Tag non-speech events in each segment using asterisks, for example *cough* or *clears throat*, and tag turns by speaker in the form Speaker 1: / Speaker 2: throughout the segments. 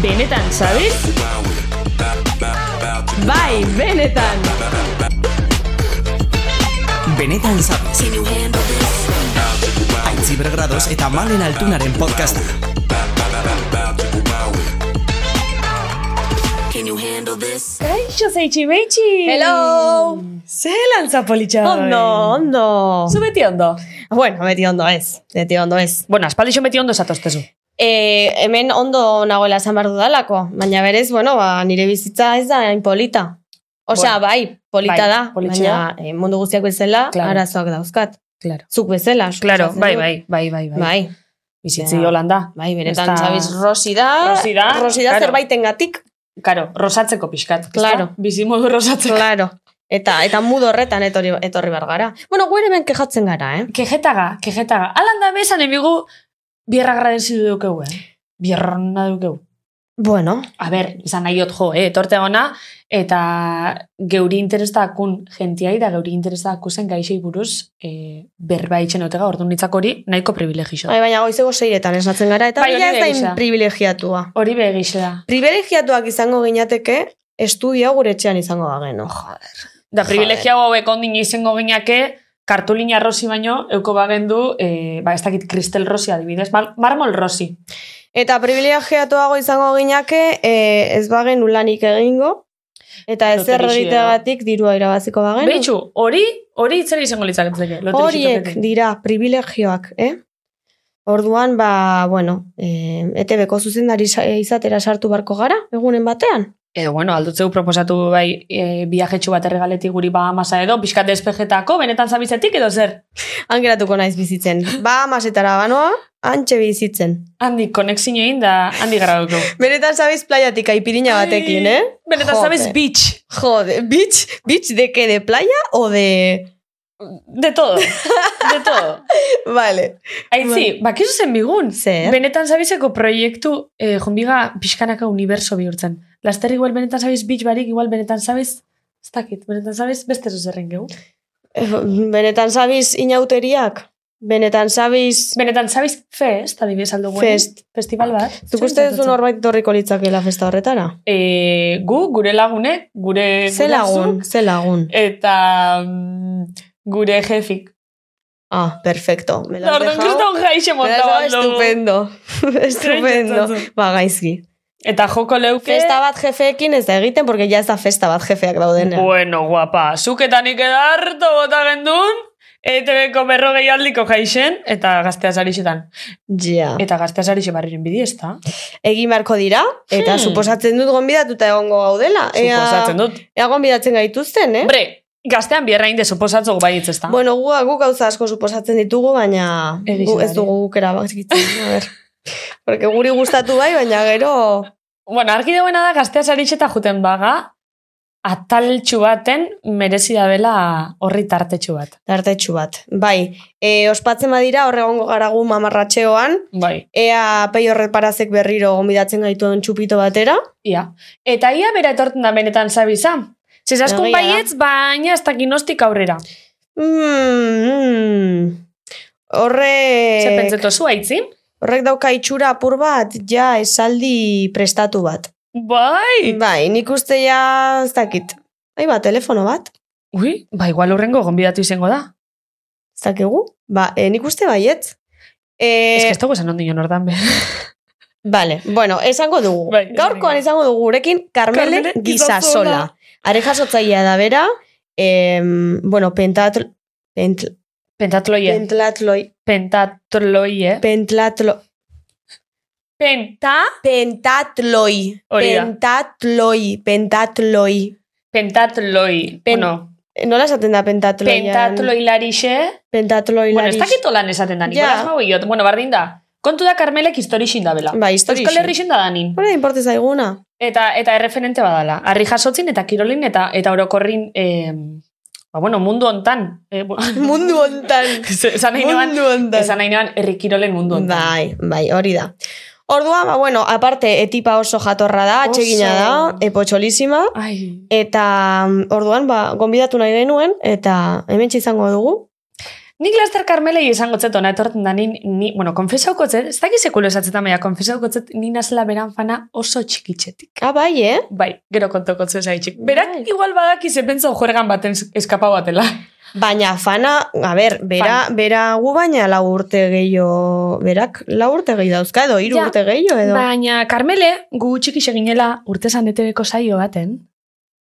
Speaker 1: Benetan, sabes? Bai, benetan!
Speaker 2: Benetan zabez. Aitzi bergradoz eta malen altunaren podcasta.
Speaker 3: Kaixo zeitxi beitxi!
Speaker 1: Hello!
Speaker 3: Ze lantza politxa!
Speaker 1: Ondo, ondo!
Speaker 3: Zu beti ondo?
Speaker 1: Bueno, beti ondo ez, beti ondo ez. Bueno, aspaldixo beti ondo esatoztezu.
Speaker 3: E, hemen ondo nagoela esan behar dudalako, baina berez, bueno, ba, nire bizitza ez da hain polita. Osea, bai, polita
Speaker 1: Bai,
Speaker 3: da,
Speaker 1: politxe
Speaker 3: baina eh, mundu guztiak bezala,
Speaker 1: Claro.
Speaker 3: arazoak dauzkat.
Speaker 1: Claro.
Speaker 3: Zuk bezala. suposatzen
Speaker 1: Claro,
Speaker 3: dut.
Speaker 1: bai, bai, bai, bai, bai.
Speaker 3: Bai,
Speaker 1: Bizitzi holanda.
Speaker 3: bai, benetan,
Speaker 1: Ez da-
Speaker 3: Xabiz, Rosi da,
Speaker 1: Rosi da, claro.
Speaker 3: zerbaitengatik,
Speaker 1: *laughs* Karo, rosatzeko pixkat. ezta?
Speaker 3: Claro.
Speaker 1: Bizimodu rosatzeko.
Speaker 3: claro. Eta, eta mudo horretan etorri, etorri behar gara. Bueno, gure hemen kejatzen gara, eh?
Speaker 1: Kejetaga, kejetaga. Alan da bezan emigu bierra agradezidu dukeu, eh? Bierrona dukeu.
Speaker 3: Bueno,
Speaker 1: A ber, izan nahi hot jo, eh? Etorte ona, eta geuri interesakun gentiai da geuri interesakusen gaixei buruz eh, berba itxen otega, ordu nitzak hori nahiko privilegixo.
Speaker 3: bai, baina goizego seiretan esnatzen gara, eta
Speaker 1: Bai,
Speaker 3: bai,
Speaker 1: hori
Speaker 3: ez da
Speaker 1: gisa.
Speaker 3: privilegiatua.
Speaker 1: Hori begixe da.
Speaker 3: privilegiatuak izango ginateke, estudia gure etxean izango bageno. Oh, Joder.
Speaker 1: Da, privilegia hauek ondin izango gineke, kartulina rosi baino, euko bagendu, eh, ba, ez dakit kristel rosi adibidez, mar marmol rosi.
Speaker 3: Eta privilegiatuago izango ginake, e, ez bagen ulanik egingo, eta ez
Speaker 1: Loterixea.
Speaker 3: erregiteagatik dirua irabaziko bagenu.
Speaker 1: Beitxu, hori, hori itzera izango litzaketzeke. loterixo
Speaker 3: Horiek
Speaker 1: tokeke.
Speaker 3: dira privilegioak, eh? Orduan, ba, bueno, eh, ETB-ko zuzendari sa- izatera sartu barko gara, egunen batean.
Speaker 1: Edo, bueno, aldutzeu proposatu bai e, biajetxu bat erregaletik guri Bahamasa edo, pixkat despejetako, benetan zabizetik edo zer?
Speaker 3: Angeratuko naiz bizitzen. Ba, masetara banoa, antxe bizitzen.
Speaker 1: Handi, konexin egin da, handi gara dugu.
Speaker 3: Benetan zabiz playatik aipirina batekin, eh?
Speaker 1: *laughs* Benetan
Speaker 3: Jope.
Speaker 1: zabiz bitch.
Speaker 3: Joder, beach, beach de qué, de playa o de...
Speaker 1: De todo. De
Speaker 3: *laughs*
Speaker 1: todo.
Speaker 3: Vale.
Speaker 1: Aitzi, bakizu zen bigun.
Speaker 3: Zer?
Speaker 1: Benetan zabizeko proiektu eh, jonbiga pixkanaka universo bihurtzen. Laster igual benetan zabiz bitch barik, igual benetan zabiz, ez dakit, benetan zabiz beste zuzerren gehu.
Speaker 3: Benetan zabiz inauteriak? Benetan zabiz...
Speaker 1: Benetan zabiz fest, adibidez aldo guen.
Speaker 3: Fest.
Speaker 1: Festival bat.
Speaker 3: Zuk uste duzu norbait dorriko litzakela festa horretara?
Speaker 1: E, gu, gure lagunek, gure...
Speaker 3: Ze lagun,
Speaker 1: gurasoek,
Speaker 3: ze lagun.
Speaker 1: Eta mm, gure jefik.
Speaker 3: Ah, perfecto. Me las
Speaker 1: Orduan kriston jaixe
Speaker 3: Me las
Speaker 1: monta
Speaker 3: dejado estupendo. estupendo. Ba, gaizki.
Speaker 1: Eta joko leuke...
Speaker 3: Festa bat jefeekin ez da egiten, porque ya ez da festa bat jefeak daudenean.
Speaker 1: Bueno, guapa, zuketanik edarto bota gendun, E ETB-ko berrogei aldiko jaixen, eta gazteaz arixetan.
Speaker 3: Ja.
Speaker 1: Eta gazteaz arixe barriren bidi, ez da?
Speaker 3: Egin beharko dira, eta
Speaker 1: Hmm.
Speaker 3: suposatzen dut gonbidatuta egongo gaudela.
Speaker 1: Suposatzen dut.
Speaker 3: Ea Eh? gonbidatzen gaituzten, eh?
Speaker 1: Hombre, gaztean bierra inde suposatzo baietz, ez da?
Speaker 3: Bueno, gu, gu gauza asko suposatzen ditugu, baina
Speaker 1: Egizu
Speaker 3: gu, ez
Speaker 1: da,
Speaker 3: dugu gukera bakitzen, a ber. Porque guri gustatu bai, baina gero...
Speaker 1: Bueno, argi dagoena da gazteaz arixeta juten baga, ataltxu baten merezi dabela horri tartetxu bat.
Speaker 3: Tartetxu bat. Bai, e, ospatzen badira, horregongo gara gu mamarratxeoan,
Speaker 1: Bai.
Speaker 3: ea pei horreparazek berriro gombidatzen gaituen txupito batera.
Speaker 1: Ia. Eta ia bera etorten da benetan zabiza. Zezaskun
Speaker 3: Egia da.
Speaker 1: baietz, baina ez dakinostik aurrera.
Speaker 3: Mm, mm.
Speaker 1: Ze
Speaker 3: Horrek,
Speaker 1: pentsetozu, aitzin?
Speaker 3: horrek dauka itxura apur bat, ja esaldi prestatu bat.
Speaker 1: Bai!
Speaker 3: Bai, nik uste ja, ez dakit. Ai ba, telefono bat.
Speaker 1: Ui, ba, igual urrengo gonbidatu izango da.
Speaker 3: Ez dakigu? Ba, e, nik uste baiet.
Speaker 1: Ez que
Speaker 3: E,
Speaker 1: ez dugu esan ondino nordan be.
Speaker 3: Vale, bueno, esango dugu.
Speaker 1: Bai,
Speaker 3: Gaurkoan
Speaker 1: venga.
Speaker 3: izango dugu gurekin Carmele,
Speaker 1: Karmele
Speaker 3: Gizasola.
Speaker 1: Gizasola.
Speaker 3: Are jasotzailea da bera, em, bueno, pentatl... Pentl,
Speaker 1: Pentatloie.
Speaker 3: Pentlatloi...
Speaker 1: Pentatloie.
Speaker 3: Pentlatlo...
Speaker 1: Penta?
Speaker 3: Pentatloi.
Speaker 1: Hori da.
Speaker 3: Pentatloi. Pentatloi.
Speaker 1: Pentatloi.
Speaker 3: Pen-
Speaker 1: bueno,
Speaker 3: Eh, Nola esaten da pentatloian?
Speaker 1: pentatloi larixe.
Speaker 3: Pentatloi
Speaker 1: Bueno, ez
Speaker 3: lariz.
Speaker 1: dakit lan esaten da,
Speaker 3: Ja.
Speaker 1: Nikolas Mauillot. Bueno, bardin da. Kontu da Karmelek historixin da bela.
Speaker 3: Ba, historixin.
Speaker 1: Euskal Herrixin da danin.
Speaker 3: Hora inporte zaiguna.
Speaker 1: *laughs* Eta, eta erreferente badala. Arri jasotzin eta kirolin eta eta orokorrin... Eh, ba, bueno, mundu hontan. Eh, bu- *laughs*
Speaker 3: Mundu ontan.
Speaker 1: esan nahi neban,
Speaker 3: Mundu ontan.
Speaker 1: esan nahi neban, herri kirolen mundu hontan.
Speaker 3: Bai, bai, hori da. Orduan, ba, bueno, aparte, etipa oso jatorra da,
Speaker 1: Oso.
Speaker 3: atsegina da, epotxolisima,
Speaker 1: Ai.
Speaker 3: eta mm, orduan, ba, gonbidatu nahi genuen, eta hemen izango dugu.
Speaker 1: Nik laster Carmelei izango txet ona etorten da, ni, ni bueno, konfesauko txet, ez dakit sekulo esatzetan baina, konfesauko txet, ni nazela beran fana oso txikitxetik.
Speaker 3: Ah, bai, eh?
Speaker 1: Bai, gero kontoko txet zaitxik. Berak
Speaker 3: Bai.
Speaker 1: igual badaki zepentza juergan baten eskapa batela.
Speaker 3: Baina fana, a ber, bera, bera gu baina lau urte gehiago, berak lau urte gehiago dauzka edo, hiru
Speaker 1: Ja, Bai.
Speaker 3: urte gehiago edo.
Speaker 1: Baina, Carmele, gu txiki seginela urtesan etebeko saio baten.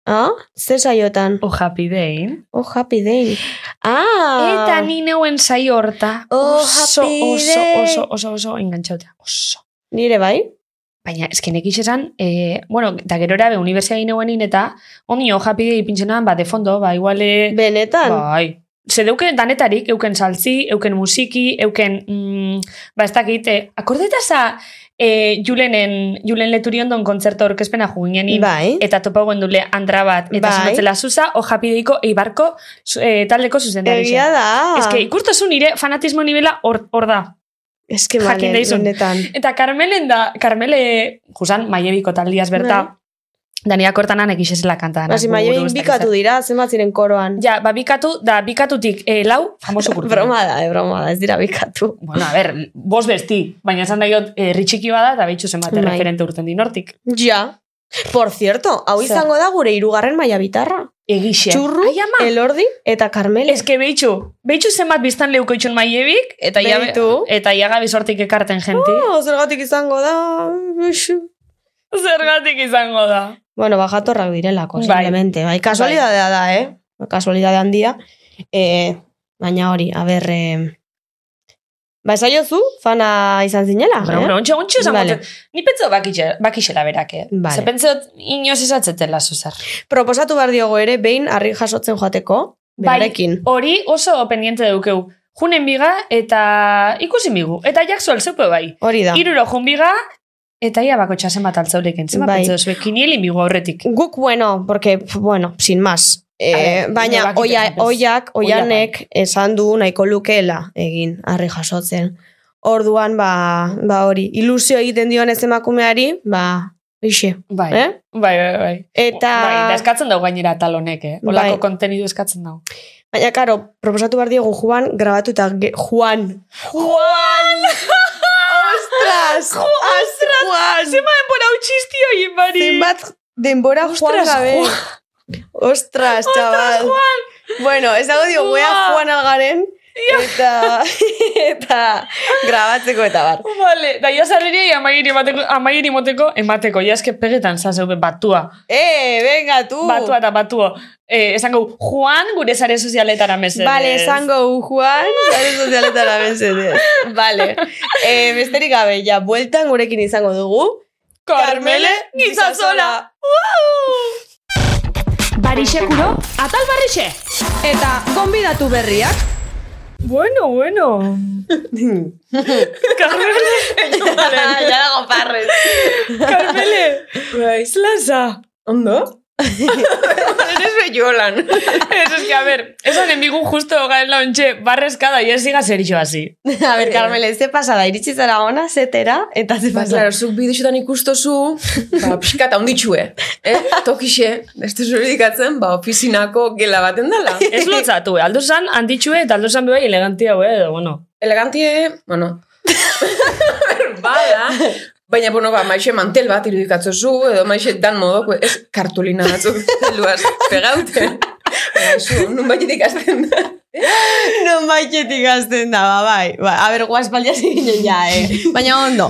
Speaker 3: Ah, ze saiotan?
Speaker 1: O happy dayn.
Speaker 3: Oh, happy day. Ah!
Speaker 1: Eta ni neuen saio horta.
Speaker 3: Oh,
Speaker 1: oso,
Speaker 3: happy
Speaker 1: oso,
Speaker 3: day.
Speaker 1: oso, oso, oso, engantxauta. Oso.
Speaker 3: Nire bai?
Speaker 1: Baina, esken ekiz esan, e, bueno, eta gerora be, universia gine guenin, eta onio japide ipintzenan, ba, de fondo, ba, iguale,
Speaker 3: Benetan?
Speaker 1: bai. Ze deuken danetarik, euken saltzi, euken musiki, euken, mm, ba, ez dakit, e, akordetaza e, Julenen, Julen Leturiondon kontzertu aurkezpena juginenin,
Speaker 3: bai.
Speaker 1: eta topa duele andra bat, eta
Speaker 3: Bai.
Speaker 1: bai. zuza, ojapideiko eibarko zu- e, taldeko zuzendari.
Speaker 3: Egia da.
Speaker 1: Ez que ikustozu nire fanatismo nivela hor hor da.
Speaker 3: Es que
Speaker 1: jakin
Speaker 3: malen,
Speaker 1: daizun.
Speaker 3: benetan.
Speaker 1: Eta Carmelen da, Carmele, Jusan, maiebiko taldiaz berta,
Speaker 3: Bai.
Speaker 1: Dania kortanan egixezela kanta.
Speaker 3: Basi, maio Ba, bikatu dira, zenbat ziren koroan.
Speaker 1: Ja, ba, bikatu, da, bikatutik eh, lau,
Speaker 3: *laughs*
Speaker 1: famoso kurtu.
Speaker 3: broma da, eh, broma da, ez dira bikatu.
Speaker 1: Bueno, a ber, bos besti, baina esan eh, daiot herri txiki bada eta behitxu zenbat
Speaker 3: Bai.
Speaker 1: referente urten dinortik.
Speaker 3: Ja. Por cierto, hau
Speaker 1: Zer?
Speaker 3: izango da gure hirugarren maila bitarra.
Speaker 1: Egixe.
Speaker 3: Txurru,
Speaker 1: Ai, ama!
Speaker 3: Elordi eta Carmele.
Speaker 1: Ez que behitxu, behitxu zenbat biztan leuko itxun maiebik, eta ia,
Speaker 3: Behitu.
Speaker 1: eta ia gabi sortik ekarten jenti.
Speaker 3: Oh, zergatik izango da. uxu.
Speaker 1: Zergatik izango da.
Speaker 3: Bueno, bajatorrak direlako,
Speaker 1: Bai.
Speaker 3: simplemente. Bai, kasualidadea da, eh? Kasualidade handia. Eh, baina hori, a ber... Eh... Ba, esaiozu, fana izan zinela,
Speaker 1: Bueno,
Speaker 3: eh?
Speaker 1: bueno, ontsa, ontsa esan
Speaker 3: Vale.
Speaker 1: vale. Ni pentsa bakitxe- bakixela berak, eh?
Speaker 3: Vale.
Speaker 1: Ze pentsa inoz ezatzetela zuzer.
Speaker 3: Proposatu behar diogo ere, behin harri jasotzen joateko,
Speaker 1: Bai.
Speaker 3: berarekin.
Speaker 1: Hori oso pendiente daukeu. Junen biga eta ikusi migu. Eta jak zuel zeupe bai.
Speaker 3: Hori da.
Speaker 1: Iruro jun biga eta ia bako txasen bat altzaurekin. Zema
Speaker 3: Bai.
Speaker 1: bai. pentsa duzu, kinieli migu aurretik.
Speaker 3: Guk, bueno, porque, pf, bueno, sin más. Eh,
Speaker 1: ver,
Speaker 3: baina,
Speaker 1: erabakite
Speaker 3: oia,
Speaker 1: batez.
Speaker 3: oiak,
Speaker 1: Oia bai.
Speaker 3: oianek esan du nahiko lukela egin, harri jasotzen. Orduan, ba, ba hori, ilusio egiten dion ez emakumeari, ba, ixe,
Speaker 1: Bai.
Speaker 3: eh?
Speaker 1: Bai, bai, bai.
Speaker 3: Eta,
Speaker 1: Bai, eta eskatzen dau gainera talonek, eh? Olako
Speaker 3: Bai.
Speaker 1: kontenidu eskatzen dau.
Speaker 3: baina, karo, proposatu behar diogu Juan, grabatu eta ge, Juan. Juan! Ostras! Ostras! Juan!
Speaker 1: Zema denbora utxizti hoien bari.
Speaker 3: Zenbat denbora Juan
Speaker 1: Ostras,
Speaker 3: gabe.
Speaker 1: Juan.
Speaker 3: Ostras, chaval. Bueno, ez dago dio, guea
Speaker 1: Ua.
Speaker 3: Juan algaren. Eta, *laughs* eta grabatzeko eta bar.
Speaker 1: Vale, da ia zarriri amaieri, bateko, amaieri moteko emateko. Ja, eske pegetan zazeupe batua.
Speaker 3: Eh, venga, tu.
Speaker 1: Batua eta batuo. Eh, esango, Juan gure zare sozialetara mesedez.
Speaker 3: Vale, esango hu, Juan, zare sozialetara mesedez. Vale. Eh, besterik gabe, ja, bueltan gurekin izango dugu.
Speaker 1: Carmele Gizazola. Barixekuro, atal barrixe!
Speaker 3: Eta gonbidatu berriak.
Speaker 1: Bueno,
Speaker 3: *laughs*
Speaker 1: bueno. Carmele,
Speaker 3: ja dago *laughs* parrez.
Speaker 1: Carmele. Baiz, laza.
Speaker 3: Ondo? Eres beiolan.
Speaker 1: Eso es que, a ver, eso en enbigu justo garen launtxe, barrezkada, y ez diga zer iso así.
Speaker 3: A ber, Carmele, ze pasada, iritsi zara ona, zetera, eta ze
Speaker 4: Ba,
Speaker 3: pasada.
Speaker 4: klaro, zuk bideoetan ikustozu,
Speaker 1: *laughs*
Speaker 4: ba, pixka eta onditxue, eh? Tokixe, ez duzu irudikatzen, ba, ofizinako gela baten dela.
Speaker 1: Ez lotzatu, eh? aldo zan, handitxue, eta aldo zan bebai elegantia, eh, edo, bueno.
Speaker 4: Elegantie, bueno, bada, baina, bueno, ba, maixe mantel bat irudikatzozu, edo maixe dan modoko, ez kartulina batzuk zeluaz pegauten. Baina, zu, nun bainetik azten da.
Speaker 3: Non baitetik azten da, ba, bai. Ba, a ber, *laughs* guazpaldia zinen ja, eh. Baina ondo.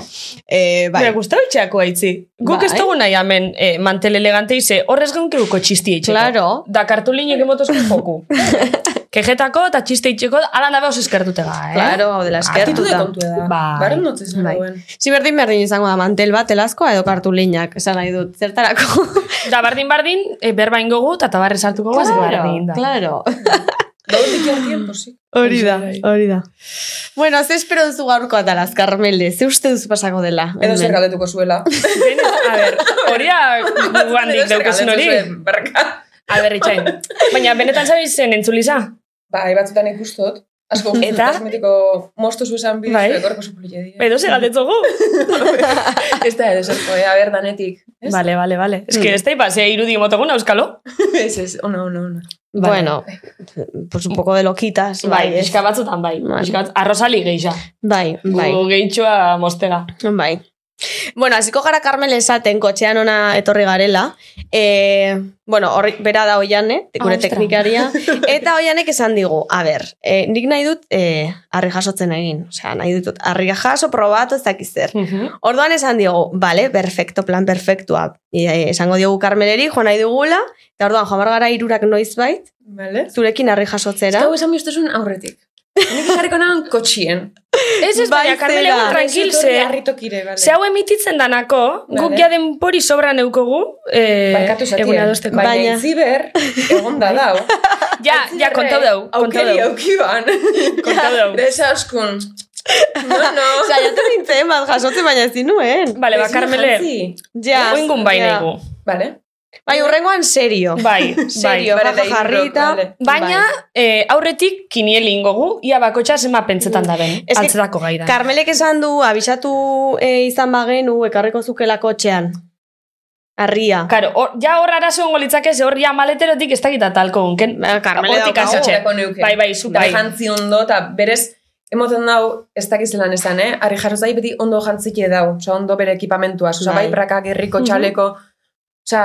Speaker 3: Eh,
Speaker 1: Bai. Me
Speaker 3: bai.
Speaker 1: gustau itxeako haitzi. Guk
Speaker 3: Bai.
Speaker 1: ez dugu nahi hemen eh, mantel elegante ize, horrez geunkeuko txiste itxeko.
Speaker 3: Claro.
Speaker 1: Da kartulinek
Speaker 3: *laughs*
Speaker 1: emotozko joku. Kejetako eta txiste itxeko, ala nabe oso eskertutega, eh?
Speaker 3: Claro, hau dela
Speaker 4: Atitude
Speaker 3: eskertuta.
Speaker 4: kontu da.
Speaker 1: Bai.
Speaker 4: Barren notzez
Speaker 3: Bai.
Speaker 4: nagoen.
Speaker 3: Si berdin berdin izango da, mantel bat, elazkoa edo kartulinak, esan nahi dut, zertarako.
Speaker 1: Da bardin bardin, e, berba ingo gu, eta tabarre sartuko guaz, bardin da.
Speaker 3: claro.
Speaker 4: Daudik jau Ba, tiempo, sí.
Speaker 3: Hori da, hori da. Bueno, ze espero duzu gaurko atalaz, Carmele, ze uste duzu pasako dela.
Speaker 4: Edo zer
Speaker 3: hemen?
Speaker 4: galdetuko zuela.
Speaker 1: Bene, a ber, hori da
Speaker 3: *laughs*
Speaker 1: gu handik daukazun hori.
Speaker 4: Barka.
Speaker 1: A ber, itxain. Baina, benetan zabiz zen entzuliza?
Speaker 4: Ba, Bai, batzutan ikustot. Asko
Speaker 1: Eta?
Speaker 4: eta kosmetiko mostu zuzan bidez,
Speaker 1: Bai.
Speaker 4: bai. gorko zupulia dira.
Speaker 1: Edo ze galdetzogu.
Speaker 3: *laughs*
Speaker 4: Ez da, ez da, a ber, danetik. Ez?
Speaker 1: Vale, vale, vale. Ez que
Speaker 3: Hmm.
Speaker 1: ez da ipazea irudi emotoguna, euskalo.
Speaker 4: Ez, ez, ona, ona, ona.
Speaker 1: Vale.
Speaker 3: Bueno, pues un poco de loquitas.
Speaker 1: Bai,
Speaker 3: Bai, ez.
Speaker 1: eska batzutan bai.
Speaker 3: Bai.
Speaker 1: Eska batz, arrozali geisha.
Speaker 3: Bai, bai.
Speaker 1: Gu gehitxua mostega.
Speaker 3: Bai. Bueno, hasiko gara Carmel esaten kotxean ona etorri garela. Eh, bueno, horri, bera da oiane, gure
Speaker 1: Ostra.
Speaker 3: teknikaria. Eta oianek esan digu, a ber, eh, nik nahi dut eh, harri jasotzen egin. Osea, nahi dut harri jaso, probatu, ez dakiz zer. Orduan esan diogu, vale, perfecto, plan perfektua. E, esango diogu Carmeleri, joan nahi dugula, eta orduan, joan behar gara irurak noizbait,
Speaker 4: Vale?
Speaker 3: zurekin harri
Speaker 4: Ez
Speaker 3: jasotzera.
Speaker 4: hau esan mioztuzun aurretik. Nik jarriko nahan kotxien.
Speaker 1: Ez ez, baina,
Speaker 3: Bai,
Speaker 1: Carmele,
Speaker 3: zera.
Speaker 1: gu Ah, tranquil, ze...
Speaker 4: Arritokire, bale.
Speaker 1: Ze hau emititzen danako, guk
Speaker 4: Vale.
Speaker 1: ja denpori sobra neukogu, eh,
Speaker 4: Barkatu zatie.
Speaker 1: egun adosteko. Bai.
Speaker 3: Baina-
Speaker 4: Baina itziber, egon da dau.
Speaker 1: Ja, ja, *laughs* kontau dau, kontau
Speaker 4: Aukeri
Speaker 1: dau.
Speaker 4: aukiban.
Speaker 1: Kontau
Speaker 4: *laughs*
Speaker 1: dau.
Speaker 4: Da esa oskun. No, no.
Speaker 3: *laughs* Saiatu nintzen, bat jasotzen, baina ez nuen.
Speaker 1: Bale, ba,
Speaker 4: Ez
Speaker 1: Carmele,
Speaker 4: jantzi.
Speaker 3: Ja,
Speaker 1: oingun bai
Speaker 3: ja.
Speaker 1: nahigu.
Speaker 4: Vale.
Speaker 3: Bai, urrengoan serio. *laughs*
Speaker 1: Bai, bai.
Speaker 3: Serio,
Speaker 4: Bai,
Speaker 3: baja
Speaker 4: da hiru
Speaker 3: jarrita.
Speaker 4: blok, vale.
Speaker 1: Baina, eh, aurretik kinieli ingogu, ia bakotxa zema pentsetan da ben,
Speaker 3: Ez que-
Speaker 1: altzetako gai da.
Speaker 3: Karmelek esan du, abisatu e, izan bagenu, ekarriko zukela kotxean. Arria.
Speaker 1: Karo, hor, ja hor arazo ongo litzake, ze hor ja maleterotik ez dakit atalko gunken.
Speaker 3: Ba, Karmele
Speaker 1: Hortik
Speaker 3: daukagu.
Speaker 1: hasatxe.
Speaker 4: Hortako neuke.
Speaker 1: Bai, bai, zu,
Speaker 4: Da
Speaker 1: bai.
Speaker 4: jantzi ondo, eta berez, emoten dau, ez dakizelan esan, eh? Arri jarroz dai beti ondo jantzike dau, oza, ondo bere ekipamentuaz, oza,
Speaker 3: Bai.
Speaker 4: bai, prakak, herriko, txaleko, oza,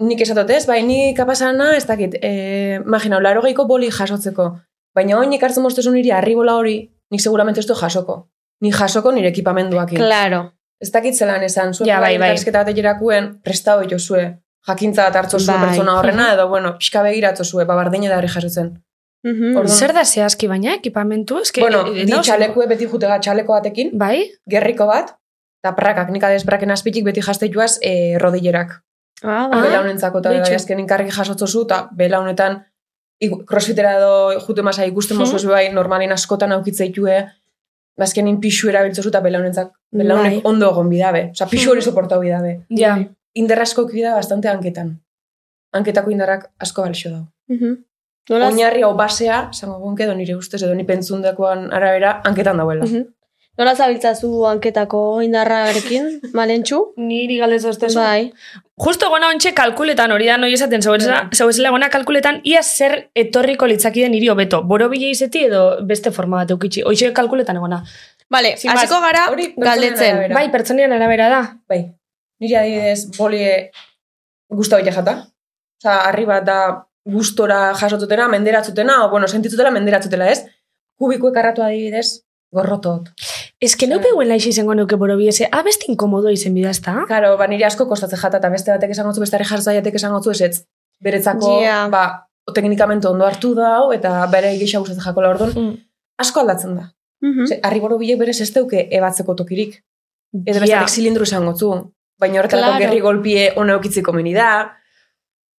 Speaker 4: nik esatot ez, bai, nik kapasana, ez dakit, eh, imagina, laro boli jasotzeko, baina hori nik hartzen moztezun niri arribola hori, nik seguramente ez du jasoko. Ni jasoko nire ekipamenduak.
Speaker 3: Claro.
Speaker 4: Ez dakit zelan esan, zuen
Speaker 1: Ja,
Speaker 4: ja,
Speaker 1: bai, bai.
Speaker 4: bat egerakuen, prestao jozue, jakintza bat hartzo zuen
Speaker 3: Bai.
Speaker 4: pertsona
Speaker 1: *laughs*
Speaker 4: horrena, edo, bueno, pixka begiratzo zue, babardine da harri jasotzen.
Speaker 3: Mhm.
Speaker 4: Orduan-
Speaker 1: Zer da zehazki baina, ekipamentu? Ez que,
Speaker 3: e,
Speaker 4: bueno,
Speaker 1: eh,
Speaker 4: di
Speaker 1: no, ze-
Speaker 4: txalekue beti jutega txaleko batekin,
Speaker 1: Bai?
Speaker 4: gerriko bat, eta prakak, nik adez braken azpitik beti jazte joaz e, rodillerak.
Speaker 3: Ah,
Speaker 1: Ah.
Speaker 3: bai.
Speaker 4: Belaunentzako eta
Speaker 1: Bitxo.
Speaker 4: bai, azken inkarri jasotzozu, eta belaunetan igu- crossfitera edo jute masa ikusten
Speaker 3: Hmm.
Speaker 1: Mhm.
Speaker 4: mozuz bai, normalin askotan ba, aukitzeitue, bazkenin pixu erabiltzozu, eta belaunentzak, belaunek
Speaker 3: Bai. Hmm.
Speaker 4: ondo egon bidabe. Osa, pixu hori soportau bidabe.
Speaker 1: Ja.
Speaker 4: Inderrasko kida bastante hanketan. Hanketako indarrak asko balxo dago.
Speaker 3: Mhm. Nola-
Speaker 4: Oinarri hau basea, zango gonke, edo nire ustez, edo ni pentzundakoan arabera, hanketan dauela.
Speaker 3: Mhm. Nola zabiltzazu
Speaker 1: *laughs*
Speaker 3: anketako indarrarekin, malentxu?
Speaker 1: Niri galdez ostezu.
Speaker 3: Bai.
Speaker 1: Justo gona ontxe kalkuletan, hori da noi esaten,
Speaker 4: Bai.
Speaker 1: zauezela zauezela gona kalkuletan, ia zer etorriko litzakiden hiri hobeto. Boro bile izeti edo beste forma bat eukitxi. Hoxe kalkuletan egona.
Speaker 3: Vale,
Speaker 1: Sin
Speaker 3: hasiko gara
Speaker 4: Hori pertsonen
Speaker 3: galdetzen.
Speaker 4: arabera.
Speaker 1: Bai, pertsonian arabera da.
Speaker 4: Bai. Nire adibidez, bolie guztua bila jata. Osa, arriba da gustora jasotzutena, menderatzutena, o, bueno, sentitzutela, menderatzutela, ez? Kubikuek arratu adibidez, gorrotot.
Speaker 1: Ez que neupe guen laixe izango neuke boro biese. Ah, beste inkomodoa izen bida, ezta?
Speaker 4: Karo, ba, nire asko kostatzen jata, eta beste batek esango zu, beste jarzaiatek esango zu, esetz. Beretzako,
Speaker 3: Yeah.
Speaker 4: ba, teknikamento ondo hartu dau, eta bere gisa gustatzen jakola orduan,
Speaker 1: Mm.
Speaker 4: asko aldatzen da.
Speaker 3: Mhm.
Speaker 4: Mm. Arriboro bilek berez ez deuke ebatzeko tokirik. Edo beste
Speaker 1: Ja.
Speaker 4: yeah. zilindru esango zu. Baina horretarako
Speaker 3: Claro.
Speaker 4: gerri golpie ona eukitziko meni da.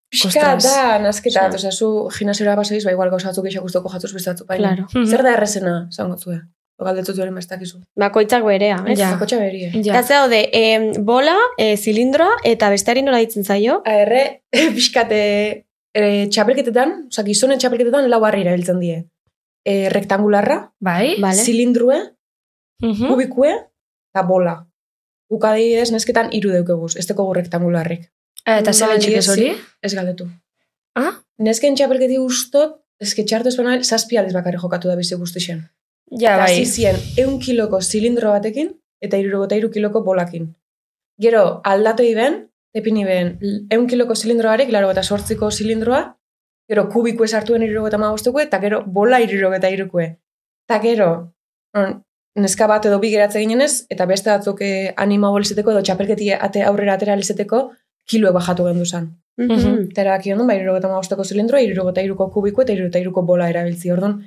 Speaker 4: Pixka
Speaker 1: Ostras.
Speaker 4: da, nasketa.
Speaker 3: Osea.
Speaker 4: Yeah. Osa, zu gimnasiora basoiz, ba, igual gauzatzu gehiago guztoko jatuz bestatu. Baina,
Speaker 3: Claro. Mm-hmm.
Speaker 1: Mhm.
Speaker 4: zer da errezena esango zuen? Ogaldetu zuen bestakizu.
Speaker 3: Bakoitzak berea, ez?
Speaker 1: Ja.
Speaker 4: Ja. Zakotxa eh. berie.
Speaker 1: Mm-hmm. Ja.
Speaker 3: Eta ze daude, em, bola, eh, zilindroa, eta besteari nola ditzen zaio?
Speaker 4: Erre, *laughs* pixkate, e, txapelketetan, osa, gizonen txapelketetan lau harri erabiltzen die. E, rektangularra,
Speaker 1: Bai?
Speaker 3: Vale. Mm-hmm.
Speaker 4: zilindrue,
Speaker 1: Mhm.
Speaker 4: kubikue, eta bola. Ukadidez, nesketan iru deukeguz, ez teko rektangularrik.
Speaker 1: Eh, Eta zer
Speaker 4: Vale,
Speaker 1: betxik ez hori?
Speaker 4: Ez galdetu.
Speaker 1: Ah?
Speaker 4: Nesken txapelketi guztot, eske txartu espanal, zazpi aldiz bakarri jokatu da bizi guztixen.
Speaker 1: Ja,
Speaker 4: Eta
Speaker 1: bai.
Speaker 4: hasi ziren, eun kiloko zilindro batekin, eta irurogota iru kiloko bolakin. Gero, aldatu iben, epini ben, eun kiloko zilindroarek, laro eta sortziko zilindroa, gero kubiku esartuen irurogota magostukue, eta gero bola irurogota irukue. Eta gero, on, neska bat edo bi geratze ginenez, eta beste batzuk eh, anima bolizeteko edo txapelketi ate aurrera atera alizeteko, kiloek bajatu gendu zan.
Speaker 1: Mhm.
Speaker 4: Eta erabaki honen, bai, irurogeta magosteko zilindroa, irurogeta iruko kubiko eta irurogeta iruko bola erabiltzi. Orduan,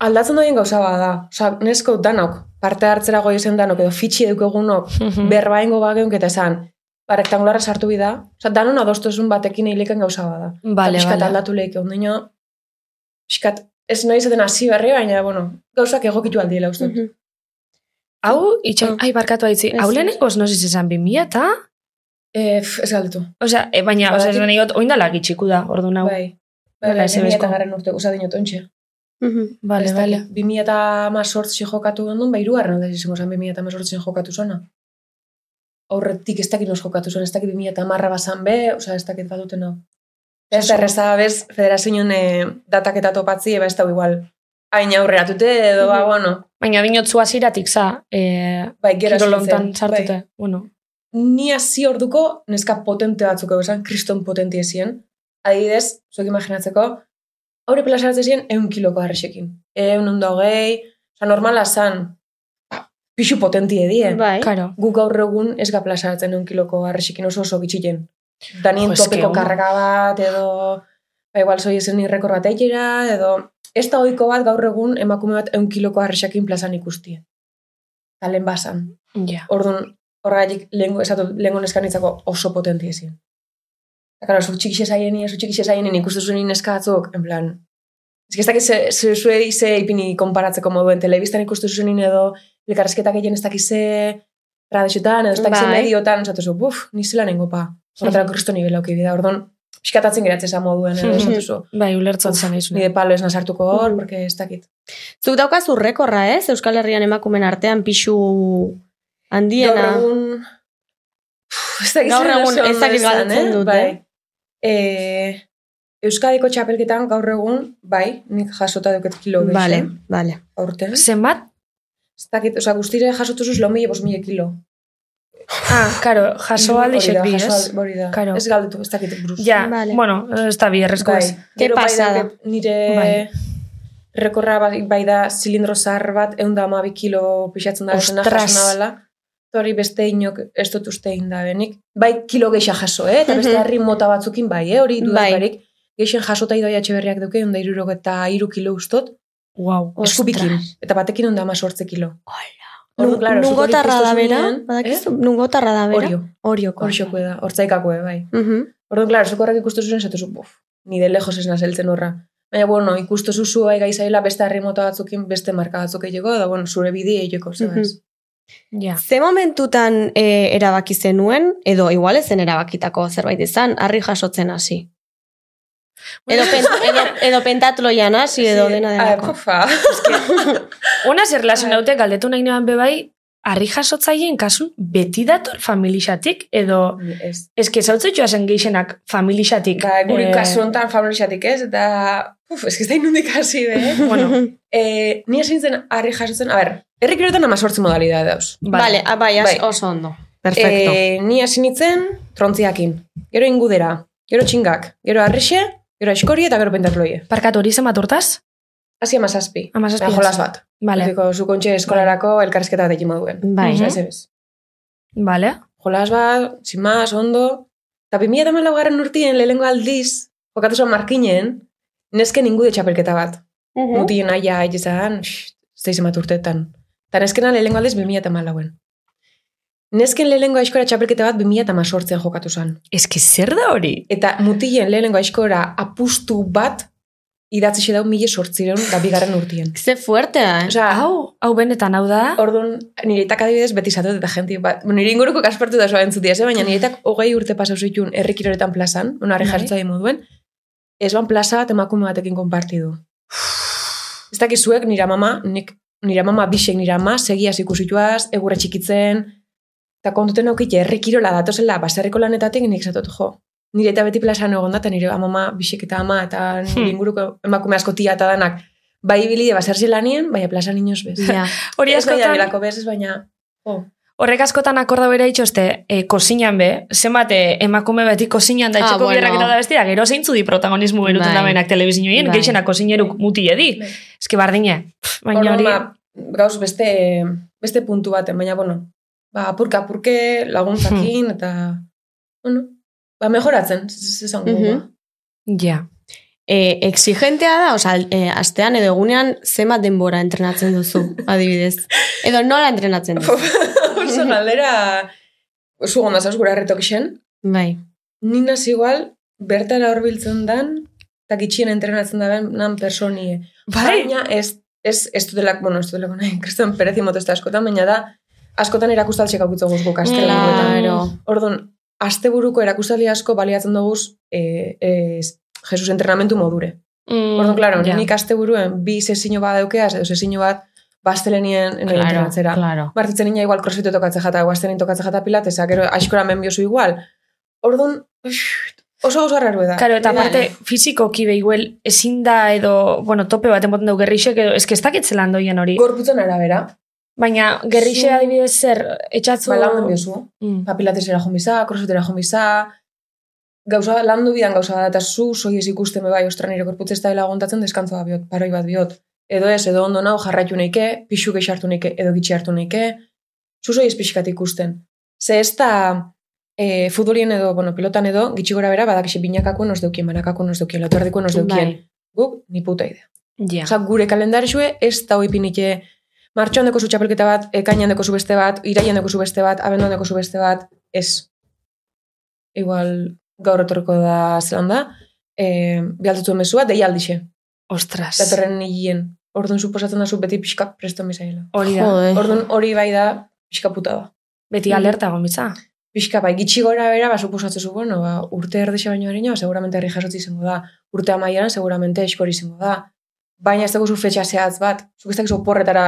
Speaker 4: aldatzen duen gauza bada. Osa, nesko danok, parte hartzera goi esen danok, edo fitxi edukegunok,
Speaker 1: Mhm.
Speaker 4: berbaingo bageunk eta esan, ba, rektangularra sartu bida. Osa, danon adostosun batekin eilekan gauza bada.
Speaker 1: Vale,
Speaker 4: Eta pixkat
Speaker 1: vale.
Speaker 4: aldatu lehik, ondino, pixkat, ez nahi zaten hasi berri, baina, bueno, gauzak egokitu aldiela uste.
Speaker 1: Hmm.
Speaker 3: Mhm.
Speaker 1: Hau, itxo,
Speaker 3: Ah.
Speaker 1: ai, barkatu haitzi.
Speaker 3: Ez,
Speaker 1: Hau
Speaker 3: ez.
Speaker 1: lehenengo osnosis esan 2000 eta...
Speaker 4: Eh, pf, ez galdetu.
Speaker 1: Osea, e, baina,
Speaker 4: Badakit-
Speaker 1: osea, esan egot, oindala gitxiku da, ordu nau.
Speaker 4: Bai. Bai,
Speaker 1: Nola
Speaker 4: bai,
Speaker 1: SMS-ko?
Speaker 4: eta garren urte, usa dinot, ontxe.
Speaker 3: Mhm.
Speaker 1: Bale, bale.
Speaker 4: 2000 eta jokatu gendun, ba, irugarren alde izango zen 2000 jokatu zona. Aurretik ez dakit nos jokatu zuen, ez dakit 2000 eta bazan be, oza, ez dakit baduten hau. Ez da erreza bez, federazioen eh, datak eta topatzi, eba ez da igual. Hain aurreratute edo, ba,
Speaker 1: Mhm.
Speaker 4: bueno,
Speaker 1: Baina dinotzu hasieratik za, e,
Speaker 4: bai, gero hasi
Speaker 1: kirolontan
Speaker 4: zen,
Speaker 1: sartute.
Speaker 4: bai.
Speaker 1: Bueno,
Speaker 4: Ni hasi orduko, neska potente batzuk esan, kriston potente ezien. Adibidez, zuek imaginatzeko, aurre plazaratzen ziren eun kiloko harresekin. Eun ondo hogei, oza, normala zan, ba, pixu potenti edie.
Speaker 3: Bai.
Speaker 1: karo.
Speaker 4: Guk gaur egun ez ga plazaratzen eun kiloko harresekin oso oso gitxilen. Danien
Speaker 1: Jo, eske,
Speaker 4: topeko
Speaker 1: hau.
Speaker 4: karga bat, edo, ba, igual zoi esen irrekor bat eitera, edo, ez da oiko bat gaur egun emakume bat eun kiloko harresekin plazan ikustie. Talen basan.
Speaker 1: Ja.
Speaker 4: Orduan, horregatik lehenko, esatu, lehenko neskanitzako oso potenti ezin. Eta, karo, zu txikix ezaieni, zu txikix ezaieni, ikustu zuen neska batzuk, en plan, ez que ez dakit ze, ze, zue ze ipini konparatzeko moduen, telebistan ikustu zuen edo, elkarrezketak egin ez dakit ze, radioetan, edo ez dakit ze
Speaker 3: Bai.
Speaker 4: mediotan, esatu zu, buf, ni zela nengo pa. Horretarako kristo nibela okibida, orduan, pixkatatzen geratzen esan moduen, edo, esatu zu,
Speaker 1: Bai, ulertzen
Speaker 4: Uf,
Speaker 1: zen
Speaker 4: nire
Speaker 1: izuna.
Speaker 4: palo ez nasartuko hor, porque ez dakit.
Speaker 3: Zuk daukazu rekorra, ez? Euskal Herrian emakumen artean pixu handiena.
Speaker 4: Gaur egun... Pff, Ez dakit
Speaker 3: Gaur
Speaker 4: zer
Speaker 3: egun
Speaker 4: oso
Speaker 3: ez dakit
Speaker 4: ondo esan,
Speaker 3: galdetzen
Speaker 4: eh?
Speaker 3: dut,
Speaker 4: Bai.
Speaker 3: eh?
Speaker 4: Eh, Euskadiko txapelketan gaur egun, bai, nik jasota duket kilo gehiago.
Speaker 3: Vale, vale.
Speaker 4: Aurten.
Speaker 1: Zenbat?
Speaker 4: Ez dakit, oza, guztire jasotu zuz lau mila bost mila kilo.
Speaker 1: Ah,
Speaker 4: *laughs*
Speaker 1: karo, jaso aldi
Speaker 4: Hori da,
Speaker 1: bi,
Speaker 4: jaso
Speaker 1: ez?
Speaker 4: aldi- Hori da.
Speaker 1: Karo.
Speaker 4: Ez galdetu, ez dakit buruz.
Speaker 1: Ja,
Speaker 3: Vale.
Speaker 1: bueno, ez da bi errezko ez.
Speaker 3: Ke
Speaker 4: Gero bai da,
Speaker 3: pasada.
Speaker 4: ke- Nire
Speaker 1: Bai.
Speaker 4: rekorra bai, bai da zilindro zahar bat, egun da amabi kilo pixatzen da bezena
Speaker 1: Ostras.
Speaker 4: jasona dela. Eta Hori beste inok ez dut uste egin da benik. Bai kilo geixa jaso, eh? eta beste
Speaker 3: Mhm.
Speaker 4: harri mota batzukin bai, eh? hori dudak
Speaker 3: Bai.
Speaker 4: barik. Geixen jasota idoia txeberriak duke, onda irurok eta iru kilo ustot,
Speaker 1: Wow.
Speaker 4: eskubikin, eta batekin onda ama sortze kilo.
Speaker 3: Nun-
Speaker 4: Orduan, claro, zuk hori
Speaker 3: Nungotarra
Speaker 4: ikusten
Speaker 3: da bera?
Speaker 4: zuenean,
Speaker 3: Badakizu? Nungotarra da
Speaker 4: Eh?
Speaker 3: bera?
Speaker 4: Orio,
Speaker 3: Orioko.
Speaker 4: hor da, hortzaikakue, bai.
Speaker 3: Mhm.
Speaker 4: Orduan, klaro, zuko horrek ikustu zuen, zatu zu, buf, ni de lejos ez nazeltzen horra. Baina, bueno, ikustu zuzu gai gaizaila beste harrimota batzukin, beste marka batzuk egiteko, eta, bueno, zure bide egiteko, zebaz.
Speaker 1: Ja.
Speaker 3: Ze momentutan eh, erabaki zenuen, edo igual ezen erabakitako zerbait izan, harri jasotzen hasi. Edo, pen,
Speaker 4: *laughs*
Speaker 3: edo, edo pentatloian hasi, edo dena
Speaker 4: Ah,
Speaker 3: delako.
Speaker 4: pofa.
Speaker 1: Ona zer lasen
Speaker 4: Bai.
Speaker 1: daute, galdetu nahi neban bebai, harri jasotzaien kasun beti dator familixatik, edo
Speaker 4: ez.
Speaker 1: eske zautze joa zen geixenak familixatik.
Speaker 4: Ba, guri
Speaker 1: eh,
Speaker 4: kasu honetan familiatik ez, eta, uf, ez que ez da inundik hasi, be,
Speaker 3: *laughs*
Speaker 4: eh?
Speaker 1: Bueno,
Speaker 4: Eh, ni esin zen harri jasotzen, a ber, herrikiroetan amazortzi modalidade dauz.
Speaker 3: Vale, ah, bai, as-
Speaker 4: Bai.
Speaker 3: oso ondo. Perfecto.
Speaker 4: Eh, ni hasi nintzen trontziakin, gero ingudera, gero txingak, gero arrexe, gero eskori eta gero pentatloie.
Speaker 1: Parkatu hori zenbat urtaz?
Speaker 4: Hasi amazazpi.
Speaker 1: Amazazpi.
Speaker 4: Ba, jolas bat.
Speaker 1: Vale,
Speaker 4: Betiko, zukontxe eskolarako elkarrizketa bat egin moduen.
Speaker 3: bai.
Speaker 1: Mhm.
Speaker 4: Osea, ez ez.
Speaker 1: vale.
Speaker 4: Jolas bat, sin más, ondo. Eta 2008 garren urtien lehengo aldiz, jokatu zuen markinen, nesken ingu txapelketa bat.
Speaker 3: Mhm.
Speaker 4: Mutien aia egizan, zeiz emat urtetan. Eta neskena lehengo aldiz 2008en. Nesken lehengo aizkora txapelketa bat 2008 jokatu zen.
Speaker 1: Eske zer da hori?
Speaker 4: Eta mutilen lehenengo aizkora apustu bat idatzi xe dau mila sortzireun da bigarren urtien.
Speaker 3: Ze fuertea, eh?
Speaker 4: Osea,
Speaker 1: Hau, hau benetan hau da.
Speaker 4: Orduan, nire itak adibidez beti zatut eta jenti, ba, bueno, nire inguruko kaspertu da zoa entzutia, ze, baina nire itak hogei urte pasau zituen errikiroretan plazan, onare
Speaker 1: Bai.
Speaker 4: jartza di moduen, ez ban plaza bat emakume batekin konpartidu.
Speaker 1: *sighs*
Speaker 4: Ez dakiz zuek nire mama, nik, nire mama bisek nire ama, segiaz ikusituaz, egurra txikitzen, eta kontuten aukite errikirola datozela, baserriko lanetatik nik zatut jo. Nire eta beti plazan egon da, eta nire amama, bisek eta ama, eta nire
Speaker 1: Hmm.
Speaker 4: inguruko emakume asko tia eta danak, bai ibili de baserri lanien, baina plazan inoz
Speaker 1: *laughs*
Speaker 4: bez.
Speaker 3: Ja.
Speaker 1: Hori
Speaker 4: Ez nahi
Speaker 1: askotan,
Speaker 4: abilako bez, ez baina... Oh.
Speaker 1: horrek askotan akorda bera itxoste, e, kosinan be, zenbat eh, emakume beti kosinan da
Speaker 3: Ah,
Speaker 1: etxeko
Speaker 3: bueno.
Speaker 1: biherrak eta da bestia, gero zeintzu di protagonismo eruten
Speaker 3: Bai.
Speaker 1: da benak telebizinoien,
Speaker 3: Bai.
Speaker 1: geixena kosineruk muti edi.
Speaker 4: Bai.
Speaker 1: Eske bardine, pff, baina
Speaker 4: Baina
Speaker 1: hori...
Speaker 4: ba, gauz beste, beste puntu baten, baina, bueno, ba, apurka apurke
Speaker 1: Hmm.
Speaker 4: laguntzakin, eta, bueno, ba, mejoratzen, zezan mm
Speaker 3: Mhm.
Speaker 1: Ja.
Speaker 3: Eh, exigentea da, oza, eh, astean edo egunean zenbat denbora entrenatzen duzu, adibidez. Edo nola entrenatzen duzu.
Speaker 4: *laughs* Oso galdera, zu gonda zauz gura erretokixen,
Speaker 3: Bai.
Speaker 4: ninaz igual, bertara horbiltzen dan, eta gitxien entrenatzen da ben, nan personie.
Speaker 1: Bai,
Speaker 4: Baina ez, ez, ez dutelak, bueno, ez dutelak, nahi, *laughs* kriston perez imotezta askotan, baina da, askotan erakustaltxek aukitzu
Speaker 1: Mm.
Speaker 4: guzguk, astela,
Speaker 3: Claro.
Speaker 4: Orduan, eh, asteburuko erakustaldi asko baliatzen dugu e, e, Jesus entrenamentu modure.
Speaker 1: Mm,
Speaker 4: Orduan, klaro,
Speaker 1: ja.
Speaker 4: nik aste buruen bi sesiño bat daukeaz, edo sesiño bat bastelenien
Speaker 1: Claro,
Speaker 4: entrenatzera.
Speaker 1: claro.
Speaker 4: Martitzen nina igual crossfit tokatze jata, guaztenin tokatze jata pilatesa, gero askora menbiozu igual. Orduan, oso oso arraru da.
Speaker 1: Karo, eta
Speaker 4: Dena,
Speaker 1: aparte, fizikoki behiguel, ezin da edo, bueno, tope bat emoten dugu gerrixek, edo, eske ez dakit zelan doien hori.
Speaker 4: Gorputzen arabera,
Speaker 1: Baina, gerrixe
Speaker 4: Zu-
Speaker 1: adibidez zer, etxatzu...
Speaker 4: ba, lan menbiozu.
Speaker 1: Mm.
Speaker 4: Ba, pilatesera jombiza, crossfitera jombiza, gauza, landu bidan gauza da, eta zu, soi ez ikusten bebai, ostra nire gorputz ez da laguntatzen deskantza da biot, paroi bat biot. Edo ez, edo ondo nau jarraitu neike, pixu gehi hartu neike, edo gitxi hartu neike, zu soi ez pixkat ikusten. Ze ez da, e, futbolien edo, bueno, pilotan edo, gitxi gora bera, badak binakako nos deukien, banakako nos deukien, lotuardiko nos deukien.
Speaker 1: Bai,
Speaker 4: Guk, ni puta idea.
Speaker 1: ja.
Speaker 4: Osa, gure kalendarizue ez da oipinike martxoan deko zu txapelketa bat, ekainan deko zu beste bat, iraian deko zu beste bat, abenduan deko zu beste bat, ez. Igual gaur etorriko da zelan da, e, bialtutuen mesua, deialdixe,
Speaker 1: Ostras.
Speaker 4: datorren hilien. Orduan suposatzen da zu beti pixka presto misaila.
Speaker 1: Hori da.
Speaker 3: Jode.
Speaker 4: Orduan hori bai da pixka puta da.
Speaker 1: Beti alerta gomitza.
Speaker 4: Pixka bai, gitxi gora bera, ba, suposatzen zu, bueno, ba, urte erdexe baino erino, seguramente herri jasotzi izango da. Urte amaieran, seguramente eskori izango da. Baina ez dagozu fetxa zehatz bat, zuk ez dagozu oporretara.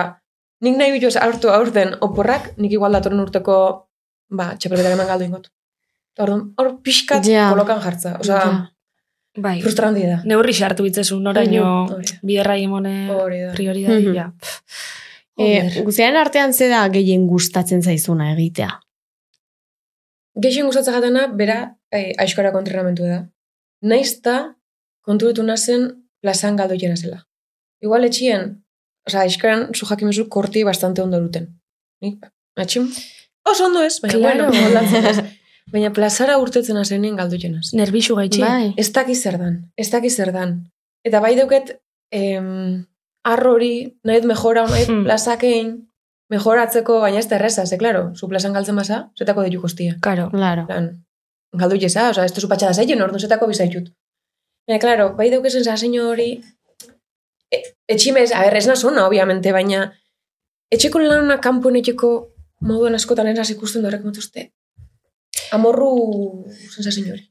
Speaker 4: Nik nahi bitu ez hartu aurten oporrak, nik igual datorren urteko, ba, txapelketaren eman galdu ingot. Orduan, hor pixka
Speaker 3: Ja.
Speaker 4: kolokan jartza. Osa,
Speaker 3: Ja.
Speaker 1: Bai.
Speaker 4: frustranti da.
Speaker 1: Neurri xartu bitzezu, noraino
Speaker 4: Hori da.
Speaker 1: biderra imone
Speaker 4: Hori da.
Speaker 1: prioridadi,
Speaker 3: Mhm.
Speaker 1: ja. Pff.
Speaker 3: E,
Speaker 1: Joder.
Speaker 3: guztiaren artean ze da gehien gustatzen zaizuna egitea.
Speaker 4: Gehien gustatzen jatana, bera, eh, aizkora kontrenamentu da. Naiz da, konturetu nazen, plazan galdu jena zela. Igual etxien, oza, aizkoran zu jakimezu korti bastante ondo duten. Nik, atxim, oso ondo ez, baina,
Speaker 1: Claro.
Speaker 4: bueno, moldatzen ez. *laughs* Baina plazara urtetzen azenien galdu jenaz.
Speaker 1: Nerbixu gaitxi.
Speaker 3: Bai,
Speaker 4: Ez dakiz zer dan, ez dakiz zer dan. Eta bai deuket, em, arrori, nahi dut mejora, nahi dut
Speaker 1: Hmm.
Speaker 4: plazakein, mejoratzeko, baina ez da erreza, ze, klaro, zu plazan galtzen basa, zetako deitu kostia.
Speaker 1: Karo.
Speaker 3: Claro.
Speaker 4: Plan, galdu jesa, oza, ez tezu patxada zaien, orduan zetako bizaitut. Baina, klaro, bai duke sensazio hori, e, etximez, a ber, ez nazona, obviamente, baina, etxeko lana kanpoen etxeko moduan askotan eraz ikusten dorek matuzte. Amorru sensazio hori.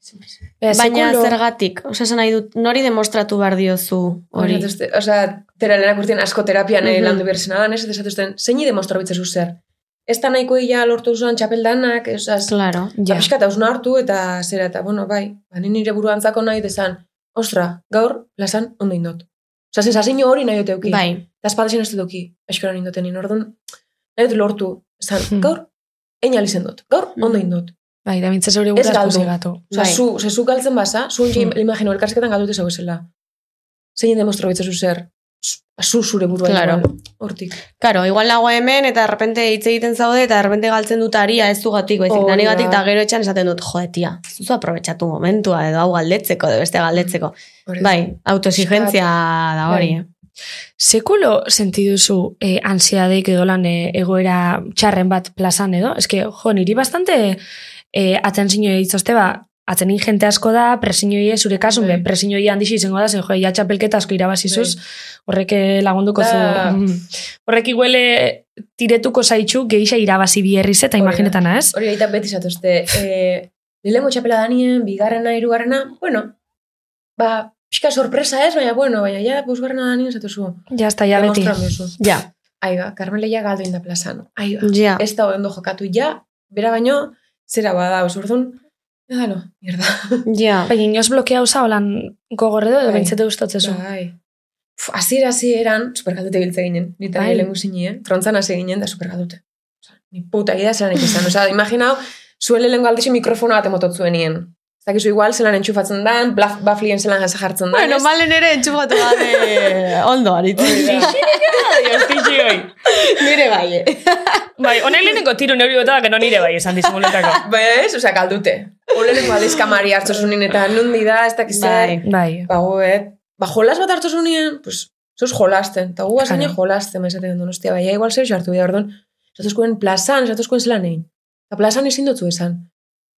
Speaker 3: Baina zergatik, osea esan nahi dut, nori demostratu behar diozu hori.
Speaker 4: Hori. Osa, teralenak urtien asko terapian eh,
Speaker 3: Mhm.
Speaker 4: landu behar zenadan, ez desatuzten, zeini demostra bitzezu zer. Ez da nahiko ia lortu zuen txapeldanak, ez,
Speaker 3: Claro.
Speaker 1: Ja.
Speaker 4: Ja. Apixka eta hausna hartu eta zera, eta bueno, bai, ba, ni nire buruan zako nahi desan, ostra, gaur, lasan, ondo indot. Osa, sensazio hori nahi dut euki.
Speaker 3: Bai.
Speaker 4: Eta espadasen ez dut euki, aizkoran indoten nien, orduan, nahi dut lortu, zan,
Speaker 1: Hmm.
Speaker 4: gaur, egin alizen dut, gaur,
Speaker 3: Hmm.
Speaker 4: ondo indot.
Speaker 1: Bai, da mintzaz hori gutaz
Speaker 4: galdu.
Speaker 1: posigatu.
Speaker 4: Osa,
Speaker 3: Bai.
Speaker 4: zu, ze zu galtzen basa, zu ongi
Speaker 1: Hmm.
Speaker 4: imagino elkarsketan galdute zau esela. Zein demostra bitzazu zer, zu- zu zure burua
Speaker 3: Claro.
Speaker 4: igual, hortik.
Speaker 3: Claro, igual nago hemen eta errepente hitz egiten zaude eta errepente galtzen dut aria ez dugatik, baizik, oh,
Speaker 4: Hori da.
Speaker 3: gatik eta gero etxan esaten dut, jo, tia, zuzu aprobetsatu momentua edo hau galdetzeko, edo beste galdetzeko.
Speaker 4: Hori da.
Speaker 3: Bai, autoexigentzia da hori. eh.
Speaker 4: Bai.
Speaker 1: Sekulo sentiduzu eh, ansiadeik edo lan eh, egoera txarren bat plazan edo? Ez que, jo, niri bastante eh, atentziñoi ditzoste ba, atzenin jente asko da, presiñoi zure kasun,
Speaker 4: Bai.
Speaker 1: be, presiñoi handixi izango da, zen, jo, ja txapelketa asko irabazizuz, horrek eh, lagunduko zu.
Speaker 4: Da.
Speaker 1: Mm. Horrek iguele tiretuko zaitxu geisha irabazi biherriz eta
Speaker 4: Hori da.
Speaker 1: imaginetan, ez?
Speaker 4: Hori baita beti zatozte. E, Lehenko txapela danien, bigarrena, hirugarrena, bueno, ba, pixka sorpresa ez, baina, bueno, baina, ja, bosgarrena danien zatozu.
Speaker 1: Ja, ez da, ja beti.
Speaker 4: Demostran duzu.
Speaker 3: Ja,
Speaker 4: Aiba, Carmele ja galdu inda plazan. Aiba,
Speaker 3: ja.
Speaker 4: ez da ondo jokatu ja, bera baino, zera bada, osurdun, edalo, mierda.
Speaker 3: Ja.
Speaker 1: Baina, inoz blokea usa holan gogorredo edo
Speaker 4: Bai.
Speaker 1: bentsete gustotzezu.
Speaker 4: Bai. Puf, Azira eran, supergaldute biltze ginen, ni eta
Speaker 1: Bai.
Speaker 4: bai. lehengu zinien, trontzan hasi ginen, da supergaldute. Osa, ni puta idea zelan ikizan. Osa, imaginau, zuen lehengu aldixi mikrofono bat emotot zuenien. Ez dakizu igual, zelan entxufatzen dan, blaf, baflien zelan jasa jartzen dan.
Speaker 3: Bueno,
Speaker 4: ez?
Speaker 3: malen ere entxugatu
Speaker 4: *laughs*
Speaker 3: gabe ondo aritzen.
Speaker 4: Hori da.
Speaker 3: Nire bai. eh.
Speaker 1: Bai, honek lehenengo tiru neuri bota, gero nire bai, esan dizimuletako.
Speaker 4: Baina ez, osea, galdute. Hor lehenengo aldiz kamari hartu zunin, eta nundi da, ez dakizer.
Speaker 3: Bai.
Speaker 1: Bai,
Speaker 4: Ba, goet, ba, jolas bat hartu zunien, pues, zuz jolasten, eta gu azine
Speaker 1: Claro.
Speaker 4: jolasten, ba, esaten duen, ostia, baina igual zer hartu bidea, orduan, zatuzkoen plazan, zatuzkoen zelan egin. Eta plazan ezin dutzu esan.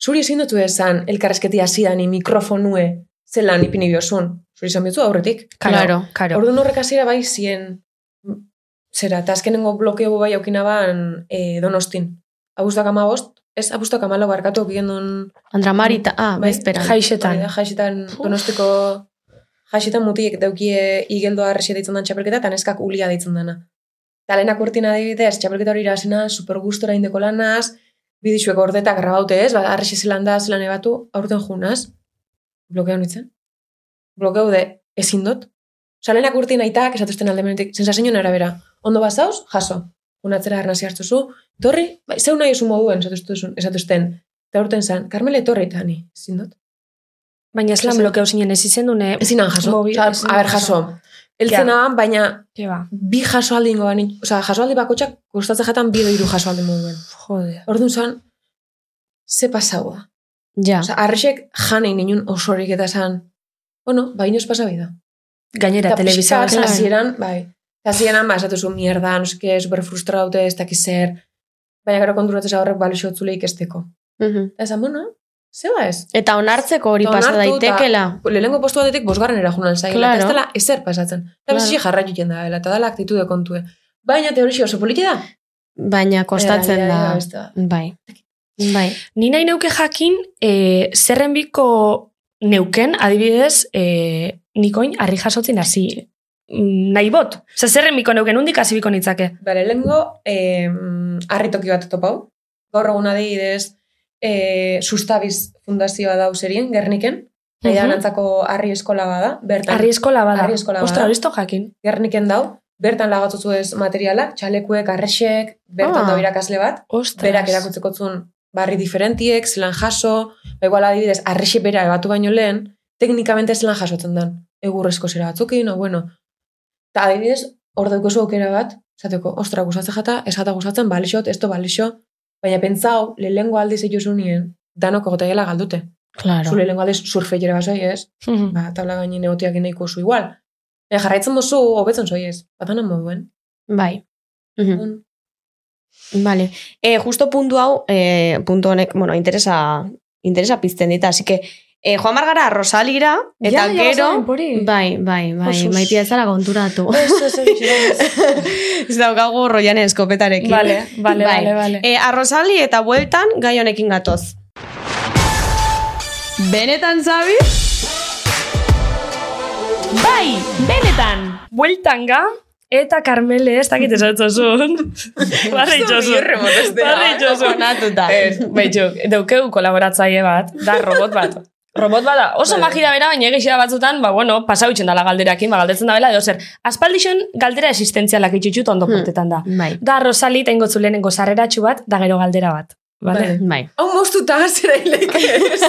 Speaker 4: Zuri ezin dutzu esan, elkarrezketi azidani, mikrofonue, zelan ipini biozun. Zuri izan bizu aurretik.
Speaker 1: karo,
Speaker 3: Claro.
Speaker 1: karo.
Speaker 4: Orduan horrek hasiera bai zien, m, zera, eta azkenengo blokeo bai aukina ban e, donostin. Abuztak ama bost, ez abuztak ama lau barkatu okien duen
Speaker 3: Andra Marita, ah,
Speaker 4: Bai.
Speaker 3: bezperan.
Speaker 1: Jaixetan.
Speaker 4: jaixetan
Speaker 1: Puf.
Speaker 4: donostiko jaxetan mutiek daukie igeldoa arresia deitzen den txapelketa, eta neskak ulia deitzen dena. Eta lehenak urtina adibidez, txapelketa hori irasena, super gustora indeko lanaz, bidixuek ordeta grabaute ez, ba, arresia zelan da, zelan ebatu, aurten junaz, blokeo nintzen. Blokeo de, ezin dut. Osa, lehenak urtin aitak, esatuzten alde menetik, sensazioen arabera. Ondo bazauz, jaso. Unatzera arnazia hartuzu, torri, bai, zeu nahi esun moduen, esatuzten, esatuzten. Eta aurten zan, Carmele torri eta ni, ezin dut.
Speaker 1: Baina eslan
Speaker 4: Jaso.
Speaker 1: blokeo zinen ez izendune.
Speaker 4: Ezin han jaso.
Speaker 1: Mobil-
Speaker 4: Osa,
Speaker 1: ezin
Speaker 4: a ber,
Speaker 1: han
Speaker 4: jaso.
Speaker 1: jaso. ba.
Speaker 4: Eltzen
Speaker 1: Ja.
Speaker 4: naban, baina
Speaker 1: Jeba,
Speaker 4: bi jaso aldi ingo banin. Osa, jaso aldi bakotxak gustatzen jatan bi edo hiru jaso aldi moduen.
Speaker 1: jode.
Speaker 4: Orduan zan, ze pasaua.
Speaker 3: Ja.
Speaker 4: Osa, arrexek janein inun osorik eta zan, bueno, ba, inoz pasabai da.
Speaker 1: Gainera, telebizia
Speaker 4: pixka bat
Speaker 1: bazen.
Speaker 4: hasieran, bai. Eta hasieran, ba, esatu zu, mierda, noske, super frustraute, ez dakiz zer. Baina gero konturatzen zara horrek balixo zuleik esteko.
Speaker 3: Mhm.
Speaker 4: Eta esan, bueno, zeba ez.
Speaker 3: Eta onartzeko hori
Speaker 4: Eta
Speaker 3: pasa
Speaker 4: onartu eta-
Speaker 3: daitekela.
Speaker 4: Lehenengo postu batetik bosgarren erajunan zaila,
Speaker 3: Claro.
Speaker 4: eta ez dela ezer pasatzen. Eta
Speaker 3: Claro.
Speaker 4: besi jarra juten da, dela, eta dela aktitude kontue. Baina teorixi oso politi da.
Speaker 3: Baina kostatzen
Speaker 4: Era,
Speaker 3: da.
Speaker 4: ia, ia, beste da.
Speaker 3: Bai. Bai.
Speaker 1: Ni nahi neuke jakin, e, zerren biko neuken, adibidez, e, nikoin harri jasotzen hasi mm, nahi bot. Osa, zerren biko neuken, hundik hasi biko nitzake.
Speaker 4: Bale, lehenengo, eh, arritoki bat topau. Gaur egun adibidez, eh, sustabiz fundazioa dau zerien, Gerniken. Uh
Speaker 1: Mhm.
Speaker 4: antzako harri eskola bada, bertan.
Speaker 1: Harri eskola bada.
Speaker 4: Bai. Harri eskola bada.
Speaker 1: Ostra, hori ez dut jakin.
Speaker 4: Gerniken dau, bertan lagatzu ez materialak, txalekuek, arresek, bertan
Speaker 3: Ah.
Speaker 4: dau irakasle bat,
Speaker 1: Ostras.
Speaker 4: berak erakutzeko zuen barri diferentiek, zelan jaso, ba igual adibidez, arrese bera ebatu baino lehen, teknikamente zelan jasotzen den. Egurrezko zera batzukin, o bueno. Ta adibidez, hor daukozu aukera bat, esateko, ostra, gustatzen jata, ez jata gustatzen, balixot, ez do balixo, baina pentsau, lehengo aldiz egizu nien, danoko gotaiela galdute.
Speaker 3: Claro.
Speaker 4: Zu lehengo aldiz surfeiera basoi ez,
Speaker 1: Mhm.
Speaker 4: ba, tabla gainen egotiak nahiko zu igual. E, jarraitzen duzu, hobetzen zoi ez. Batanan moduen.
Speaker 3: Bai. Mhm.
Speaker 4: Mm.
Speaker 3: Vale. Eh, justo puntu hau, eh, puntu honek, bueno, interesa, interesa pizten dita, así que, eh, Juan Margara Rosalira, eta
Speaker 1: Ja, ja,
Speaker 3: gero,
Speaker 1: bazuen, pori.
Speaker 4: Ba,
Speaker 3: bai, bai, bai,
Speaker 1: Osus.
Speaker 3: maitia ez dara konturatu.
Speaker 4: *laughs*
Speaker 1: *laughs*
Speaker 4: Ez, ez, ez,
Speaker 3: ez daukagu roian eskopetarekin.
Speaker 1: Vale, vale,
Speaker 3: Bai.
Speaker 1: vale, vale.
Speaker 3: Eh, arrozali eta bueltan gai honekin gatoz. Benetan, Zabi? Bai, benetan!
Speaker 1: Bueltan ga, eta Carmele, ez dakit esatzo
Speaker 3: *laughs*
Speaker 1: zuen. Barre itxosun. Barre itxosun.
Speaker 3: Konatuta.
Speaker 1: Ez, Beitzuk, daukegu kolaboratzaile bat, da robot bat. Robot bat da, oso
Speaker 4: Vale.
Speaker 1: magia da bera, baina egizia batzutan, ba, bueno, pasautzen dala galderakin, ba, galdetzen da bela, edo zer, aspaldixon galdera existentzialak itxutxut ondo
Speaker 3: Hmm.
Speaker 1: portetan da.
Speaker 3: Bai,
Speaker 1: Da, Rosali, eta ingotzu lehenengo sarreratxu bat, da gero galdera bat. Vale?
Speaker 3: bai.
Speaker 4: Hau moztuta zera hilek ez.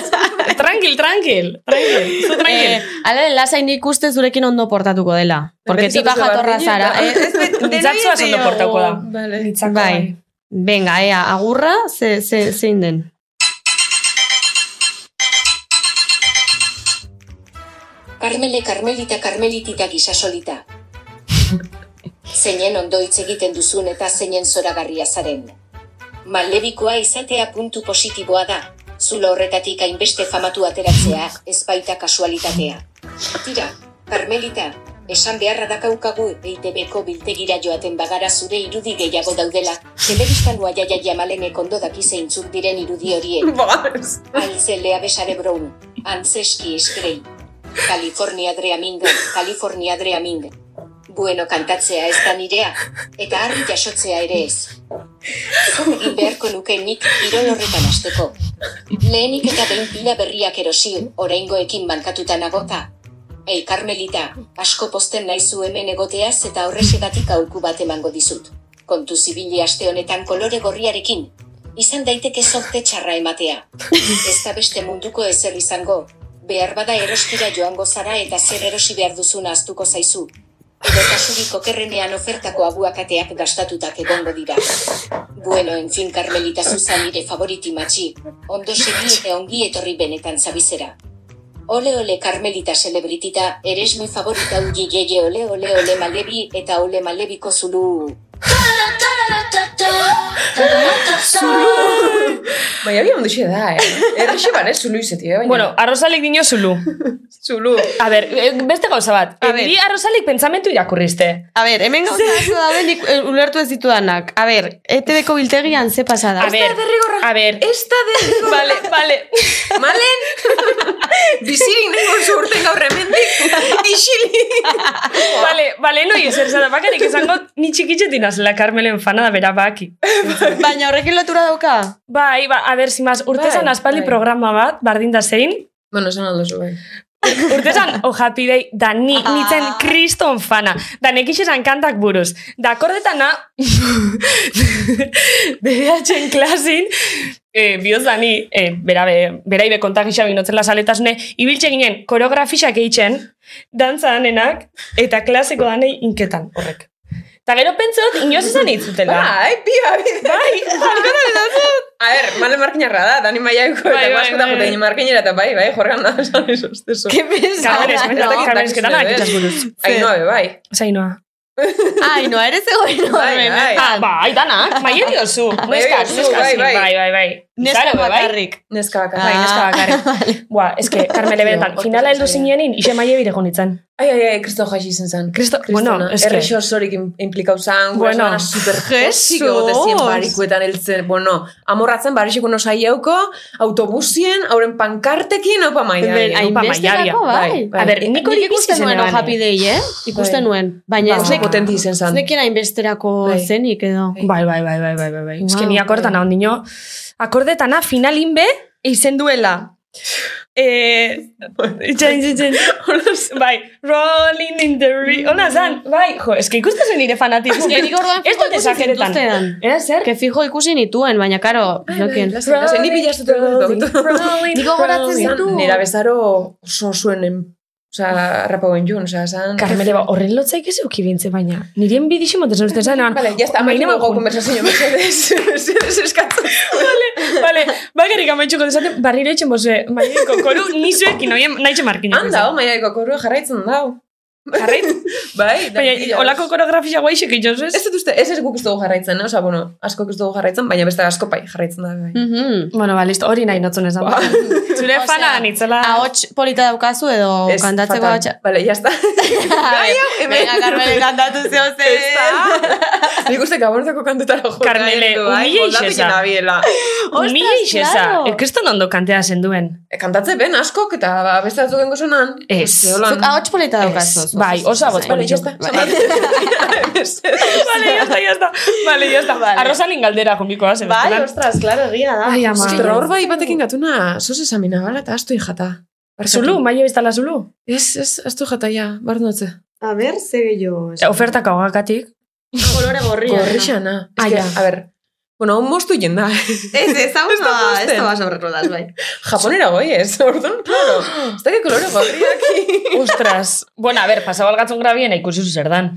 Speaker 1: tranquil, tranquil, tranquil,
Speaker 3: *laughs*
Speaker 1: zu tranquil.
Speaker 3: Eh, ala, lasai nik uste zurekin ondo portatuko dela. Porque
Speaker 4: Beti
Speaker 3: tipa
Speaker 4: zatoz
Speaker 3: jatorra
Speaker 4: berdin,
Speaker 3: zara.
Speaker 4: eta-
Speaker 3: Eh,
Speaker 1: *laughs*
Speaker 3: ez bet- denoi
Speaker 1: Nitzatzoa
Speaker 3: ez
Speaker 1: ondo
Speaker 3: diogu.
Speaker 1: portatuko da.
Speaker 4: Bale.
Speaker 1: Nitzako
Speaker 3: Bai. Venga, ea, agurra, ze, ze, zein den.
Speaker 5: Karmele, karmelita, karmelitita gisasolita. Zeinen ondo hitz egiten duzun eta zeinen zoragarria zaren. Maldebikoa izatea puntu positiboa da, zulo horretatik hainbeste famatu ateratzea, ez baita kasualitatea. Tira, karmelita, esan beharra dakaukagu E EITB-ko biltegira joaten bagara zure irudi gehiago daudela, telebistan guaiaia jamalenek ondo daki zeintzuk diren irudi horiek.
Speaker 4: Bars.
Speaker 5: Aizelea besare brown, anzeski eskrei. California dreaming, California dreaming. Bueno kantatzea ez da nirea, eta harri jasotzea ere ez. Zer egin beharko nuke nik kirol horretan hasteko. Lehenik eta behin pila berriak erosi, oraingoekin bankatuta nagota. Ei, Karmelita, asko posten naizu hemen egoteaz eta horresegatik aholku bat emango dizut. Kontu zibili aste honetan kolore gorriarekin, izan daiteke zorte txarra ematea. Ez da beste munduko ezer izango, behar bada eroskira joango zara eta zer erosi behar duzun ahaztuko zaizu. Edo kasurik okerrenean ofertako aguakateak gastatutak egongo dira. Bueno, en fin, Carmelita Susan nire favoriti matxi, ondo segi eta ongi etorri benetan zabizera. Ole ole Carmelita celebritita, eres mi favorita ugi yeye ole ole ole malebi eta ole malebiko zulu.
Speaker 4: Baina bi onduxe da, eh? Errexe ban, eh? Zulu izeti, eh? Baina,
Speaker 1: Bueno, arrozalik dino zulu.
Speaker 4: *laughs* zulu.
Speaker 1: A ber, e, beste gauza bat.
Speaker 3: A
Speaker 1: E,
Speaker 3: ber.
Speaker 1: Niri arrozalik pentsamentu irakurrizte.
Speaker 3: A ber, hemen gauza asko daude nik eh, ulertu ez ditudanak. A E ber, ETV-ko biltegian ze pasada.
Speaker 1: A ber, a ber.
Speaker 4: Ez da de...
Speaker 1: Vale,
Speaker 4: *laughs*
Speaker 1: vale.
Speaker 4: Malen! Bizirik nengo zurten gaur hemendik. Isili!
Speaker 1: Vale, vale, no ezer zara,
Speaker 4: *laughs*
Speaker 1: bakarrik izango ni txikitzetin azela Carmelen fana da bera baki.
Speaker 3: Baina horrekin lotura dauka?
Speaker 1: Bai, ba, a ber, zimaz, urtezan
Speaker 4: Bai,
Speaker 1: aspaldi
Speaker 4: bai.
Speaker 1: programa bat, bardin da zein,
Speaker 4: Bueno, esan aldo zu, bai.
Speaker 1: urtezan oh happy day, da ni, nitzen
Speaker 4: Ah.
Speaker 1: kriston fana, da nekixesan kantak buruz, da akordetana, *laughs* behatxen klasin, eh, bioz da ni, eh, bera, be, bera ibe kontagisa binotzen lasaletasune, ibiltxe ginen koreografixak eitzen, dantza danenak, eta klaseko danei inketan horrek. Eta gero pentsot, inoz izan itzutela.
Speaker 4: Bai, pia, bide. Bai, A ver, Malen markinarra da, Dani Maiaiko,
Speaker 1: Bai,
Speaker 4: eta
Speaker 1: bai,
Speaker 4: guazko da
Speaker 1: bai, bai.
Speaker 4: joten markinera, eta bai, bai, jorgan da, esan ez ustezo.
Speaker 3: Ke pesa.
Speaker 1: Kaberes,
Speaker 4: Ez dakit,
Speaker 1: kaberes,
Speaker 4: dakit,
Speaker 1: ketan
Speaker 4: ez.
Speaker 1: akitaz buruz.
Speaker 4: Ai, nobe, bai.
Speaker 1: Zainoa.
Speaker 3: Ai, no, ere zegoen
Speaker 4: Bai,
Speaker 3: horren.
Speaker 4: bai.
Speaker 1: Ah, bai, danak, bai edo zu. Neskaz,
Speaker 4: diozu,
Speaker 1: neskaz,
Speaker 4: bai,
Speaker 1: bai,
Speaker 4: bai.
Speaker 1: bai, bai.
Speaker 3: Neska
Speaker 1: Claro, bai, bai.
Speaker 3: bakarrik.
Speaker 4: Neska bakarra.
Speaker 1: Bai, neska bakarrik. Buah, eske, Carmele benetan,
Speaker 4: Hortik
Speaker 1: finala heldu
Speaker 4: zaila.
Speaker 1: zinenin, ise maile bire gonitzen.
Speaker 4: Ai, ai, ai, kristo jaxi izan zan.
Speaker 1: Kristo- bueno, eske-
Speaker 4: Errexor zorik in- implikau zan,
Speaker 1: Bueno.
Speaker 4: bueno, super
Speaker 3: Jesus.
Speaker 4: jesik egote zien barikuetan eltzen, bueno, amorratzen bariseko nosai hauko, autobusien, hauren pankartekin, haupa maia.
Speaker 1: Ben, ai, Opa,
Speaker 3: Hainbesterako,
Speaker 4: maiaria.
Speaker 3: bai.
Speaker 4: Bai, bai.
Speaker 1: A ber, nik hori bizi
Speaker 3: ikusten nuen
Speaker 1: zenuen,
Speaker 3: oh, happy day, eh? Ikusten
Speaker 4: Bai.
Speaker 3: nuen. Baina
Speaker 4: Ba,
Speaker 3: ez
Speaker 1: Ba,
Speaker 3: nek,
Speaker 4: potente izan
Speaker 3: ez
Speaker 4: zan.
Speaker 3: nekien hainbesterako
Speaker 4: Bai.
Speaker 3: zenik edo.
Speaker 1: Bai, bai, bai, bai, bai, bai, bai. Eske
Speaker 3: Wow.
Speaker 1: ni akordetana, ondino, akordetana finalin be, eizen duela. Eh, itxain, itxain, bai, rolling in the river, ona zan, bai, jo, eske ikustezen nire fanatismo.
Speaker 3: Eske nik orduan
Speaker 1: Ez dut
Speaker 3: ikusi
Speaker 1: ezakeretan.
Speaker 3: zituztean.
Speaker 1: Eh, zer?
Speaker 3: Que fijo ikusi nituen, baina karo,
Speaker 4: Bai,
Speaker 3: jokien.
Speaker 4: Lasen, lasen, ni bilaztutu
Speaker 1: *laughs*
Speaker 4: dut.
Speaker 1: Rolling,
Speaker 3: Nik gogoratzen
Speaker 1: rolling.
Speaker 3: ditu.
Speaker 4: Nera bezaro oso zuen, em- oza, rapa guen joan, oza, zan...
Speaker 1: Carmele, ba, horren lotzaik ez euki bintze, baina nirien bidixi motezen uste zen,
Speaker 4: Vale, ya está, amaitu dago konversazio, *laughs* mesedez, mesedez eskatzen.
Speaker 1: Vale, vale, bakarrik amaitxuko desaten, barriro etxen bose, maieko, koru, nizuekin, oien, nahi markinak.
Speaker 4: Handa, o, maiaiko korua jarraitzen dau.
Speaker 1: Jarraiz,
Speaker 4: *laughs* Bai, da,
Speaker 1: baina,
Speaker 4: pila,
Speaker 1: olako koreografia guaixek itxoz,
Speaker 4: Ez
Speaker 1: ez?
Speaker 4: dut uste, ez ez guk ez dugu jarraitzen, eh? Osa, bueno, asko ez dugu jarraitzen, baina beste asko pai jarraitzen da. Bai.
Speaker 3: Mhm.
Speaker 1: Bueno, ba, listo, hori nahi notzun esan. *laughs* Zure
Speaker 3: Osea,
Speaker 1: fana nitzela.
Speaker 3: Ahots polita daukazu edo Mm, kantatzeko
Speaker 4: fatal. *laughs*
Speaker 3: ahotsa.
Speaker 4: Bale, jazta. Gai hau, hemen.
Speaker 3: Venga, Carmele, kantatu zeo
Speaker 4: Ez da. *laughs* Nik uste gabonetzako kantutara joka.
Speaker 1: Carmele,
Speaker 4: bai,
Speaker 1: humilla isesa.
Speaker 4: nabiela.
Speaker 1: Mila isesa,
Speaker 3: claro.
Speaker 1: ekriston ondo kantea zenduen.
Speaker 4: E, kantatze ben askok eta ba, beste batzuk engo sonan.
Speaker 1: Ez.
Speaker 3: Zuk ahots polita daukazu.
Speaker 1: Ez. Bai, oso
Speaker 3: ¿eh?
Speaker 1: ahots
Speaker 4: Bale,
Speaker 1: polita.
Speaker 4: jazta.
Speaker 1: *laughs* Vale, ya está, ya está. Ba, Vale, ya está.
Speaker 3: Vale.
Speaker 1: Arrosalin galdera jumbikoa, zen.
Speaker 3: Bai, ostras, klaro, egia da.
Speaker 1: Ai, ama.
Speaker 4: Pero hor bai batekin gatuna, sos esamina, bala, eta astu jata.
Speaker 1: Zulu, maile biztala zulu.
Speaker 4: Ez, ez, astu jata, ja, barnotze.
Speaker 3: A ber, ze gehiago.
Speaker 1: Oferta kaugakatik.
Speaker 3: Kolore gorria.
Speaker 4: Gorrixana.
Speaker 1: Ah,
Speaker 4: Es que,
Speaker 1: ya.
Speaker 4: a ver, bueno, hon mostu jenda.
Speaker 3: Ez, ez, hau
Speaker 4: Ez da
Speaker 3: ba,
Speaker 4: gusten.
Speaker 3: ez da ba sobre ruedas, bai.
Speaker 4: *laughs* Japonera goi ez, *laughs* orduan, claro. Ez da que kolore gorriak.
Speaker 1: Ostras. bueno, a ver, pasau algatzen grabiena ikusi zu zer dan.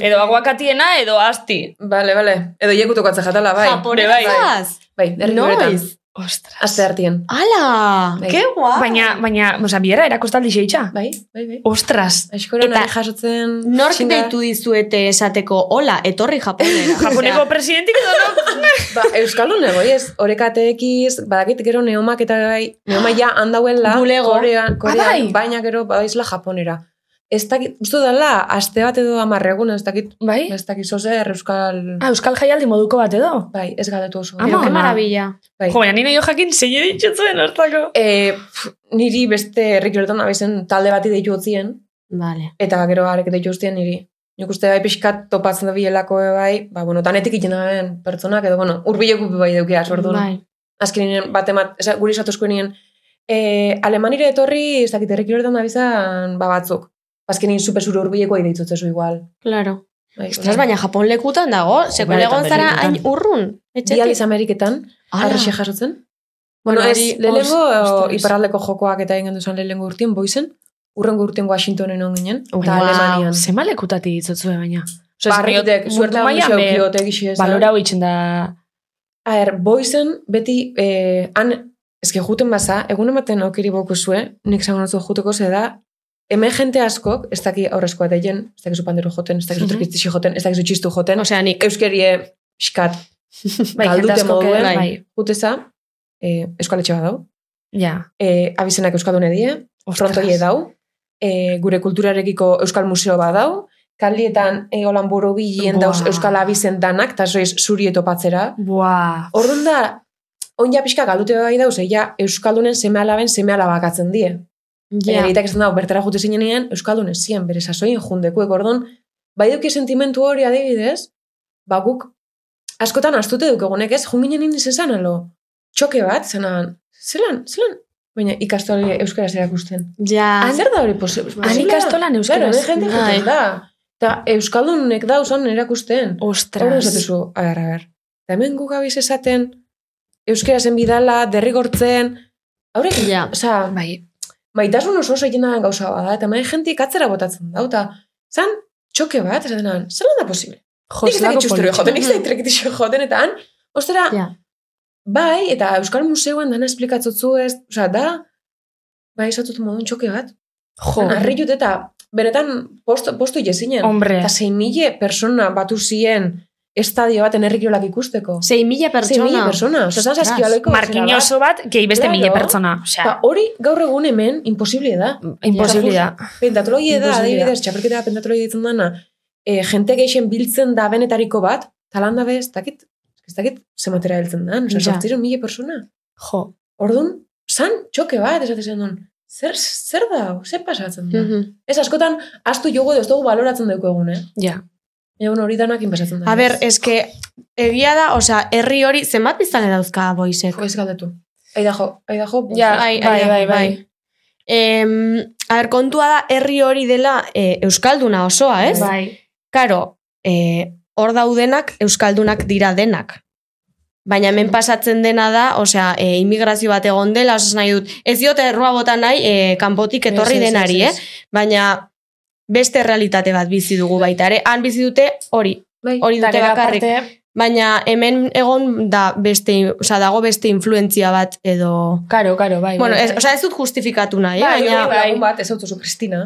Speaker 1: Edo aguakatiena, edo asti.
Speaker 4: Vale, vale. Edo iekutu katza jatala, bai.
Speaker 1: bai.
Speaker 3: Japonesaz.
Speaker 4: Bai, herri horretan.
Speaker 3: Noiz.
Speaker 1: Ostras.
Speaker 4: Aste hartien.
Speaker 3: Ala,
Speaker 4: Bai.
Speaker 3: ke guau.
Speaker 1: Baina, baina, oza, biera erakustaldi xeitxa.
Speaker 4: Bai, bai, bai.
Speaker 1: Ostras.
Speaker 4: Aixkora
Speaker 1: Eta-
Speaker 4: nari jasotzen...
Speaker 3: Nork
Speaker 4: xinga.
Speaker 3: deitu dizuete esateko, hola, etorri Japonera.
Speaker 1: Japoneko presidentik edo
Speaker 4: *laughs*
Speaker 1: no?
Speaker 4: Ba, Euskaldun egoi ez, orekateekiz, badakit gero neomak eta gai, neomak ja handauela,
Speaker 3: Bulego.
Speaker 4: korean, korean
Speaker 1: bai.
Speaker 4: baina gero badaizla japonera. Ez dakit, uste dela, aste bat edo amarregun, ez dakit,
Speaker 1: Bai?
Speaker 4: ez dakit, zozer, euskal...
Speaker 1: Ah, Euskal Jaialdi moduko bat edo?
Speaker 4: Bai, ez galdetu oso.
Speaker 1: Ama,
Speaker 3: Ke
Speaker 1: ama.
Speaker 3: maravilla.
Speaker 4: Bai.
Speaker 1: Jo, baina nina jo jakin zein editxutzen hortako.
Speaker 4: E, pf, niri beste herrikloretan abizen talde bati deitu otzien,
Speaker 3: Vale.
Speaker 4: eta gero arek deitu oztien niri. Nik uste bai pixkat topatzen da bielako e bai, ba, bueno, danetik egiten daben pertsonak, edo, bueno, urbileku bai deukia, sortu. Bai.
Speaker 3: Bai.
Speaker 4: Azkenien, bat emat, esa, guri esatuzko nien, e, alemanire etorri, ez dakit herrikloretan abizan, ba, batzuk. Azkenin super zure urbilekoa deitzutezu igual.
Speaker 3: Claro.
Speaker 4: Bai,
Speaker 3: Ostras, baina Japon lekutan dago, sekuen
Speaker 1: Bai, eta
Speaker 3: egon zara
Speaker 1: Berlin
Speaker 3: hain
Speaker 1: lekutan.
Speaker 3: urrun.
Speaker 4: Dializ
Speaker 3: Etxetik.
Speaker 4: Ameriketan,
Speaker 3: Ala.
Speaker 4: arrexe jasotzen.
Speaker 1: Bueno,
Speaker 4: Bueno, ez,
Speaker 1: hori-
Speaker 4: lehenengo
Speaker 1: Ost- ostras.
Speaker 4: iparraldeko jokoak eta egin duzan lehenengo urtien boizen, urrengo urtien Washingtonen on ginen, eta
Speaker 3: Wow.
Speaker 4: Bai, Alemanian.
Speaker 1: Zema lekutati ditzutzue baina. Osa,
Speaker 4: Barritek, suerte
Speaker 1: maia,
Speaker 4: gauza eukiote gixe ez.
Speaker 1: balora hoitzen
Speaker 4: *laughs*
Speaker 1: da...
Speaker 4: Aher, boizen, er, beti, eh, han, eske juten baza, egun ematen okiri boku zue, nik zango notzu juteko ze da, hemen jente askok, ez daki aurrezkoa deien, ez dakizu pandero joten, ez dakizu
Speaker 1: Mhm.
Speaker 4: trikiztixi joten, ez dakizu txistu joten,
Speaker 3: Osea, nik.
Speaker 4: euskerie, xkat,
Speaker 1: Bai,
Speaker 4: galdute
Speaker 1: jende askok,
Speaker 4: moduen,
Speaker 1: bai.
Speaker 4: juteza, e, eskoletxe bat dau,
Speaker 1: Ja.
Speaker 4: e, abizenak euskaldun edie,
Speaker 1: Ostras.
Speaker 4: frontoie dau, e, gure kulturarekiko euskal museo bat dau, kalietan e, holan borobilien dauz
Speaker 1: Buah.
Speaker 4: euskal abizen danak, eta zoiz zuri etopatzera.
Speaker 1: Buah.
Speaker 4: Orduan da, onja pixka galute bai dauz, eia euskaldunen seme alaben seme alabakatzen die. Yeah. Baina egitak ez da, bertara jute zinenean, Euskaldunen zian, bere sasoien jundekuek, orduan, bai duki sentimentu hori adibidez, ba guk, askotan astute dukegunek ez, junginen indiz esan, alo, txoke bat, zenan, zelan, zelan, baina ikastolari euskaraz erakusten.
Speaker 3: Ja.
Speaker 4: Zer da hori posible?
Speaker 1: Han ikastolan
Speaker 4: Claro,
Speaker 1: Ah, euskaraz.
Speaker 4: de jende
Speaker 3: Bai.
Speaker 4: juten da. Eta Euskaldunek da usan erakusten. Horren
Speaker 1: Ostras.
Speaker 4: esatezu, agar, agar. Eta hemen guk gabiz esaten, euskarazen bidala, derrigortzen, haurek,
Speaker 3: Ja.
Speaker 4: oza,
Speaker 1: Bai.
Speaker 4: maitasun oso oso egin den gauza bada, eta main jentik atzera botatzen da, eta zan, txoke bat, esaten nan, zelan da posible?
Speaker 1: Jo,
Speaker 4: Nik ez dakit
Speaker 1: zelako
Speaker 4: txusturio
Speaker 1: polita.
Speaker 4: joten, nik ez dakit trekitixo joten, eta han, ostera,
Speaker 3: Ja.
Speaker 4: bai, eta Euskal Museoan dana esplikatzotzu ez, oza, da, bai, esatut modun txoke bat,
Speaker 1: Jo.
Speaker 4: oh. arri jut eta, benetan, posto, posto jezinen.
Speaker 1: Hombre.
Speaker 4: Eta zein mila persona batu ziren estadio baten herrikilolak ikusteko.
Speaker 3: 6.000
Speaker 4: Zein
Speaker 3: pertsona.
Speaker 4: mila persona. Zazan
Speaker 3: Ostras.
Speaker 4: saskioloiko.
Speaker 1: Markin oso bat, gehi beste
Speaker 4: Claro.
Speaker 1: mila pertsona.
Speaker 4: Eta
Speaker 1: Osea,
Speaker 4: hori gaur egun hemen imposible da.
Speaker 1: imposible da.
Speaker 4: Pentatologia da,
Speaker 1: Imposible da.
Speaker 4: adibidez, txapelketa pentatologia ditzen dana, e, jente geixen biltzen da benetariko bat, talanda be, ez dakit, ez dakit zematera heltzen da, no?
Speaker 1: Ja.
Speaker 4: sortziren mila persona.
Speaker 1: Jo.
Speaker 4: Orduan, san txoke bat, esatzen zen duen, zer, zer da, hau? zer pasatzen da.
Speaker 3: Mhm.
Speaker 4: Ez askotan, astu jogo edo ez dugu baloratzen dugu egun, eh?
Speaker 1: Ja.
Speaker 4: Egun hori danakin pasatzen
Speaker 1: Bai.
Speaker 4: da.
Speaker 3: A ber, eske, egia da, osea, herri hori zenbat biztan dauzka boisek.
Speaker 4: Jo, ez galdetu. Aidaho, aidaho.
Speaker 1: Ja, bai, bai, bai.
Speaker 3: Em, a ber, kontua da, herri hori dela eh, Euskalduna osoa, ez?
Speaker 1: Bai.
Speaker 3: Karo, eh, hor daudenak Euskaldunak dira denak. Baina hemen pasatzen dena da, osea, eh, immigrazio bat egon dela, osea, esan nahi dut, ez diote errua bota nahi, eh, kanpotik etorri
Speaker 4: Ez, ez, ez,
Speaker 3: denari,
Speaker 4: ez.
Speaker 3: eh? Baina beste realitate bat bizi dugu baita ere, han bizi dute hori,
Speaker 4: Bai.
Speaker 3: hori dute
Speaker 1: Eta
Speaker 3: bakarrik.
Speaker 1: aparte,
Speaker 3: Baina hemen egon da beste, osea, dago beste influentzia bat edo...
Speaker 1: Karo, karo, bai.
Speaker 3: Bueno,
Speaker 1: bai,
Speaker 3: ez,
Speaker 1: bai.
Speaker 3: osea, ez dut justifikatu nahi, eh,
Speaker 4: Bai,
Speaker 3: baina...
Speaker 4: bai, lagun bat, ez autozu, Kristina.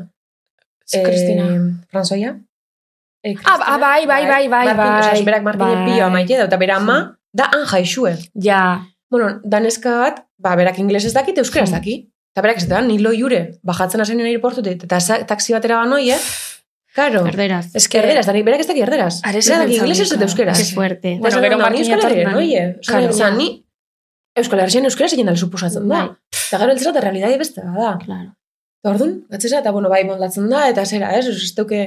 Speaker 1: Ez, Kristina.
Speaker 4: Eh, Franzoia. Eh,
Speaker 1: Ah, ah, bai, bai, bai, bai,
Speaker 4: Martin,
Speaker 1: bai.
Speaker 4: osea, berak Martinen
Speaker 1: Bai.
Speaker 4: pioa maite da, eta bera ama, da anja isue.
Speaker 1: Ja.
Speaker 4: Bueno, daneska bat, ba, berak ingles ez dakit, euskera ez
Speaker 1: Hmm.
Speaker 4: daki. Eta berak ez da, nilo jure, bajatzen hasen nire aeroportutik, eta sa- taxi batera banoi, eh? Karo,
Speaker 3: Erderaz.
Speaker 4: ez que erderaz, da, ni- berak ez daki erderaz.
Speaker 1: Eh, Are
Speaker 4: Berak daki
Speaker 1: zen
Speaker 4: ingles ez eta
Speaker 1: zabilka.
Speaker 4: euskera.
Speaker 3: Qué fuerte.
Speaker 1: Bueno, gero Martin
Speaker 4: Euskal
Speaker 1: etorri
Speaker 4: Herrian,
Speaker 1: nahi.
Speaker 4: oie.
Speaker 1: Claro.
Speaker 4: Osa, ni Euskal Herrian euskera egin dala suposatzen da.
Speaker 3: Bai.
Speaker 4: Eta gero eltzera eta realidade beste da.
Speaker 3: Claro.
Speaker 4: Eta orduan, gatzera, eta bueno, bai moldatzen da, eta zera, ez, ez duke...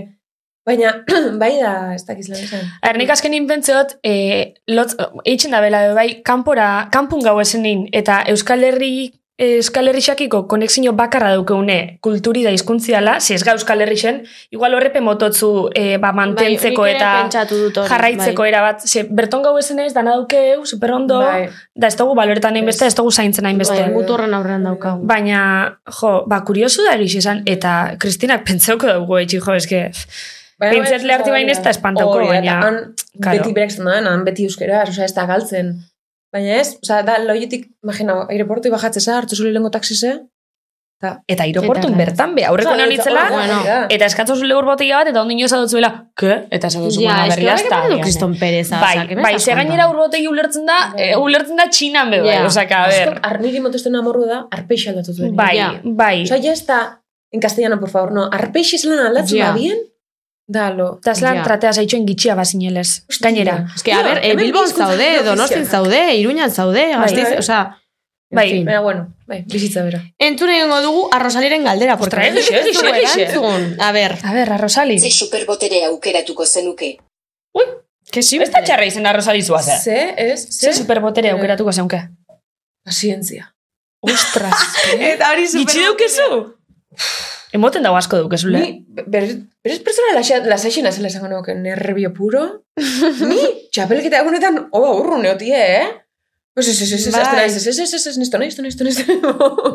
Speaker 4: Baina, *clears throat* bai da, ez dakiz lan esan.
Speaker 1: Ernik azken inpentzeot, e, lotz, eitzen da bela, bai, kanpora, kanpun gau esenin, eta Euskal Herri, eh, Euskal Herri xakiko konexio bakarra daukeune kulturi da hizkuntziala, si ez ga Euskal Herri zen, igual horrepe mototzu eh, ba, mantentzeko
Speaker 3: Bai, nik ere
Speaker 1: eta
Speaker 3: pentsatu dut hori,
Speaker 1: jarraitzeko erabat. Ze, berton gau esenez, dana daukeu, superondo,
Speaker 4: Bai.
Speaker 1: da ez dugu baloretan hainbeste,
Speaker 4: Ez.
Speaker 1: ez dugu zaintzen hainbeste.
Speaker 3: Bai, mutu horren aurrean daukagu.
Speaker 1: Baina, jo, ba, kuriosu da egiz esan, eta Kristinak *laughs* pentsauko dugu, etxi, jo, eske,
Speaker 4: Baina,
Speaker 1: Behintzat
Speaker 4: bai,
Speaker 1: leharti bain ez da espantauko,
Speaker 4: Hori da,
Speaker 1: baina-
Speaker 4: eta Han,
Speaker 1: Claro.
Speaker 4: beti berak zen han beti euskera, oza, ez da galtzen. Baina ez, oza, da, loietik, imagina, aireportu bajatzeza, hartu zure lengo taxize,
Speaker 1: eta airoportun
Speaker 3: Eta-
Speaker 1: bertan be, aurreko
Speaker 4: Osea,
Speaker 1: neon itzela,
Speaker 4: hori da.
Speaker 1: Eta eskatu zule urbotia bat, eta ondino esatu zuela, ke? Eta esatu zuela,
Speaker 3: Ja,
Speaker 1: ja,
Speaker 3: eske
Speaker 1: berria
Speaker 3: horrek
Speaker 1: ezta.
Speaker 3: ematen du kriston pereza.
Speaker 1: Bai, bai, ze gainera urbotegi ulertzen da,
Speaker 4: Bai.
Speaker 1: eh, ulertzen da txinan be, bai,
Speaker 3: Ja.
Speaker 1: osaka, a ber.
Speaker 4: Arniri motesten amorru da, arpeixe aldatu zuen.
Speaker 1: Bai,
Speaker 3: Ja.
Speaker 1: bai.
Speaker 4: Oza, ya ez da, en castellano, por favor, no, arpeixe zelan aldatzen
Speaker 3: Ja.
Speaker 4: da bien, da, lo.
Speaker 1: Eta zelan
Speaker 3: Ja.
Speaker 1: tratea zaitxoen gitxia bazinelez. Gainera.
Speaker 3: Ez que, a
Speaker 4: No,
Speaker 3: ber, eh,
Speaker 4: hemen
Speaker 3: Bilbon
Speaker 4: bizkuntza
Speaker 3: zaude,
Speaker 4: ofiziala.
Speaker 3: Donostin zaude, Iruñan zaude, Gasteiz,
Speaker 4: bai.
Speaker 3: osea... en
Speaker 1: Bai.
Speaker 3: fin.
Speaker 4: Baina, bueno, bai, bizitza bera.
Speaker 3: Entzun egingo dugu arrosaliren galdera, porque
Speaker 1: Ostra,
Speaker 3: horrek
Speaker 1: egixe,
Speaker 3: ez dugu
Speaker 1: egixe, egixe.
Speaker 3: erantzun. A ber,
Speaker 1: A ber, Arrosali.
Speaker 5: Ze superboterea aukeratuko zenuke.
Speaker 3: que
Speaker 1: Ez da
Speaker 3: simple.
Speaker 1: txarra izen Arrosali zuazen.
Speaker 4: Ze, ez,
Speaker 1: Ze superbotere
Speaker 4: Ze.
Speaker 1: aukeratuko zeunke.
Speaker 4: Pazientzia.
Speaker 1: Ostras. *laughs*
Speaker 3: Eta hori
Speaker 1: Gitxi dukezu? Emoten dago asko dukezule.
Speaker 4: Ni, berez, berez pertsona laxa- lasaixena zela esango nuke, nervio puro. Ni, txapelketa egunetan, oba urru neotie, eh? Pues ez, ez, ez, ez,
Speaker 3: Bai.
Speaker 4: azten naiz, ez, ez, ez, ez, ez, nesto, nesto, nesto, nesto. *laughs*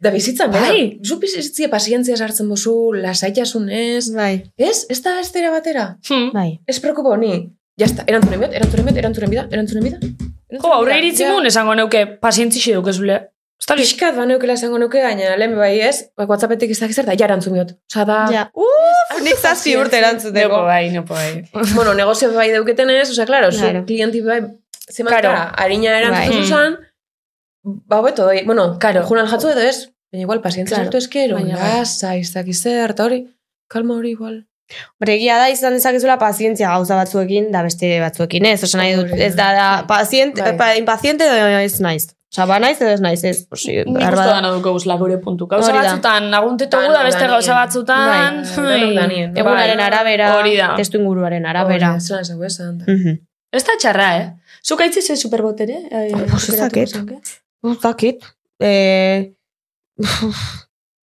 Speaker 4: Da bizitzan, bera.
Speaker 1: Bai.
Speaker 4: Zu bizitzia pazientzia sartzen bozu, lasaitasun ez.
Speaker 3: *laughs* Bai,
Speaker 4: Ez, ez da bestera batera.
Speaker 1: Hmm.
Speaker 3: bai.
Speaker 4: Ez preocupo, ni. Ja está, erantzunen bihot, erantzunen bihot, erantzunen bida, erantzunen bida.
Speaker 1: Jo, ba, aurre iritzimun esango neuke pazientzixe dukezule. Ez da hori?
Speaker 4: Piskat ba neukela esango nuke, baina lehen bai ez, bai, whatsappetik izak zer da, ja erantzun biot. Osa da,
Speaker 3: Ja. Uff, nik zazpi urte erantzuteko.
Speaker 1: Nepo bai, nepo bai.
Speaker 4: bueno, negozio bai dauketen ez, oza, klaro, zu
Speaker 3: Claro.
Speaker 4: klienti bai, zeman
Speaker 1: Claro.
Speaker 4: harina erantzun
Speaker 1: Bai.
Speaker 4: zuzan, ba, beto doi, bueno,
Speaker 1: Claro.
Speaker 4: junan jatzu edo ez, baina igual, pazientzia
Speaker 1: Claro.
Speaker 4: sartu eskero,
Speaker 1: Baina bai.
Speaker 4: gasa, izaki zer, eta hori, kalma hori igual.
Speaker 3: Bregia da izan dezakezula pazientzia gauza batzuekin da beste batzuekin ez, osa nahi dut, ez da, da paziente,
Speaker 4: Bai.
Speaker 3: pa, impaziente edo ez naiz. Osa, ba naiz edo ez naiz, ez. Osi,
Speaker 1: Nik uste dana duko guzla gure puntu. Gauza
Speaker 3: Hori da.
Speaker 1: batzutan, naguntetugu da
Speaker 4: Danok
Speaker 1: beste
Speaker 4: danien.
Speaker 1: gauza batzutan.
Speaker 4: Bai, danok danien.
Speaker 1: Bai.
Speaker 3: Egunaren arabera,
Speaker 1: Hori da.
Speaker 3: testu inguruaren arabera.
Speaker 4: Hori, zelan zau esan, da.
Speaker 3: Mhm.
Speaker 1: Ez da txarra, eh? Zuk aitzi ze superbotere? Eh,
Speaker 3: Pues ez
Speaker 1: superatuko
Speaker 3: dakit.
Speaker 1: zenuke?
Speaker 3: Ez dakit. Eh,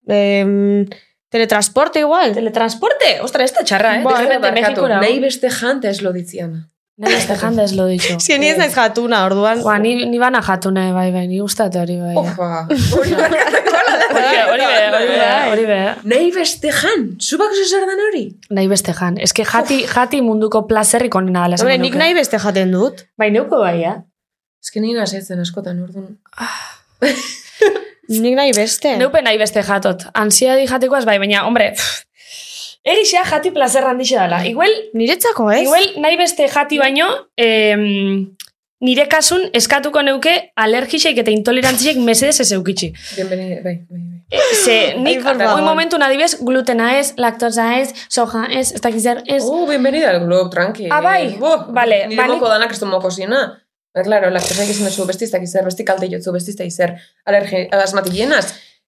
Speaker 3: em, teletransporte igual.
Speaker 1: Teletransporte? Ostra, ez da txarra, eh?
Speaker 4: Ba,
Speaker 1: Dejate
Speaker 4: barkatu,
Speaker 1: Mexikora.
Speaker 4: Nahi beste janta ez lo ditziana.
Speaker 1: Nahi beste janda ez lo ditu.
Speaker 3: Si ni ez naiz jatuna, orduan.
Speaker 1: Ba, ni, ni bana jatu nahi, bai, bai, ni gustat hori, bai. Hori,
Speaker 4: Ofa. *laughs* Hori barkatuko ala da.
Speaker 1: be, hori, be, hori, be, hori, be.
Speaker 4: Nahi beste jan, zubak zer dan hori?
Speaker 1: Nahi beste jan. Ez que jati, jati munduko plazerrik onena dela. esango
Speaker 3: Hombre, nik
Speaker 1: nuke.
Speaker 3: nahi beste jaten dut.
Speaker 1: Bai, neuko bai, eh?
Speaker 4: Ez que nina zetzen askotan, orduan.
Speaker 3: Nik nahi beste.
Speaker 1: Neupe nahi beste jatot. Ansia di jatekoaz, bai, baina, hombre, pff, egixea jati plazerra handixe dela. Igual,
Speaker 3: Niretzako ez?
Speaker 1: igual nahi beste jati baino, em, nire kasun eskatuko neuke alergixeik eta intolerantziek mesedes ez eukitxi.
Speaker 4: Bienvenido, bai, bai, bai.
Speaker 1: E, Ze, nik,
Speaker 3: por favor.
Speaker 1: un momentu nadibes, glutena ez, laktosa ez, soja ez, ez dakiz zer ez.
Speaker 3: Uh,
Speaker 4: Oh, bienvenido al club, tranqui.
Speaker 1: Ah, bai,
Speaker 4: Bo,
Speaker 1: vale,
Speaker 4: Nire
Speaker 1: ba, nik-
Speaker 4: moko danak ez du moko zina. Ba, claro, laktosek izan duzu, bestiztak izan, besti kalte jotzu, bestiztak izan, alergi, asmatik jenaz.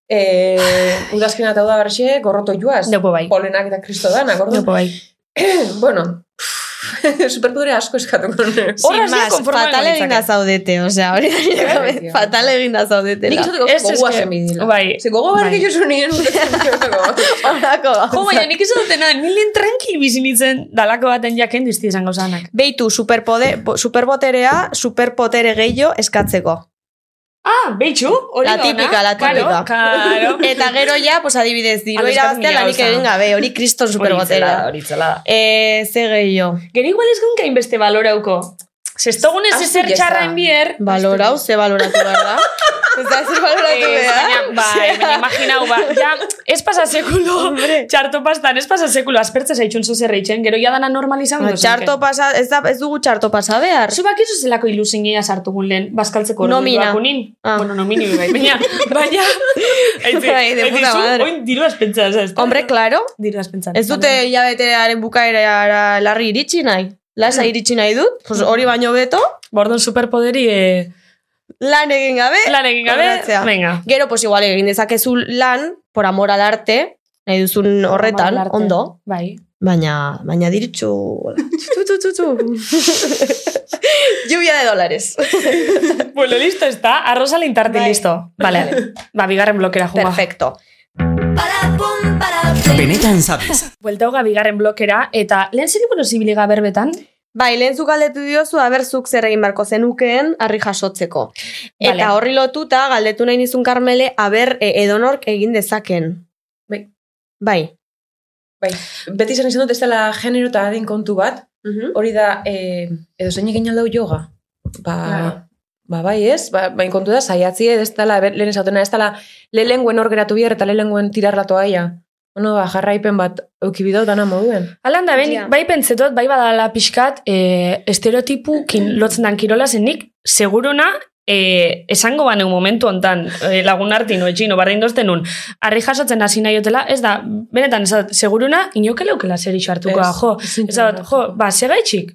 Speaker 4: Eh, udazkena eta udabarxe, gorroto joaz.
Speaker 1: Neupo bai.
Speaker 4: Polenak eta kristo danak, orduan.
Speaker 1: Neupo bai.
Speaker 4: bueno, *laughs* superpodere asko eskatuko nuen.
Speaker 3: Sin
Speaker 1: Horraz
Speaker 3: más,
Speaker 1: ni konforme
Speaker 3: fatal
Speaker 1: egongo
Speaker 3: eginda
Speaker 1: nintzake.
Speaker 3: zaudete, osea, hori da nire gabe,
Speaker 4: Bai, tio.
Speaker 3: fatal eginda zaudete.
Speaker 4: Nik izateko
Speaker 1: Ez,
Speaker 4: gogoa
Speaker 1: eske-
Speaker 4: zenbidila.
Speaker 1: bai.
Speaker 4: Ze gogoa
Speaker 1: Bai.
Speaker 4: berke jozu nien.
Speaker 3: Horako
Speaker 1: Jo,
Speaker 3: gauza.
Speaker 1: baina nik ez dutena, nilien tranquil bizinitzen dalako baten jaken dizti izango zanak.
Speaker 3: Beitu, superpode, bo- superboterea, superpotere gehiago eskatzeko.
Speaker 1: Ah, behitxu, hori
Speaker 3: La
Speaker 1: da ona.
Speaker 3: típica, la típica.
Speaker 1: Claro, *laughs* claro.
Speaker 3: Eta gero ja, pues adibidez, diru
Speaker 1: Aldizkatu
Speaker 3: irabaztea
Speaker 1: mila
Speaker 3: lanik
Speaker 1: gauza.
Speaker 3: egin gabe, hori kriston
Speaker 1: Horitzela,
Speaker 3: superbotera.
Speaker 1: horitzela.
Speaker 3: Eh, ze gehiago.
Speaker 1: Gero igual ez gunkain beste balorauko. Zestogunez
Speaker 3: Ah,
Speaker 4: Hasi
Speaker 1: ezer
Speaker 4: jeza.
Speaker 1: txarra enbier.
Speaker 3: Balorau, ze baloratu behar
Speaker 1: *laughs*
Speaker 3: da. Ez da, ez baloratu
Speaker 1: Baina, *laughs*
Speaker 3: behar.
Speaker 1: bai, baina imaginau, ba, ja, ez pasa sekulo,
Speaker 3: Hombre.
Speaker 1: txarto pastan, ez pasa sekulo, aspertze zaitxun zozerreitzen, gero ja dana normalizan
Speaker 3: Ba, Txarto pasa, ez, da, ez dugu txarto pasa behar.
Speaker 1: Zubak izu zelako ilusinia sartugun lehen, bazkaltzeko ordu
Speaker 3: Nomina.
Speaker 1: duakunin.
Speaker 3: Ah.
Speaker 1: Bueno, nomini bai,
Speaker 3: *laughs*
Speaker 1: baina, baina, aitzi,
Speaker 3: Bai, de puta
Speaker 1: zu,
Speaker 3: madre.
Speaker 1: oin diru aspentza, ez da?
Speaker 3: Hombre, claro,
Speaker 1: diru aspentza.
Speaker 3: ez dute hilabetearen bukaera larri iritsi nahi.
Speaker 1: Mm.
Speaker 3: Lasa iritsi nahi dut, pues hori baino beto,
Speaker 1: Bordon superpoderi eh,
Speaker 3: lan egin gabe.
Speaker 1: lan egin gabe,
Speaker 3: Ordatzea.
Speaker 1: venga.
Speaker 3: Gero, pues igual egin dezakezu lan, por amor al arte, nahi duzun horretan,
Speaker 1: Amalarte.
Speaker 3: ondo.
Speaker 1: Bai.
Speaker 3: Baina, baina diritxu... Tu, tu, tu, tu. Lluvia de dólares.
Speaker 1: *laughs* Bueno, listo está. Arroz al intarte,
Speaker 3: Bai.
Speaker 1: listo.
Speaker 3: *laughs*
Speaker 1: Vale. Ba, bigarren blokera junga.
Speaker 3: Perfecto.
Speaker 2: Benetan sabes.
Speaker 1: Buelta hoga bigarren blokera, eta lehen zer iburo zibiliga berbetan?
Speaker 3: Bai, lehen zuk galdetu diozu, aberzuk zer egin barko zenukeen harri jasotzeko. Eta
Speaker 1: Vale.
Speaker 3: horri lotuta, galdetu nahi nizun Karmele, aber e, edonork egin dezaken.
Speaker 4: Bai.
Speaker 3: Bai.
Speaker 4: Bai, *laughs* beti izan izan dut ez dela genero eta adin kontu bat, hori da, eh, edo zein egin aldau yoga. Ba,
Speaker 1: Claro.
Speaker 4: ba bai ez, ba, bain kontu da, saiatzi ez dela, ber- lehen esautena, ez dela, lehenguen hor geratu bihar eta lehenguen tirarratoa ia. Bueno, ba, jarraipen bat, eukibidau dana moduen.
Speaker 1: Alan da, ben,
Speaker 3: Ja.
Speaker 1: bai pentsetot, bai badala pixkat, e, estereotipukin lotzen dan kirola zenik, seguruna, e, esango baneu momentu ontan, e, lagun artino, etxino, barrein dozten nun, harri jasotzen hasi nahiotela, ez da, benetan, ez da, seguruna, inoke leukela zer iso hartuko,
Speaker 4: Ez,
Speaker 1: jo,
Speaker 4: ezin
Speaker 1: ez da, jo,
Speaker 4: hartuko.
Speaker 1: ba, segaitxik,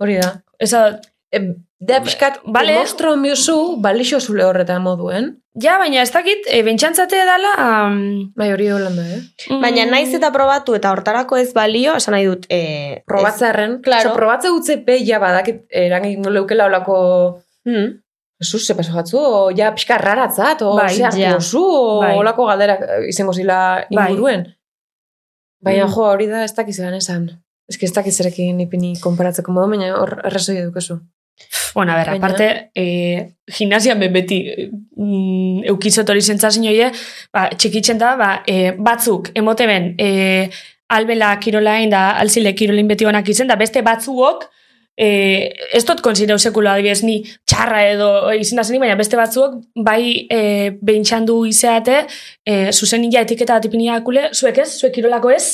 Speaker 4: Hori da.
Speaker 1: ez da,
Speaker 4: E, da, pixkat,
Speaker 1: Bale.
Speaker 4: vale. demostro miozu, balixo zule horretan moduen.
Speaker 1: ja, baina ez dakit, e, bentsantzate dala, mm. um,
Speaker 4: Bai, hori holanda, eh?
Speaker 3: Baina naiz eta probatu eta hortarako ez balio, esan nahi dut... E,
Speaker 4: Probatzarren,
Speaker 3: claro.
Speaker 4: Osa, probatze utze peia badakit, erangin leukela olako
Speaker 3: Hmm.
Speaker 4: Jesus, se pasó jatzu, o ja pixka raratzat, o
Speaker 1: Bai,
Speaker 4: bai, ze hartu
Speaker 3: ja.
Speaker 4: duzu, o
Speaker 1: Bai.
Speaker 4: olako galdera eh, izango zila
Speaker 1: Bai.
Speaker 4: inguruen. Baina,
Speaker 1: Mm.
Speaker 4: jo, hori da ez dakiz eran esan. Ez que ez dakiz erekin ipini konparatzeko modu, baina hor arrazoi edukezu.
Speaker 1: Bueno, a ver,
Speaker 4: Baina-
Speaker 1: aparte, e, gimnasian ben beti e, mm, eukizot hori zentzazin hoie, ba, txikitzen da, ba, e, batzuk, emoteben, e, albela kirolain da alzile kirolin beti honak izen, da beste batzuok, e, ez dut konsiderau sekulo adibidez ni txarra edo izin da zenik, baina beste batzuok bai e, behintxandu izeate, e, zuzen nila etiketa bat ipinia akule, zuek ez, zuek kirolako ez,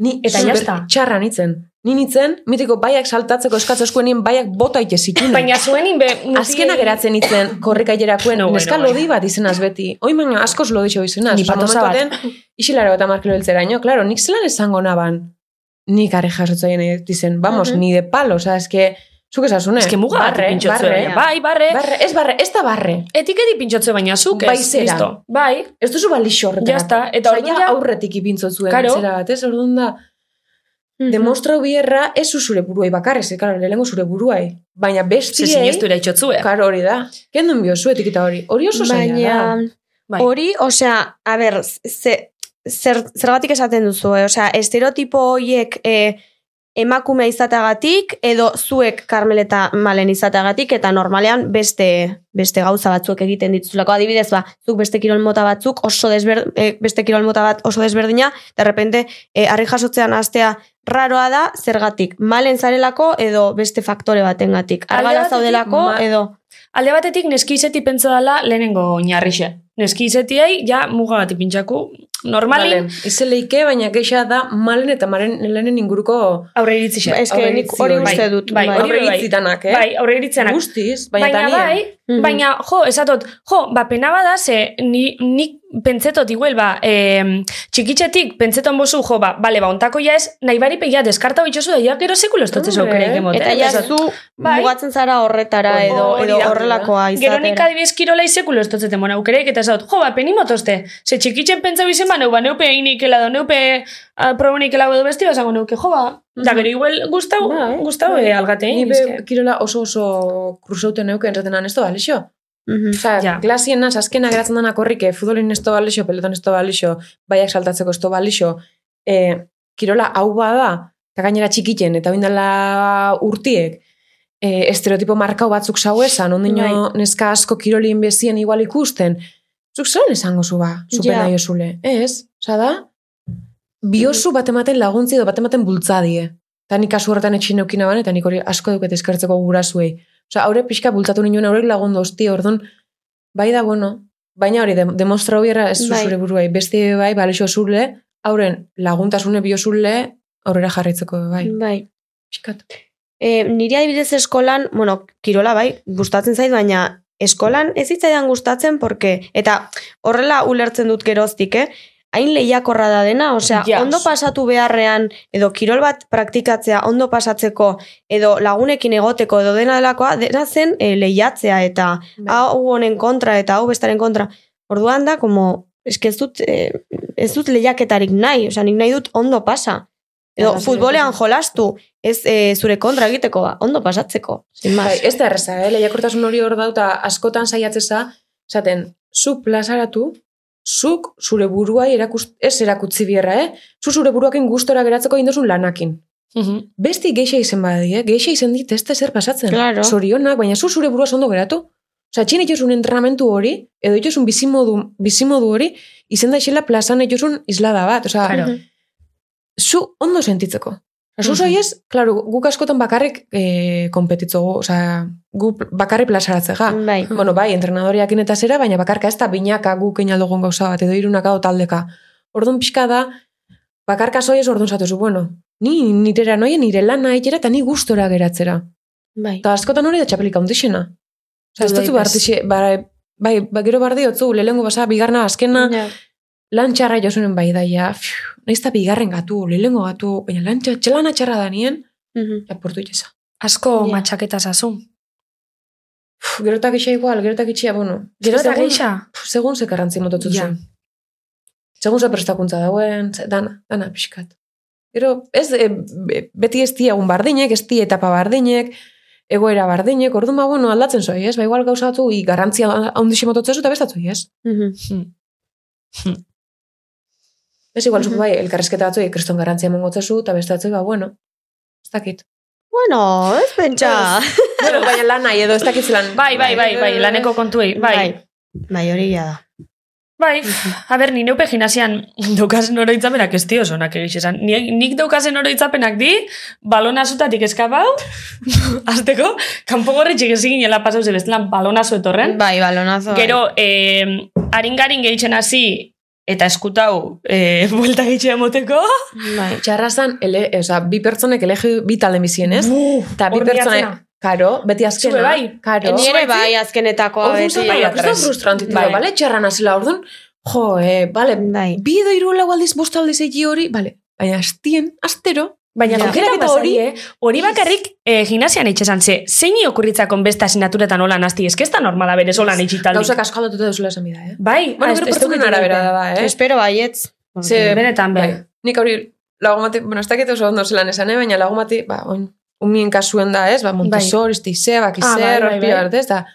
Speaker 4: Ni
Speaker 1: Eta
Speaker 4: super
Speaker 1: jazta.
Speaker 4: txarra nitzen. Ni nintzen, mitiko baiak saltatzeko eskatzo eskuenien baiak bota ite zituen.
Speaker 1: Baina zuen inbe...
Speaker 4: Azkena Hmm. geratzen
Speaker 3: *coughs*
Speaker 4: itzen korrika ailerakuen,
Speaker 1: No, bueno,
Speaker 4: neska
Speaker 1: bueno.
Speaker 4: lodi bat izenaz beti. Oin baino askoz lodixo izenaz.
Speaker 1: Ni
Speaker 4: Osa,
Speaker 1: patosa bat.
Speaker 4: momentu baten, Isilaro eta markelo eltzeraino, claro, nik zelan esango naban. Nik are jasotzaien dizen, vamos,
Speaker 3: Mhm.
Speaker 4: ni de palo, oza, eske, zuk esasune.
Speaker 1: Ez que muga bat
Speaker 4: barre,
Speaker 1: pintxotzu.
Speaker 4: barre,
Speaker 1: eh? Bai, barre.
Speaker 4: barre, ez barre, ez da barre.
Speaker 1: Etiketi pintxotzu baina zuk ez.
Speaker 4: Bai, zera.
Speaker 1: listo. Bai,
Speaker 4: Ez duzu balixo horretarako.
Speaker 1: Ja está, eta
Speaker 4: Osea,
Speaker 1: orduan
Speaker 4: ja
Speaker 1: ja-
Speaker 4: aurretik ipintzo zuen,
Speaker 1: Claro.
Speaker 4: zera bat, ez, orduan da,
Speaker 3: Mhm.
Speaker 4: demostra bierra, ez zu zure buruai bakarrez, eh, claro, lehenengo zure buruai, baina
Speaker 1: ze
Speaker 4: bestiei,
Speaker 1: sinestu itxotzue.
Speaker 4: Karo hori da. Kendun biozu etiketa hori. Hori oso zaila
Speaker 3: Baina,
Speaker 4: da.
Speaker 1: Bai.
Speaker 3: hori, osea, a ber, ze, zer, zergatik esaten duzu, eh? osea, estereotipo horiek eh, emakume izateagatik, edo zuek karmeleta malen izateagatik, eta normalean beste, beste gauza batzuek egiten dituzulako. Adibidez, ba, zuk beste kirol mota batzuk, oso desber, eh, beste kirol mota bat oso desberdina, de repente, eh, harri jasotzean astea raroa da, zergatik, malen zarelako, edo beste faktore batengatik.
Speaker 1: Alde
Speaker 3: Argala
Speaker 1: batetik
Speaker 3: zaudelako,
Speaker 4: ma-
Speaker 3: edo...
Speaker 1: Alde batetik neski izeti pentsa dela lehenengo oinarrixe. Neski izetiai, ja, muga bat ipintxaku. Normalin,
Speaker 4: Malen. Izeleike, baina geixa da malen eta malen lehenen inguruko
Speaker 1: aurre iritzixe.
Speaker 3: Ez que
Speaker 4: aurre
Speaker 3: nik
Speaker 4: iritzi
Speaker 3: hori
Speaker 4: hori.
Speaker 3: uste dut.
Speaker 1: Bai, hori
Speaker 4: horre
Speaker 1: bai.
Speaker 4: itzitanak, eh?
Speaker 1: Bai, aurre iritzenak.
Speaker 4: Guztiz, baina,
Speaker 1: Baina
Speaker 4: tania.
Speaker 1: bai,
Speaker 3: Mhm.
Speaker 1: baina jo, esatot, jo, ba, pena bada, ze ni, nik pentsetot iguel, ba, em, txikitzetik pentseton bozu, jo, ba, bale, ba, ontako ja ez, nahi bari pegia deskarta bitxozu, da, ja, gero sekulo ez dutze
Speaker 4: Hombre.
Speaker 1: aukera emote.
Speaker 3: Eta
Speaker 1: eh?
Speaker 3: ja
Speaker 1: Esat,
Speaker 3: zu
Speaker 1: Bai.
Speaker 3: mugatzen zara horretara
Speaker 4: Hori-
Speaker 3: edo,
Speaker 1: hori
Speaker 3: edo
Speaker 1: da.
Speaker 3: horrelakoa
Speaker 1: Gero nik
Speaker 3: izatera.
Speaker 1: adibidez kirola izekulo ez dutze temona aukereik, eta esat, jo, ba, peni motoste, ze txikitzen pentsau izen, ba, neu, ba, neupe einik elado, neupe ah, probonik elado edo besti, basango neuke, jo, ba, da, gero iguel gustau,
Speaker 4: Bai,
Speaker 1: gustau,
Speaker 4: bai.
Speaker 1: eh, algatein,
Speaker 4: Ni
Speaker 1: eske.
Speaker 4: be, kirola oso oso kruzauten neuken entraten dan, esto balixo.
Speaker 3: Mhm.
Speaker 4: Osa,
Speaker 1: Ja.
Speaker 4: klasien naz, azkena geratzen dana korrike, eh, futbolin esto balixo, pelotan esto balixo, baiak saltatzeko esto balixo, eh, kirola hau bada, eta gainera txikiten, eta bindala urtiek, eh, estereotipo markau batzuk zau esan, ondino neska asko kirolin bezien igual ikusten, zuk zelan esango zu ba, zupen
Speaker 3: Ja.
Speaker 4: nahi osule. Ez, osa da, biozu bat ematen laguntzi edo bat ematen bultzadie. Eta nik kasu horretan etxin neukin naban, eta nik hori asko duket eskertzeko gurasuei. Osa, haure pixka bultzatu ninoen, haurek lagundu hosti, orduan, bai da, bueno, baina hori, dem- demostra horiera ez zu
Speaker 3: Bai.
Speaker 4: zure buruei, beste bai, balexo zule, hauren laguntasune biozule, aurrera jarraitzeko be bai.
Speaker 3: Bai.
Speaker 4: Pixkat.
Speaker 3: E, niri adibidez eskolan, bueno, kirola bai, gustatzen zait, baina eskolan ez zitzaidan gustatzen, porque, eta horrela ulertzen dut geroztik, eh? hain lehiakorra da dena, osea,
Speaker 1: Ja.
Speaker 3: ondo pasatu beharrean, edo kirol bat praktikatzea, ondo pasatzeko, edo lagunekin egoteko, edo dena delakoa, dena zen eh, lehiatzea, eta hau honen kontra eta hau bestaren kontra. Orduan da, como, eske ez dut, eh, ez dut lehiaketarik nahi, osea, nik nahi dut ondo pasa. Edo
Speaker 4: Arrazoi
Speaker 3: futbolean
Speaker 4: duzu.
Speaker 3: jolastu, ez eh, zure kontra egiteko, ba, ondo pasatzeko. Sin
Speaker 4: Bai,
Speaker 3: más.
Speaker 4: ez da erreza, eh? lehiakortasun hori hor dauta askotan saiatzeza, esaten, zu plazaratu, zuk zure buruai erakust, ez erakutzi bierra, eh? Zu zure buruakin gustora geratzeko indozun lanakin.
Speaker 1: Mhm.
Speaker 4: Besti geixa izen badi, eh? Geixa izen dit ez da zer pasatzen.
Speaker 3: Claro.
Speaker 4: Zorionak, baina zu zure burua ondo geratu. Osa, txin itxosun entrenamentu hori, edo itxosun bizimodu, bizimodu hori, izen da isela plazan itxosun islada bat. Osa,
Speaker 1: Claro.
Speaker 4: zu ondo sentitzeko. Zu
Speaker 1: Mhm.
Speaker 4: zoiez, claro, guk askotan bakarrik e, kompetitzogu, osea, gu pl- bakarrik plazaratzega.
Speaker 1: Mhm.
Speaker 3: Bai.
Speaker 4: Bueno, bai, entrenadoriakin eta zera, baina bakarka ez da binaka guk einaldogon gauza bat, edo irunaka o taldeka. Orduan pixka da, bakarka zoiez orduan zatozu, bueno, ni nirera noia, nire lana itera eta ni gustora geratzera.
Speaker 3: Bai.
Speaker 4: Eta askotan hori da txapelik handixena. Osa, ez
Speaker 1: Bai,
Speaker 4: dutu
Speaker 1: bez.
Speaker 4: bartixe, bai, bai, bai, gero bardiotzu, lehengo basa, bigarna, azkena,
Speaker 1: Mhm.
Speaker 3: Ja.
Speaker 4: lan txarra josunen bai daia, fiu, nahiz eta bigarren gatu, lehengo gatu, baina lan txarra, txelana txarra da nien,
Speaker 3: Mhm.
Speaker 4: apurtu itxeza.
Speaker 1: Asko
Speaker 3: Ja.
Speaker 1: matxaketaz azu.
Speaker 4: Gero eta geixa igual, gero eta gitxia, bueno.
Speaker 1: Gero eta
Speaker 4: Segun-
Speaker 1: geixa.
Speaker 4: pf, Segun ze karrantzi mototzu
Speaker 1: Ja.
Speaker 4: zen. Segun ze prestakuntza dauen, ze- dana, dana pixkat. Gero, ez, e, be- beti ez di egun bardinek, ez di etapa bardinek, egoera bardinek, orduan ba, bueno, aldatzen zoi, ez? Ba, igual gauzatu, i, garrantzia handixe mototzezu eta bestatzu, ez?
Speaker 3: Mhm.
Speaker 4: Ez igual, zuk
Speaker 3: Mhm.
Speaker 4: bai, elkarrezketa batzu, kriston garrantzia mongotzezu, eta bestatzu, ba, bueno, ez dakit.
Speaker 3: Bueno, ez pentsa.
Speaker 4: Bueno, baina lan nahi edo ez dakit zelan.
Speaker 1: Bai, bai, bai, bai, laneko kontuei, bai.
Speaker 3: Bai, hori ja da.
Speaker 1: Bai, a ber, ni neupe gimnasian *laughs* daukazen oroitzapenak ez dio zonak egiz esan. Nik, nik daukazen oroitzapenak di, balona zutatik *laughs* eskapau, azteko, kanpo gorretxik ez ginela pasau ze bestelan balona zu etorren.
Speaker 3: Bai, balonazo. bai.
Speaker 1: Gero, eh, haringarin gehitzen hasi, Eta eskutau, e, *laughs* buelta gitxea moteko.
Speaker 3: Bai.
Speaker 4: Txarra zan, ele, oza, bi pertsonek elegi bi talen bizien, ez? Eta bi
Speaker 1: hor
Speaker 4: pertsonek,
Speaker 1: bilatzena.
Speaker 4: karo, beti azkena.
Speaker 1: Zure bai.
Speaker 4: Karo.
Speaker 3: Ni ere bai azkenetakoa
Speaker 4: Orduan
Speaker 3: beti.
Speaker 4: zen bai,
Speaker 3: atrás.
Speaker 4: akustan frustrantitu
Speaker 1: Bai.
Speaker 4: bai. bale, txarra nazela, orduan, jo, eh, bale,
Speaker 3: Bai.
Speaker 4: bi edo hiru lau aldiz, bost aldiz egi hori, bale, baina astien, astero,
Speaker 1: Baina eh?
Speaker 4: Ja.
Speaker 1: aukeraketa
Speaker 4: Bazari,
Speaker 1: hori, hori bakarrik e, gimnasian itxesan ze, zein okurritzakon beste asinaturetan hola nazti, ez da normala berez hola itxitaldi.
Speaker 4: gauzak asko aldatuta duzula esan bida, eh?
Speaker 1: Bai,
Speaker 4: Bueno,
Speaker 1: ah, ez-
Speaker 4: gero
Speaker 1: ez dut
Speaker 4: pertsonen arabera da, eh?
Speaker 3: Espero bai, baietz.
Speaker 4: Ze-
Speaker 1: Benetan, bai.
Speaker 4: Bai. Nik hori lagun bati, bueno, ez dakit oso ondo zelan esan, eh? baina lagun bati, ba, oin, umien kasuen da, ez? Ba, Montesor, ez teizea, ba,
Speaker 1: Bai. Ah, bai,
Speaker 4: kizer,
Speaker 1: bai,
Speaker 4: horpi
Speaker 1: bai.
Speaker 4: bat, ez? Da,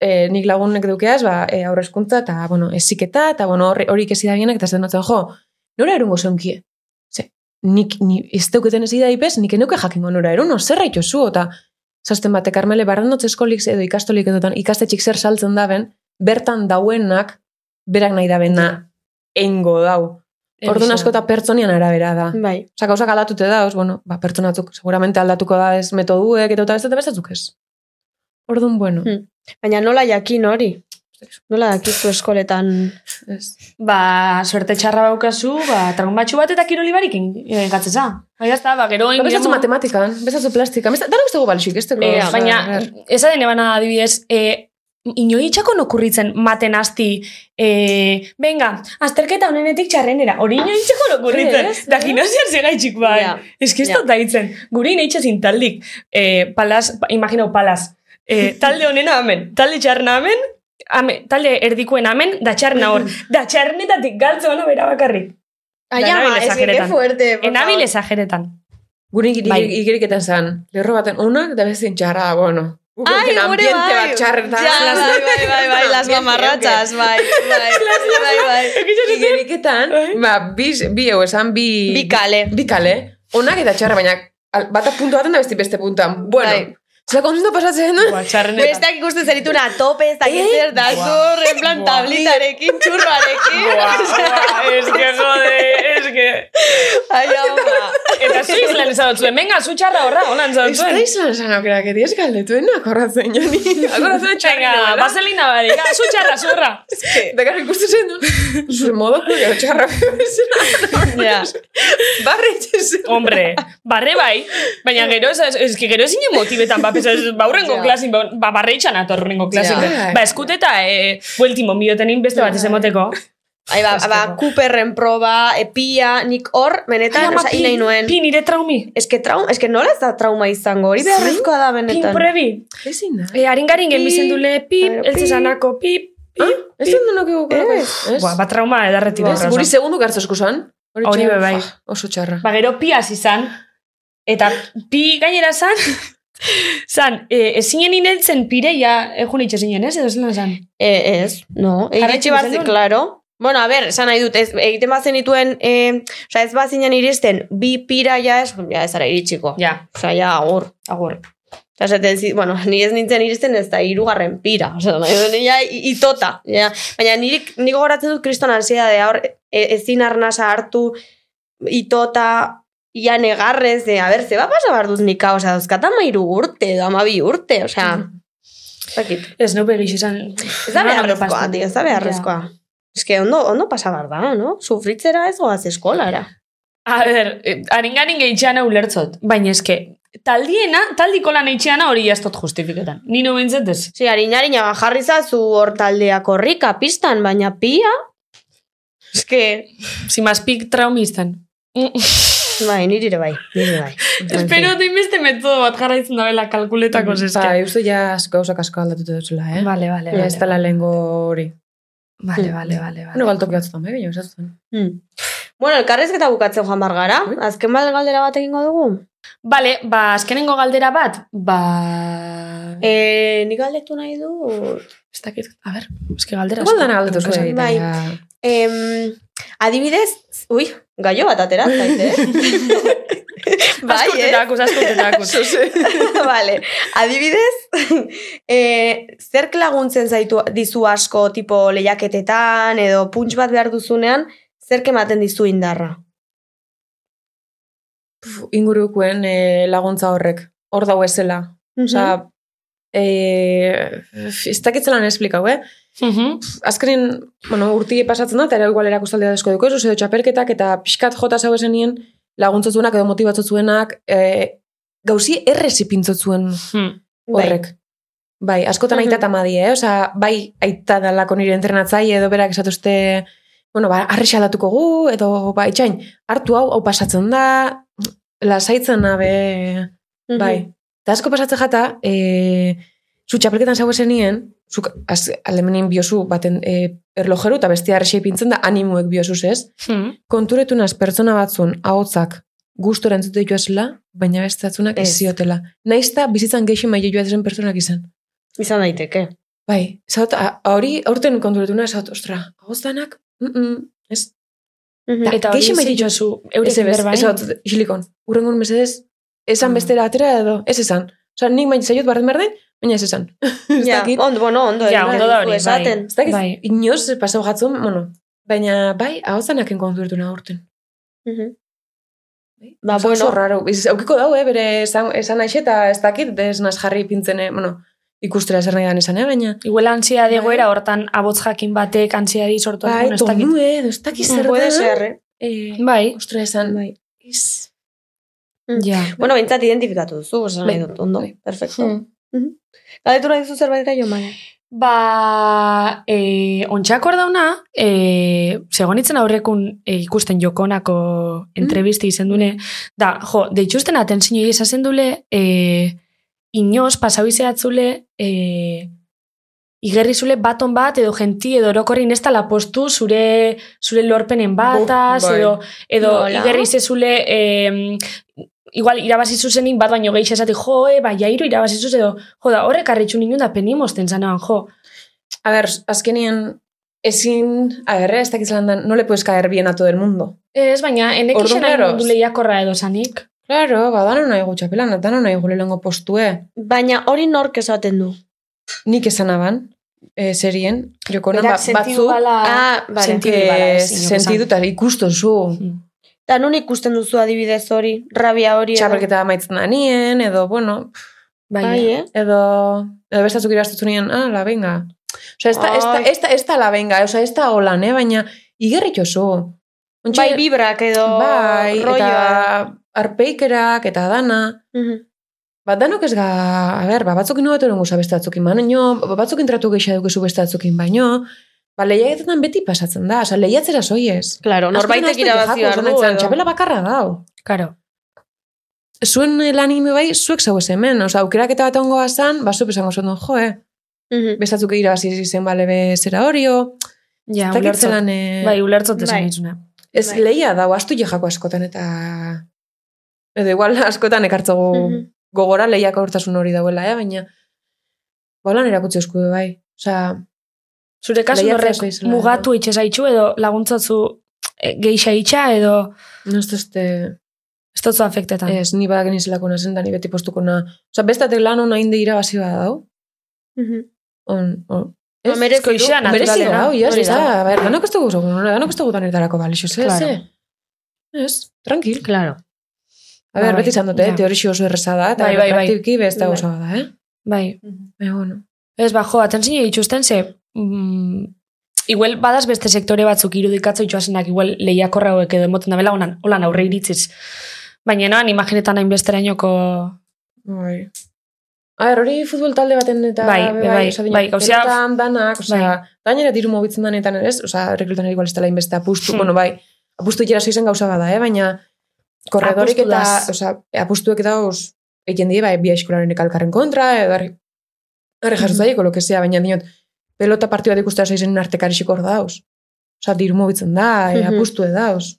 Speaker 4: eh, nik lagunek dukeaz, ba, eh, aurre eskuntza, eta, bueno, eziketa, eta, bueno, horri, hori ikesi da bienak, eta zen dutzen, jo, nora erungo zeunkie? Ze, nik, ni, ez deuketen ez idai bez, nik enuke jakingo nora eruno, zer zu, eta, zazten bate, Karmele, barrenotz eskolik edo ikastolik edo ikastetxik zer saltzen daben, bertan dauenak, berak nahi dabena, engo dau. Orduan asko eta pertsonian arabera da.
Speaker 3: Bai.
Speaker 4: Osa, gauzak aldatute da, os, bueno, ba, pertsonatzuk seguramente aldatuko da ez metoduek, eta eta beste eta bestatzuk ez. Orduan, bueno,
Speaker 3: Hmm. Baina nola jakin hori? Nola dakizu eskoletan? Hmm.
Speaker 4: ez.
Speaker 1: Ba, suerte txarra baukazu, ba, traumatxu bat eta kiroli barik gatzeza. Bai, ez da, ba, gero
Speaker 4: Ba, bestatzu matematikan, bestatzu plastikan, bestatzu, danok ez dugu balitxik, ez dugu.
Speaker 1: Eh,
Speaker 4: osa,
Speaker 1: baina,
Speaker 4: ber.
Speaker 1: ez da dene bana adibidez, e, inoi itxakon okurritzen maten asti, e, venga, azterketa honenetik txarrenera, hori inoi itxakon okurritzen,
Speaker 4: Ez,
Speaker 1: da gimnasian zeraitxik bai,
Speaker 3: Ja,
Speaker 1: ez que ez
Speaker 3: ja.
Speaker 1: dut daitzen, guri inetxe zintaldik, e, palaz, pa- imaginau palaz, e, talde honena hemen, talde txarrena hemen, ame, talde erdikuen hemen, da txarrena hor, da txarrenetatik galtze hona bera bakarrik,
Speaker 3: Ai,
Speaker 1: Da, nabil
Speaker 3: ama, es que qué
Speaker 1: exageretan.
Speaker 3: fuerte. por
Speaker 1: enabil
Speaker 3: favor.
Speaker 1: ezageretan.
Speaker 4: Gure igir-
Speaker 1: Bai.
Speaker 4: igiriketan zan, lerro baten unak, da bestien txarra, bueno.
Speaker 3: Ai,
Speaker 4: Guken
Speaker 3: gure
Speaker 4: ambiente
Speaker 3: bai.
Speaker 4: bat txarretan.
Speaker 3: Ja, bai, bai,
Speaker 4: *laughs*
Speaker 3: bai, bai, las mamarrachas, bai, bai, bai, bai.
Speaker 4: Igeriketan, ba, bi, bi hau esan, bi...
Speaker 3: Bi kale.
Speaker 4: bikale, onak eta txarra, baina al- bata puntu baten da beste beste puntan. Bueno,
Speaker 3: Bai.
Speaker 4: zelako ondo pasatzen,
Speaker 1: Ba,
Speaker 4: no?
Speaker 1: txarrenetan.
Speaker 3: Besteak ikusten zeritun a tope, ez dakit zer, da zur, en plan tablitarekin, txurroarekin.
Speaker 1: Es que jode, es que...
Speaker 3: Ai, ama.
Speaker 1: Eta zuiz lan ez dut zuen, venga, zu txarra horra, hola ez dut
Speaker 4: Ez da
Speaker 1: zuen.
Speaker 4: izan esan aukerak, edi ez galdetuena, akorratzen,
Speaker 1: *laughs*
Speaker 4: jani. Akorratzen
Speaker 1: Venga,
Speaker 4: txarra. Venga,
Speaker 1: baselina bari, ga, zu txarra, zurra.
Speaker 4: Da gara ikusten zen duen, *laughs* zure modoko gero txarra
Speaker 1: *laughs*
Speaker 3: Ja.
Speaker 4: Barre etxezen.
Speaker 1: Hombre, barre bai, baina gero ez, ez que gero ezin motibetan, ba, pesa, ez- ba, urrengo
Speaker 3: Ja.
Speaker 1: klasin, ba, ba, barre itxan ator urrengo klasin.
Speaker 4: Ja.
Speaker 1: Ba, eskuteta, e, bueltimo, miotenin beste bat ez emoteko.
Speaker 3: Ai, ba, ba, Cooperren proba, epia, nik hor, benetan,
Speaker 1: ama,
Speaker 3: oza, nahi nuen.
Speaker 1: pi nire traumi.
Speaker 3: Es que, traum, es que nola ez da trauma izango, hori beharrezkoa da
Speaker 1: Pin
Speaker 3: benetan.
Speaker 1: prebi.
Speaker 4: Ezin da.
Speaker 1: E, haringarin
Speaker 3: Pi.
Speaker 1: genbizendule, pi,
Speaker 3: A ver,
Speaker 1: eltze
Speaker 3: pi.
Speaker 1: zanako, pi.
Speaker 4: Ez da nonok egu
Speaker 1: Ez? Ba, ba, trauma edarretik.
Speaker 4: Ez,
Speaker 1: horra,
Speaker 4: guri
Speaker 1: oso.
Speaker 4: segundu gartza eskusan.
Speaker 1: Hori
Speaker 4: txarra,
Speaker 1: be bai.
Speaker 4: fa, Oso txarra.
Speaker 1: Ba, gero pi hasi zan, eta pi gainera zan, *laughs* zan, e, ezinen ineltzen pireia egun itxezinen, ez? Edo zelan zan.
Speaker 3: E, ez, no.
Speaker 1: Jarraitzen
Speaker 3: Egitxe bat,
Speaker 1: zenuen?
Speaker 3: klaro. Bueno, a ber, esan nahi dut, ez, egiten bat zenituen, e, oza, ez bat zinen iristen, bi pira ja ez, ja ez ara iritsiko.
Speaker 1: Ja,
Speaker 3: Oza, ja, agur.
Speaker 1: agur.
Speaker 3: Oza, esaten zi, bueno, ni ez nintzen iristen ez da irugarren pira. *laughs* Oza, nahi dut, ja, i- itota. Ja. Baina nirik, niko goratzen dut kriston ansiedadea, hor, e, ezin arnasa hartu, itota, ia negarrez, de, a ber, ze bat pasa behar dut nika, oza, dauzkata mairu urte, edo amabi urte, oza, ez dakit.
Speaker 1: Ez neu begiz izan.
Speaker 3: Ez da beharrezkoa, tio, ez da beharrezkoa. Ez que ondo, ondo pasa behar da, no? Sufritzera ez goaz eskolara.
Speaker 1: A ber, eh, haringarin gehitxeana ulertzot, baina eske, taldiena, taldiko lan eitxeana hori jaztot justifiketan. Ni no bintzet ez.
Speaker 3: Si, harinarina bajarri zazu hor taldea korrika pistan, baina pia... Ez que...
Speaker 1: Zimazpik traumi
Speaker 3: *laughs*
Speaker 1: izan.
Speaker 3: Bai, nirire bai, nirire bai.
Speaker 1: Espero dut inbeste metodo bat jarraitzen dabela kalkuletako
Speaker 3: Bai.
Speaker 1: zeske.
Speaker 4: Ba, euste ja asko- gauzak asko aldatuta duzula, eh?
Speaker 1: Vale, vale,
Speaker 4: Ja, ez
Speaker 1: vale.
Speaker 4: dela lehengo hori.
Speaker 1: Vale, vale, vale. vale.
Speaker 4: Bueno, galtok batzutan, bai, baina esatzen.
Speaker 3: Hmm. Bueno, elkarrezketa bukatzen joan bar gara. Azken bat galdera bat egingo dugu.
Speaker 1: Bale, ba, azkenengo galdera bat, ba... E,
Speaker 3: E, nik galdetu nahi du...
Speaker 1: ez dakit, a ber, eski galdera.
Speaker 4: Igual
Speaker 1: asko.
Speaker 4: dana galdetu zuen.
Speaker 3: Bai. Em, adibidez... Ui, gaio bat atera, zait, eh? bai, eh?
Speaker 1: Askurtetakuz, *laughs* askurtetakuz.
Speaker 3: *laughs* vale. Adibidez, *laughs* eh, zerk laguntzen zaitu dizu asko tipo lehiaketetan edo punts bat behar duzunean, zerk ematen dizu indarra?
Speaker 4: ingurukuen eh, laguntza horrek. Hor dau ezela. Osa, eh, ez dakitzelan esplikau, eh?
Speaker 1: Mhm.
Speaker 4: azkenin, bueno, urti pasatzen da, eta ero igual erakustaldia desko duko edo txapelketak, eta pixkat jota zau esenien, laguntzotzuenak edo motibatzotzuenak, e, gauzi errezi pintzotzuen
Speaker 1: Hmm.
Speaker 4: horrek. Bai, askotan
Speaker 3: Mhm.
Speaker 4: aita eta madie, eh? Osea, bai aita dalako nire entrenatzaile edo berak esatuzte, bueno, ba, arri xaldatuko gu, edo, ba, itxain, hartu hau, hau pasatzen da, lasaitzen nabe,
Speaker 3: Mhm.
Speaker 4: Bai. Eta asko pasatzen jata, e, zu txapelketan zau esenien, zuk az, alemenin biozu baten e, erlojeru eta bestia arrexei pintzen da animuek biozuz ez.
Speaker 1: Hmm.
Speaker 4: Konturetu naz pertsona batzun, ahotzak, gustora entzute joazela, baina beste batzunak ez
Speaker 3: Ez.
Speaker 4: ziotela. Naizta bizitzan geixi maile joa zen pertsonak izan.
Speaker 3: Izan daiteke.
Speaker 4: Bai, zaut, a- hori aurten konturetu naz, zaut, ostra, ahoztanak, mm -mm, ez.
Speaker 3: Mhm.
Speaker 1: Eta hori
Speaker 4: Gehixi
Speaker 1: ez
Speaker 4: maite
Speaker 1: dituzu
Speaker 4: Ez,
Speaker 1: eurekin
Speaker 4: ez,
Speaker 1: berbain.
Speaker 4: ez, ez, isilikon. Urrengun mesedez, esan
Speaker 1: Ah.
Speaker 4: bestera atera edo, ez esan. Osa, nik maite zaiot barren berden, baina ez esan. *laughs* ez
Speaker 3: Ja,
Speaker 4: dakit.
Speaker 3: ondo, bueno, ondo.
Speaker 1: Ja,
Speaker 3: egin
Speaker 1: ondo
Speaker 3: behar
Speaker 1: da
Speaker 3: duzu
Speaker 1: hori, bai.
Speaker 3: esaten.
Speaker 4: Ez dakit,
Speaker 1: Bai.
Speaker 4: inoz pasau jatzun, bueno, baina bai, hau zanaken konzertu nahi urten.
Speaker 3: Mhm. Ba,
Speaker 4: Oso
Speaker 3: bueno.
Speaker 4: raro, Biz, aukiko dau, eh, bere esan, esan aixe eta ez dakit, desnaz jarri pintzen, eh, bueno, ikustera zer nahi dan esan, eh, baina.
Speaker 1: Igual ansia egoera hortan abots jakin batek ansia di sortu
Speaker 4: Bai,
Speaker 1: ez dakit.
Speaker 4: tonu, eh, edo ez dakit zer
Speaker 3: Puede
Speaker 4: da,
Speaker 3: ser, eh?
Speaker 4: Eh,
Speaker 1: Bai.
Speaker 4: ostra esan, bai.
Speaker 1: Ja.
Speaker 3: Bueno, bintzat identifikatu duzu, esan nahi
Speaker 4: Bai.
Speaker 3: dut, ondo.
Speaker 4: Bai.
Speaker 3: Perfecto. Galdetu nahi duzu zerbait jo, Maia.
Speaker 1: Ba, e, ontsak hor dauna, e, segonitzen aurrekun e, ikusten jokonako entrevisti izendune, da, jo, deitxusten atentzio esazen dule, e, inoz pasau izeatzule, e, igerri zule baton bat, edo genti, edo orokorri nesta lapostu zure, zure lorpenen bataz,
Speaker 4: Buf, bai.
Speaker 1: edo, edo
Speaker 3: Nola?
Speaker 1: igerri zezule, e, igual irabazi zuzenik bat baino gehi esatik, jo, e, ba, jairo irabazi zuz, edo, jo, da, horrek arritxu ninen da penimosten zanean, jo.
Speaker 4: A ver, azkenien, ezin, a ver, eh, ez dakit zelan dan, no le puedes caer bien a todo el mundo.
Speaker 1: Ez, baina, enek
Speaker 4: Orduan,
Speaker 1: izan
Speaker 4: claro.
Speaker 1: mundu lehiakorra edo zanik.
Speaker 4: Claro, ba, dano nahi gutxapelan, dano nahi gulelengo postue.
Speaker 3: Baina hori nork esaten du.
Speaker 4: Nik esan aban, eh, serien, jokonan, ba,
Speaker 1: Berak
Speaker 4: batzuk,
Speaker 1: bala...
Speaker 3: Ah, vale.
Speaker 1: sentidu bada, ez, inork esan.
Speaker 4: sentidu eta ikusten zu.
Speaker 1: Mm.
Speaker 3: Eta nun ikusten duzu adibidez hori, rabia hori. edo?
Speaker 4: Txapelketa amaitzen da nien, edo, bueno,
Speaker 1: Baina,
Speaker 3: Bai, eh?
Speaker 4: edo, edo bestatzuk irastutzu nien, ah, la venga. Osa, ez da, ez da,
Speaker 3: Ai.
Speaker 4: ez da, ez da la venga, osa, ez da holan, eh, baina igerrik oso. Ontxe,
Speaker 3: Bai, bibrak edo
Speaker 4: bai,
Speaker 3: rolloa.
Speaker 4: eta arpeikerak, eta dana.
Speaker 3: Mhm.
Speaker 4: Bat danok Ba, ez ga, a ber, ba, batzuk ino batu erongo beste batzukin baino, ba, batzuk intratu gehiago dukezu beste batzukin baino, ba, lehiaketetan beti pasatzen da, osa, lehiatzera soiez.
Speaker 3: Claro, Ba, norbaitek irabazi behar du. edo.
Speaker 4: Txapela bakarra dau.
Speaker 1: karo.
Speaker 4: zuen lanin bai, zuek zau ez hemen, oza, aukeraketa bat ongoa zan, ba, zuek esango zuen, jo, eh,
Speaker 3: Mhm.
Speaker 4: bestatzuk irabazi zen bale be zera horio,
Speaker 1: Ja,
Speaker 4: eta
Speaker 1: ulertzot.
Speaker 4: kitzelan, eh,
Speaker 1: Bai, ulertzot
Speaker 3: Ah, Bai.
Speaker 1: esan izuna.
Speaker 4: ez
Speaker 3: bai.
Speaker 4: lehia dago, astu jejako askotan, eta edo igual askotan ekartzego
Speaker 3: Mhm.
Speaker 4: gogora lehiako urtasun hori dauela, eh, baina bolan erakutsi esku bai, oza,
Speaker 1: Zure kasu
Speaker 4: Lehiatzea
Speaker 1: horrek
Speaker 4: soizela,
Speaker 1: mugatu
Speaker 3: eh.
Speaker 1: itxesaitxu edo laguntzatzu e, geixa itxa edo
Speaker 4: no ez dozte,
Speaker 1: ez dutzu afektetan.
Speaker 4: ez, ni badak nizelako nazen, da ni beti postuko na, oza, bestatek lan hona inde irabazi badau,
Speaker 3: Mhm.
Speaker 4: on, on,
Speaker 3: No, merezi
Speaker 1: esko
Speaker 3: du.
Speaker 1: ixa na-
Speaker 4: Berezi
Speaker 1: Ah, naturalena,
Speaker 4: gau, iaz,
Speaker 1: hori
Speaker 4: ez
Speaker 1: da.
Speaker 4: da, ber, danok ez dugu zogun, danok ez dugu danetarako balixo, ze,
Speaker 1: Claro.
Speaker 4: ze. Ez, tranquil.
Speaker 3: Claro.
Speaker 4: A ber,
Speaker 1: Bai,
Speaker 4: beti izan dute,
Speaker 1: ja.
Speaker 4: eh, teorixi oso erreza da, eta
Speaker 1: Bai, bai, bai.
Speaker 4: praktiki bez da
Speaker 3: Bai.
Speaker 4: oso da, eh?
Speaker 1: Bai,
Speaker 4: Baina, bueno.
Speaker 1: ez ba, jo, atentzio dituzten, ze, mm, igual badaz beste sektore batzuk irudikatza itxoazenak, igual lehiakorra hauek edo emoten da bela, holan, holan aurre iritziz. Baina, noan, imaginetan hain besterainoko...
Speaker 4: Bai. A ber, hori futbol talde baten eta...
Speaker 1: Bai,
Speaker 4: be,
Speaker 1: bai,
Speaker 4: osea,
Speaker 1: bai,
Speaker 4: dina-
Speaker 1: gauzea-
Speaker 4: pelotan danak, osea, gainera diru mobitzen danetan ere, ez, osea, reklutan igual ez dela inbeste apustu,
Speaker 1: Hmm.
Speaker 4: bueno, bai, apustu itxera zoizen gauza bada, eh, baina korredorik eta,
Speaker 1: Apustudaz.
Speaker 4: osea, apustuek eta os, egiten die, bai, bi eskolaren ekalkarren kontra, edo harri, harri
Speaker 1: Mhm.
Speaker 4: jasotzaiko, lo que sea, baina dinot, pelota partidu bat ikustea zoizen artekarixik hor dauz. Osea, diru mobitzen da, e,
Speaker 3: Mhm.
Speaker 4: apustu dauz.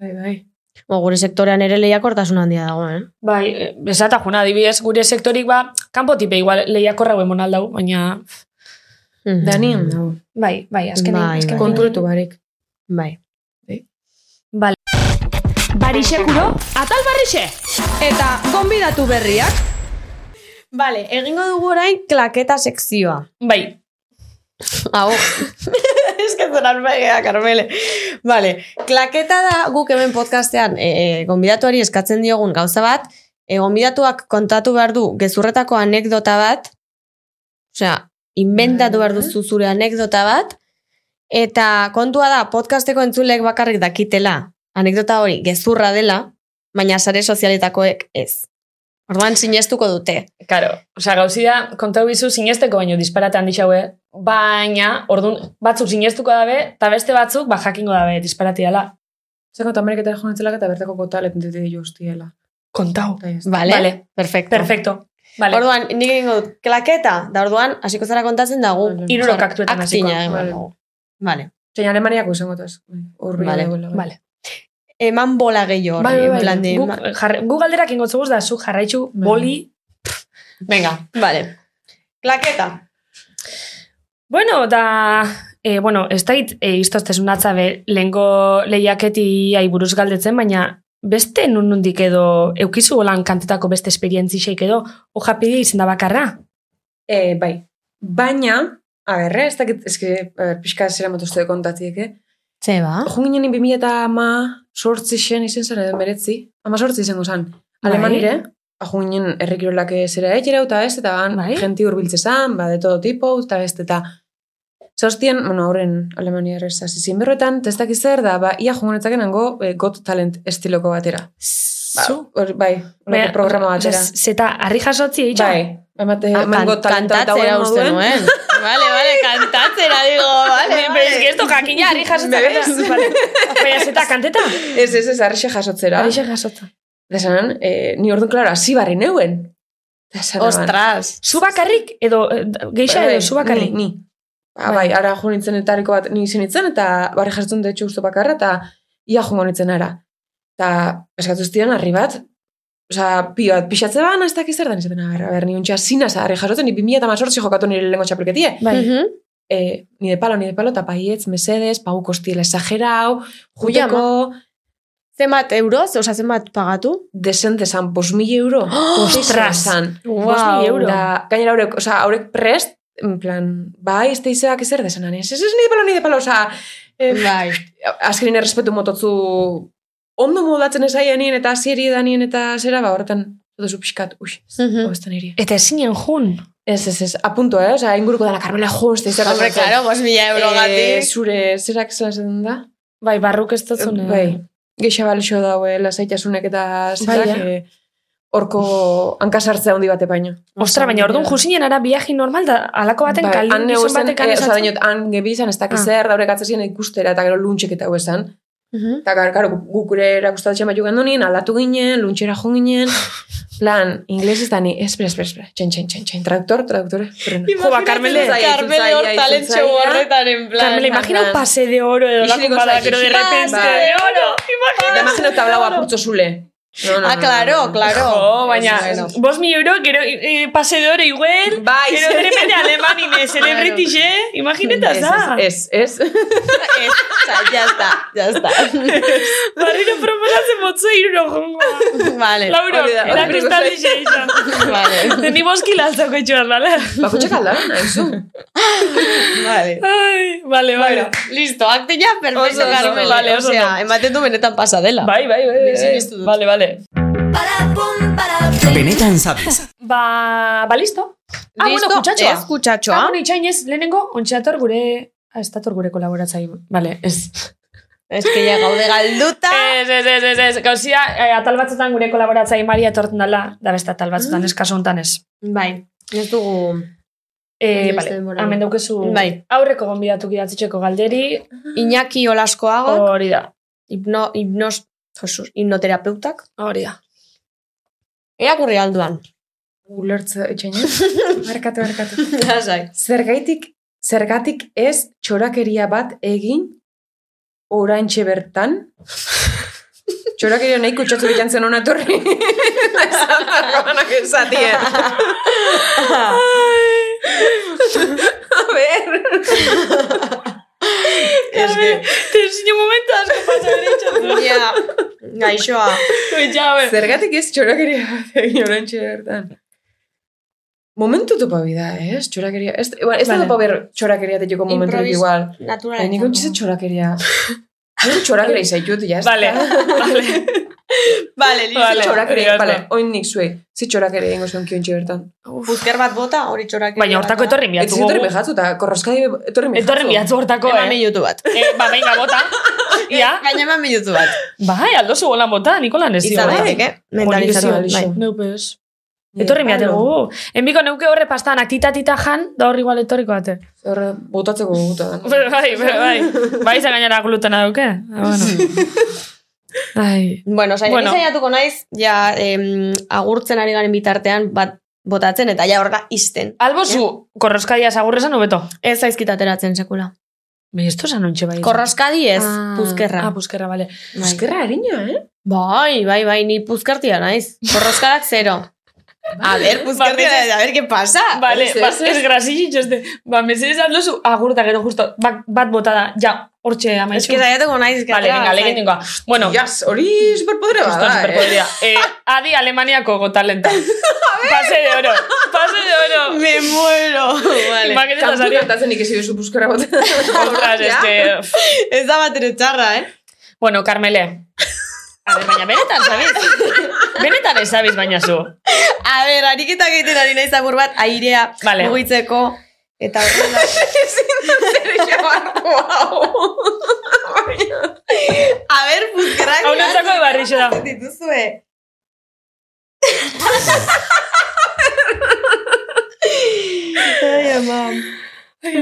Speaker 4: Bai, bai.
Speaker 3: Ba, gure sektorean ere lehiakortasun handia dago, eh?
Speaker 1: Bai, eh, besata juna, adibidez, gure sektorik ba, kanpotipe igual lehiakorra hauen monaldau, baina...
Speaker 3: Mhm.
Speaker 4: Danien, dau.
Speaker 1: Bai, bai, azkenean.
Speaker 3: Bai, bai.
Speaker 1: azkenean.
Speaker 4: konturetu barik.
Speaker 3: Bai.
Speaker 1: Bale.
Speaker 6: Barixekuro, atal barrixe!
Speaker 3: Eta gonbidatu berriak. Vale, egingo dugu orain klaketa sekzioa.
Speaker 1: Bai,
Speaker 3: *laughs* Hau. es que zoran begea, Carmele. Vale, klaketa da guk hemen podcastean e, e, gonbidatuari Eh, eskatzen diogun gauza bat, e, gonbidatuak kontatu behar du gezurretako anekdota bat, Osea, inventatu behar duzu zure anekdota bat, eta kontua da, podcasteko entzulek bakarrik dakitela, anekdota hori gezurra dela, baina sare sozialetakoek ez. Orduan sinestuko dute.
Speaker 7: Karo, osea, gauzi da, kontau bizu sinesteko baino disparate handi xaue, baina, ordun batzuk sinestuko dabe, eta beste batzuk, ba, jakingo dabe, disparate dela.
Speaker 4: Zeko eta Ameriketara joan etzelak eta bertako kota letentetik justiela.
Speaker 7: Kontau.
Speaker 4: Eta ez.
Speaker 3: Vale?
Speaker 7: Vale.
Speaker 3: Perfecto.
Speaker 7: Perfecto. Vale.
Speaker 3: Orduan, nik egingo dut, klaketa, da orduan, hasiko zara kontatzen dago.
Speaker 4: Vale.
Speaker 7: Hirurok aktuetan hasiko.
Speaker 3: Aktina,
Speaker 4: Vale.
Speaker 3: eman. Vale.
Speaker 4: Zein Alemaniako izango eta ez. Horri
Speaker 3: Vale,
Speaker 7: Vale.
Speaker 3: Eman bola gehiago horri,
Speaker 7: Bai, bai,
Speaker 3: en plan de...
Speaker 7: bai. Guk, jarre, gu galderak ingotzu da, zu jarraitzu, boli.
Speaker 3: Venga, vale. Klaketa.
Speaker 1: Bueno, da... E, bueno, ez dait, e, iztoztesun atzabe, lehenko lehiaketi buruz galdetzen, baina beste nundik edo, eukizu holan kantetako beste esperientzisek edo, ojapide izen da bakarra.
Speaker 4: E, bai. Baina, a berre, ez dakit, ez que, a ber, pixka zera motozte kontatiek, eh?
Speaker 3: Ze ba?
Speaker 4: Jun ginen 2000 eta ama sortzi zen izen zen edo meretzi. Ama sortzi izango zen. Alemanire, jun ginen errikirolak zera etxera eta ez, eta ban,
Speaker 1: Bai.
Speaker 4: jenti urbiltze zen, ba, de todo tipo, eta ez, eta Zostien, bueno, horren Alemania erresa zizien berroetan, testak zer da, ba, ia jungonetzaken hango eh, got talent estiloko batera. Ba, hor- bai,
Speaker 1: Baina,
Speaker 4: holako programa
Speaker 1: osea,
Speaker 4: batera.
Speaker 1: Zeta, harri jasotzi eitza?
Speaker 4: Bai, emate,
Speaker 3: Ah,
Speaker 4: emango
Speaker 3: kan-
Speaker 4: talentua eta
Speaker 3: kantatzera
Speaker 4: hauen
Speaker 3: uste
Speaker 4: moduen.
Speaker 3: nuen. vale, vale, kantatzera, digo,
Speaker 1: Pero
Speaker 3: vale,
Speaker 1: es que
Speaker 3: vale.
Speaker 1: esto jakina
Speaker 3: *laughs*
Speaker 1: harri jasotza.
Speaker 4: Bebes.
Speaker 1: Vale. Baina zeta, kanteta?
Speaker 4: Ez, ez, ez, arrexe jasotzera.
Speaker 1: Harri jasotza.
Speaker 4: Desanan, eh, ni orduan, klaro, hasi barri neuen. Ostra,
Speaker 3: Ostras.
Speaker 1: Zu bakarrik edo, eh,
Speaker 3: Bai,
Speaker 1: geixa edo, zu bakarrik.
Speaker 4: "Bai,
Speaker 3: Mm,
Speaker 4: Ni, ni. Ba, bai, ara jo nintzen etariko bat, ni izan nintzen, eta barri jartzen dut uste bakarra, eta ia jongo nintzen ara. Eta eskatu zidan, harri bat, Osa, pio bat pixatze ban, ez dakiz zer da nizaten agarra. Ber, ni untxa zinaz, harri jasotzen, ni 2000 eta mazortzi jokatu nire lengo txapelketie.
Speaker 1: Bai.
Speaker 3: Mhm.
Speaker 4: eh, ni de palo, ni de palo, eta paietz, mesedes, pagu kostiela esagerau, juteko,
Speaker 3: Zenbat euroz, oza, zenbat pagatu?
Speaker 4: desen desan, bos mil euro.
Speaker 1: ostras.
Speaker 4: Desan.
Speaker 1: Bost
Speaker 3: Wow.
Speaker 1: mila euro.
Speaker 4: Da, gainera haurek, oza, haurek prest, en plan, bai, ez teizeak ezer desanan, ez, ez, ez, ni de palo, ni de palo, oza, eh,
Speaker 3: Bai.
Speaker 4: azkerin errespetu mototzu ondo moldatzen esaien eta hasieri danien eta zera, ba, horretan, duzu pixkat, ui,
Speaker 3: Mhm.
Speaker 4: hobezten iri.
Speaker 1: Eta ezinen jun.
Speaker 4: Ez, ez, ez, apunto, eh, oza, inguruko dana, Carmela, jo, ez teizeak.
Speaker 3: Hombre, claro, bos mila euro
Speaker 4: Eh,
Speaker 3: gatik.
Speaker 4: zure, zerak zelan zen da?
Speaker 1: Bai, barruk ez eh. dozune.
Speaker 4: Bai, gehiago balixo daue, lasaitasunek eta zerak,
Speaker 1: Bai,
Speaker 4: eh, horko hankasartzea handi bate baino.
Speaker 1: Ostra, baina orduan jusinen ara biaji normal da, alako
Speaker 3: Bai.
Speaker 1: baten kali
Speaker 4: Bai, han
Speaker 1: gizon
Speaker 4: esan,
Speaker 1: batek han
Speaker 4: eh, oza,
Speaker 1: esatzen.
Speaker 4: dinot, han gebizan, ez dakiz
Speaker 1: Ah.
Speaker 4: zer, daurek atzazien ikustera, eta gero luntxek eta esan.
Speaker 3: Mhm.
Speaker 4: Eta gara, gara, guk gure erakustatzen bat jugan nien, aldatu ginen, luntxera
Speaker 1: *laughs*
Speaker 4: jo ginen, plan, inglés ez da ni, espera, espera, espera, txen, tren, txen, tren, traduktor, traduktore, freno. Jo, ba, Carmele,
Speaker 3: Carmele hor talent show horretan, en plan.
Speaker 1: Carmela, imagina un pase de oro edo lako
Speaker 4: Isiliko
Speaker 1: bada,
Speaker 4: zaiz.
Speaker 1: pero de
Speaker 4: Pase
Speaker 1: repente
Speaker 4: de
Speaker 1: de oro.
Speaker 4: Da imagino tablao apurtzo zule. No, no,
Speaker 3: Ah,
Speaker 4: no,
Speaker 3: claro,
Speaker 4: no.
Speaker 3: claro.
Speaker 1: Jo, baina,
Speaker 3: Bueno. *laughs*
Speaker 1: bos mi euro, gero eh, pase de oro igual,
Speaker 4: Bai,
Speaker 1: gero de repente alemanine, celebrity, eh? Imaginetaz da.
Speaker 4: Ez, ez, ez.
Speaker 3: Ez, oza, ya está, ya
Speaker 4: *laughs*
Speaker 3: está.
Speaker 1: Barriro proposatzen motzu iruro jongoa.
Speaker 3: Vale,
Speaker 1: Lauro,
Speaker 4: hori da, hori
Speaker 1: erakusta
Speaker 4: *laughs* ikusi.
Speaker 1: dixe izan.
Speaker 3: vale,
Speaker 1: Ni boskila altzako etxuan, bale?
Speaker 4: Bakotxak aldaran,
Speaker 1: *laughs*
Speaker 4: haizu.
Speaker 3: vale.
Speaker 1: Ai, Bale, bale.
Speaker 3: Bueno, listo, aktina perfecto,
Speaker 4: Oso, oso,
Speaker 3: Carmele.
Speaker 1: vale, oso
Speaker 3: Osea,
Speaker 1: ondo.
Speaker 3: ematen du benetan pasa dela.
Speaker 1: Bai, bai, bai, bai.
Speaker 3: Sinistu dut.
Speaker 1: Bale, bale.
Speaker 2: Benetan sabes.
Speaker 1: Ba, ba, listo. Ah, bueno, kutsatxoa.
Speaker 3: Ez, kutsatxoa.
Speaker 1: Ah, bueno, itxain ez, lehenengo, ontsator gure... Ah, ez dator gure kolaboratzai. Vale, ez.
Speaker 3: Ez que ya gaude galduta.
Speaker 4: Eh.
Speaker 1: Ez, ez, ez, ez, ez. Gauzia, eh, atal batzutan gure kolaboratzai Maria etorten dela, da beste atal batzutan, mm. eskaso hontan ez.
Speaker 3: Bai, ez dugu
Speaker 1: Eh,
Speaker 3: Ez
Speaker 1: vale,
Speaker 3: denbora.
Speaker 1: hemen daukezu
Speaker 3: Bai.
Speaker 1: aurreko gonbidatu gidatzetxeko galderi,
Speaker 3: Iñaki
Speaker 4: Oh.
Speaker 3: Olaskoago,
Speaker 1: hori da,
Speaker 3: hipno, hipnos, Jesus, hipnoterapeutak.
Speaker 1: hori da.
Speaker 3: Irakurri
Speaker 4: *laughs*
Speaker 3: alduan.
Speaker 4: Ulertze, etxeina. Barkatu, barkatu.
Speaker 3: Lasai.
Speaker 4: Zergaitik, zergatik ez txorakeria bat egin oraintxe bertan? Txorakeria nahiko txatzu bitan zen hona torri. Zatarroanak ezatien.
Speaker 3: *laughs*
Speaker 4: A *laughs* ber.
Speaker 3: Ez que,
Speaker 1: Te enseño momentu asko *laughs* pasa beritxatu.
Speaker 3: ja, ah, gaixoa.
Speaker 1: Ja, a ver.
Speaker 4: Zergatik ez txorakeria bat egin oraintxe bertan? Momentu topa bida, ez? Txorakeria. Ez, igual, ez da
Speaker 1: Vale.
Speaker 4: topa ber txorakeria teteko momentu
Speaker 3: Improvis-
Speaker 4: igual.
Speaker 3: Naturala.
Speaker 4: Nik untxe txorakeria. Nik txorakeria izaitut, jazta.
Speaker 1: Vale, vale.
Speaker 3: Bale,
Speaker 4: Vale,
Speaker 3: listo.
Speaker 4: txorak ere,
Speaker 1: egia
Speaker 4: vale,
Speaker 1: da.
Speaker 4: oin nik zuei. Ze txorak ere ingo zen kiontxe bertan.
Speaker 3: Buzker bat bota, hori txorak.
Speaker 1: Baina hortako etorri
Speaker 4: Ez
Speaker 1: miatzu.
Speaker 4: etorri behatu, eta korroskadi etorri behatu.
Speaker 1: Etorri miatzu hortako,
Speaker 3: Eman
Speaker 1: eh?
Speaker 3: minutu
Speaker 1: *laughs*
Speaker 3: bat.
Speaker 1: Eh, ba, venga, *laughs* bota. Ia.
Speaker 3: Gaina eman minutu bat.
Speaker 1: Bai, aldo zu golan bota, Nikolan ez eh? dio.
Speaker 3: Izan daiteke, mentalizatu.
Speaker 4: Polizio,
Speaker 3: bai.
Speaker 4: Alixo.
Speaker 1: Neupes.
Speaker 4: Bai,
Speaker 1: Etorri miate gu. Enbiko neuke horre pastan aktita-tita jan, da hor igual etorriko ate.
Speaker 4: Horre, botatzeko guta.
Speaker 1: Pero bai, pero bai. Bai, izan gainera glutena duke. Ah, bueno. Bai. Ai.
Speaker 3: Bueno, zain,
Speaker 1: Bueno.
Speaker 3: bueno. saiatuko naiz, ja em, agurtzen ari garen bitartean bat botatzen, eta ja horra izten.
Speaker 1: Albo zu, korroskadia sagurre esan hobeto.
Speaker 3: Ez zaizkit ateratzen sekula.
Speaker 1: Be, esto esan ontxe bai.
Speaker 3: Korroskadi ez, puzkerra.
Speaker 1: Ah, puzkerra, bale.
Speaker 3: Bai.
Speaker 4: Eskerra harina, eh?
Speaker 3: Bai, bai, bai, ni puzkartia naiz. Korroskadak
Speaker 1: *laughs*
Speaker 3: zero. A ber, puzkartia,
Speaker 1: Ba, meses-
Speaker 3: a ber, ¿qué pasa?
Speaker 1: Bale,
Speaker 4: Ez, ez,
Speaker 1: ba,
Speaker 4: ez.
Speaker 1: ez grasi este. Ba, mesedez aldo zu, agurta gero justo, bat, bat bota da, ja, hortxe
Speaker 3: Es
Speaker 1: amaizu.
Speaker 3: que saiatuko naiz. que
Speaker 1: Bale,
Speaker 3: atera,
Speaker 1: venga,
Speaker 3: zain.
Speaker 1: legin dingoa. Bueno,
Speaker 4: Jaz, hori superpodre bat
Speaker 1: Esto
Speaker 4: da, eh?
Speaker 1: superpodería. Eh, Adi Alemaniako
Speaker 4: *laughs*
Speaker 1: gotalenta. Pase de oro. Pase de oro.
Speaker 3: Me muero. vale.
Speaker 1: Maketetan
Speaker 4: Kantu
Speaker 1: sari-
Speaker 4: kantatzen ikesi duzu buskara
Speaker 1: *laughs*
Speaker 4: bat. *laughs*
Speaker 1: Ostras, este... pff.
Speaker 3: *laughs* Ez da bat ere txarra, eh?
Speaker 1: Bueno, Carmele. A ver, baina benetan, sabiz? Benetan ez sabiz, baina zu.
Speaker 3: A ber, ariketak egiten ari naiz agur bat airea
Speaker 1: Vale.
Speaker 3: mugitzeko.
Speaker 1: *laughs*
Speaker 3: Eta horrela. A ber, puzkerrak.
Speaker 1: Hau nintzako de barrixo da.
Speaker 3: Dituzue. Ai, ama.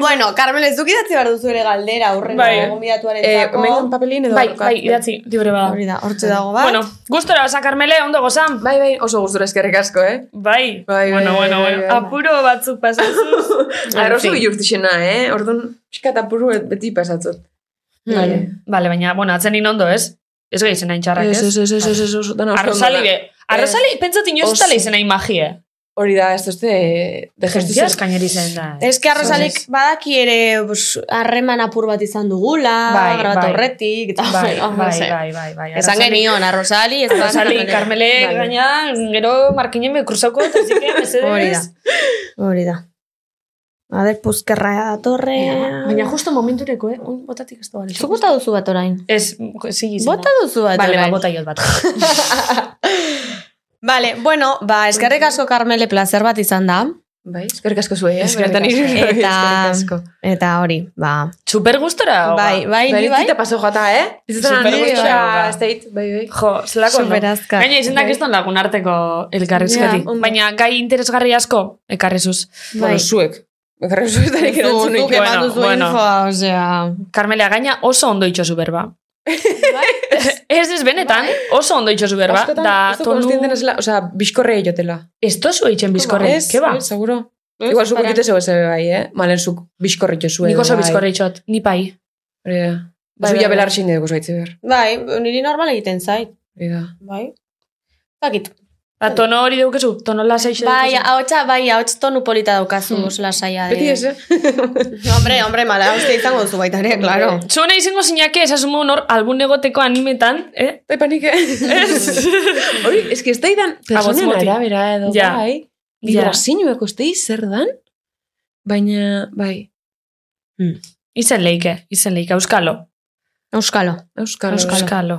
Speaker 3: Bueno, Carmel, ez duk idatzi behar duzu ere galdera, horren
Speaker 1: Bai.
Speaker 3: bai.
Speaker 4: Eh,
Speaker 3: gombidatuarentzako.
Speaker 4: Megan papelin edo
Speaker 1: Bai,
Speaker 4: daukat.
Speaker 1: bai, idatzi, libre bada.
Speaker 3: Hori da, hortxe dago ba? bat.
Speaker 1: Bueno, gustora basa, Carmele, ondo gozan.
Speaker 4: Bai, bai, oso gustura eskerrik asko, eh?
Speaker 1: Bai,
Speaker 4: Bai, bai,
Speaker 1: bueno,
Speaker 4: bai,
Speaker 1: bueno,
Speaker 4: bai,
Speaker 1: bueno.
Speaker 4: bai.
Speaker 1: Apuro batzuk pasatuz.
Speaker 4: Ara Bai, oso
Speaker 1: fin.
Speaker 4: bilurtixena, eh? Orduan, pixkat apuru beti pasatzot.
Speaker 1: Vale, vale, baina, bueno, atzen inondo, ez? Ez gehi zen hain txarrak,
Speaker 4: Ez, ez,
Speaker 1: ez?
Speaker 4: ez, ez, ez, ez, oso- dana oso
Speaker 1: Arrozali,
Speaker 4: ondo da.
Speaker 1: be. Arrozali, pentsat inoiz
Speaker 4: Oso.
Speaker 1: ez tala izen hain magie.
Speaker 4: Hori da, ez duzte, de
Speaker 1: Gestizia
Speaker 4: gestizia
Speaker 1: eskaineri zen da.
Speaker 3: Ez que arrozalik
Speaker 1: Zoiz.
Speaker 3: badaki ere pues, harreman apur bat izan dugula,
Speaker 1: Bai,
Speaker 3: grabatu
Speaker 1: bai.
Speaker 3: horretik, eta *laughs*
Speaker 1: Bai,
Speaker 3: bueno,
Speaker 1: bai,
Speaker 3: ze.
Speaker 1: bai, bai, bai.
Speaker 3: Esan genion, arrozali, ez da
Speaker 1: Rosali, Carmele,
Speaker 4: Vale.
Speaker 1: gaina, gero Markinen me cruzauko, así que
Speaker 3: Hori da.
Speaker 1: mesedes.
Speaker 3: Hori da. A ber, puzkerra datorre.
Speaker 1: Baina justo momentureko, eh? Un botatik ez da bale.
Speaker 3: Zu bota duzu bat orain.
Speaker 1: Ez, sigi izan.
Speaker 3: Bota duzu bat
Speaker 1: Bale, ba,
Speaker 3: orain.
Speaker 1: bota jot bat.
Speaker 3: Vale, bueno, ba, eskerrik asko Carmele placer bat izan da.
Speaker 4: Bai, eskerrik asko zuei, eh?
Speaker 1: Eskerrik asko.
Speaker 4: Benetan
Speaker 3: Eta-
Speaker 4: hiru- eskerrik asko.
Speaker 3: Eta hori, ba.
Speaker 1: Super gustora, ba?
Speaker 3: Bai, bai, ni
Speaker 4: Bai,
Speaker 3: bai.
Speaker 4: tita paso jota, eh? Bizitzen
Speaker 1: Super
Speaker 4: ari,
Speaker 1: gustora
Speaker 4: eta
Speaker 1: gauda.
Speaker 4: ez dait, bai, bai.
Speaker 1: Jo, zelako no.
Speaker 3: Superazka.
Speaker 1: Gaina izendak ez lagun arteko elkarrizketi.
Speaker 3: Ja,
Speaker 4: ondo.
Speaker 1: Baina gai interesgarri asko, ekarri zuz.
Speaker 3: Bai.
Speaker 4: Bueno, zuek. Bakarra zuek
Speaker 3: Zu-
Speaker 4: darik erantzun
Speaker 3: Zuk
Speaker 4: nik.
Speaker 3: eman
Speaker 1: bueno,
Speaker 3: duzu
Speaker 1: bueno.
Speaker 3: infoa, osea.
Speaker 1: Carmelea, gaina oso ondo itxosu berba. Bai. ez ez benetan, oso ondo itxosu berba.
Speaker 4: Askotan,
Speaker 1: Da,
Speaker 4: ez dut
Speaker 1: tonu...
Speaker 4: konstienten ezela, osea, bizkorrea jotela.
Speaker 1: Ez tozu eitzen bizkorre,
Speaker 4: Ez,
Speaker 1: ke ba?
Speaker 4: ez, Seguro. Igual zuk egite zeu eze bai, eh? Malen zuk bizkorre jozue. bai.
Speaker 1: Nik oso bizkorre itxot, ni pai.
Speaker 4: Hori da.
Speaker 1: Bai,
Speaker 4: Zu
Speaker 1: bai,
Speaker 4: ja
Speaker 1: bai.
Speaker 4: belar zein dugu zaitze behar.
Speaker 3: Bai, niri normal egiten zait.
Speaker 4: Hori da.
Speaker 3: Bai. Zakit.
Speaker 1: Da, tono hori daukezu, tono lasa eitzen
Speaker 3: Bai, ahotsa, bai, ahots tonu polita daukazu,
Speaker 4: Hmm.
Speaker 3: hmm. lasaia. de-
Speaker 4: Beti ez, eh?
Speaker 3: Hombre, hombre, mala hostia izango duzu baita ere, claro.
Speaker 1: Zuna izango zinake, esasumo honor, albun egoteko animetan, eh?
Speaker 4: Dai panik, eh? Hori, ez que ez daidan personen
Speaker 1: Abozmotik.
Speaker 4: arabera edo,
Speaker 1: Ja.
Speaker 4: bai.
Speaker 1: Ja.
Speaker 4: Vibrazioak ustei zer dan? Baina, bai,
Speaker 1: Izen leike, izen leike, euskalo.
Speaker 3: Euskalo.
Speaker 4: Euskal.
Speaker 1: Euskalo.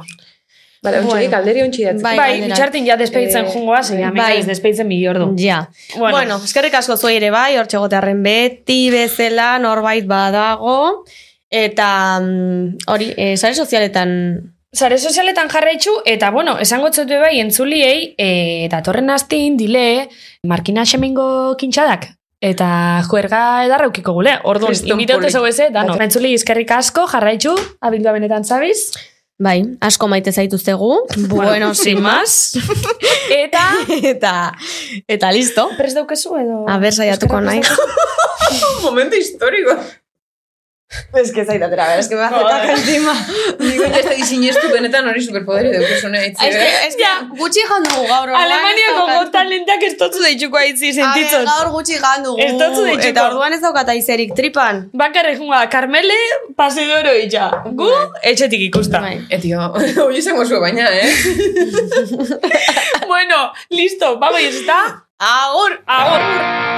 Speaker 4: Bale, ontsi,
Speaker 3: Bueno.
Speaker 4: galderi ontsi datzik.
Speaker 3: Bai,
Speaker 1: Bai,
Speaker 3: galderak.
Speaker 1: bitxartin ja despeditzen
Speaker 4: Eh,
Speaker 1: jungoa, zein amika
Speaker 3: bai.
Speaker 1: ez despeditzen bi ordu.
Speaker 3: Ja. Bueno,
Speaker 1: Bueno,
Speaker 3: eskerrik asko zuei ere bai, hortxe gotearren beti bezala norbait badago. Eta mm, hori, eh, sare sozialetan
Speaker 1: sare sozialetan jarraitzu, eta bueno, esango txotu bai entzuliei, e, datorren astin, dile, markina semengo kintxadak. Eta juerga edarraukiko gule, orduan,
Speaker 4: Kriston
Speaker 1: imiteute
Speaker 4: poli.
Speaker 1: zau eze, eh, dano.
Speaker 4: Bat-
Speaker 1: Entzuli izkerrik asko, jarraitzu, abildua benetan zabiz.
Speaker 3: bai, asko maite zaituztegu.
Speaker 1: *laughs*
Speaker 3: bueno, sin más.
Speaker 1: Eta,
Speaker 3: eta, eta listo.
Speaker 1: prest daukezu edo...
Speaker 3: A ber, saiatuko
Speaker 1: Eskerrak
Speaker 3: naiz.
Speaker 4: momento historiko.
Speaker 3: Es que zaitatera, ber, es que me hace
Speaker 4: Joder.
Speaker 3: caca encima.
Speaker 4: Niko ez da sinestu benetan hori superpoderi daukizuna itzi.
Speaker 3: Es que, es que gutxi jandugu gaur. orduan,
Speaker 1: Alemaniako
Speaker 3: ez daukat-
Speaker 1: gotalentak ez totzu deitxuko aitzi
Speaker 3: A ber,
Speaker 1: sentitzot.
Speaker 3: Gaur gutxi jandugu.
Speaker 1: Ez dotzu deituko.
Speaker 3: Eta orduan ez daukat aizerik tripan.
Speaker 1: Bakarre jungoa, Carmele, pasidoro itxa. Gu, etxetik ikusta.
Speaker 3: Bai.
Speaker 4: Etio, Eh, *laughs* hori izango zuen baina, eh?
Speaker 1: bueno, listo, bago ez da.
Speaker 3: Agur!
Speaker 1: Agur!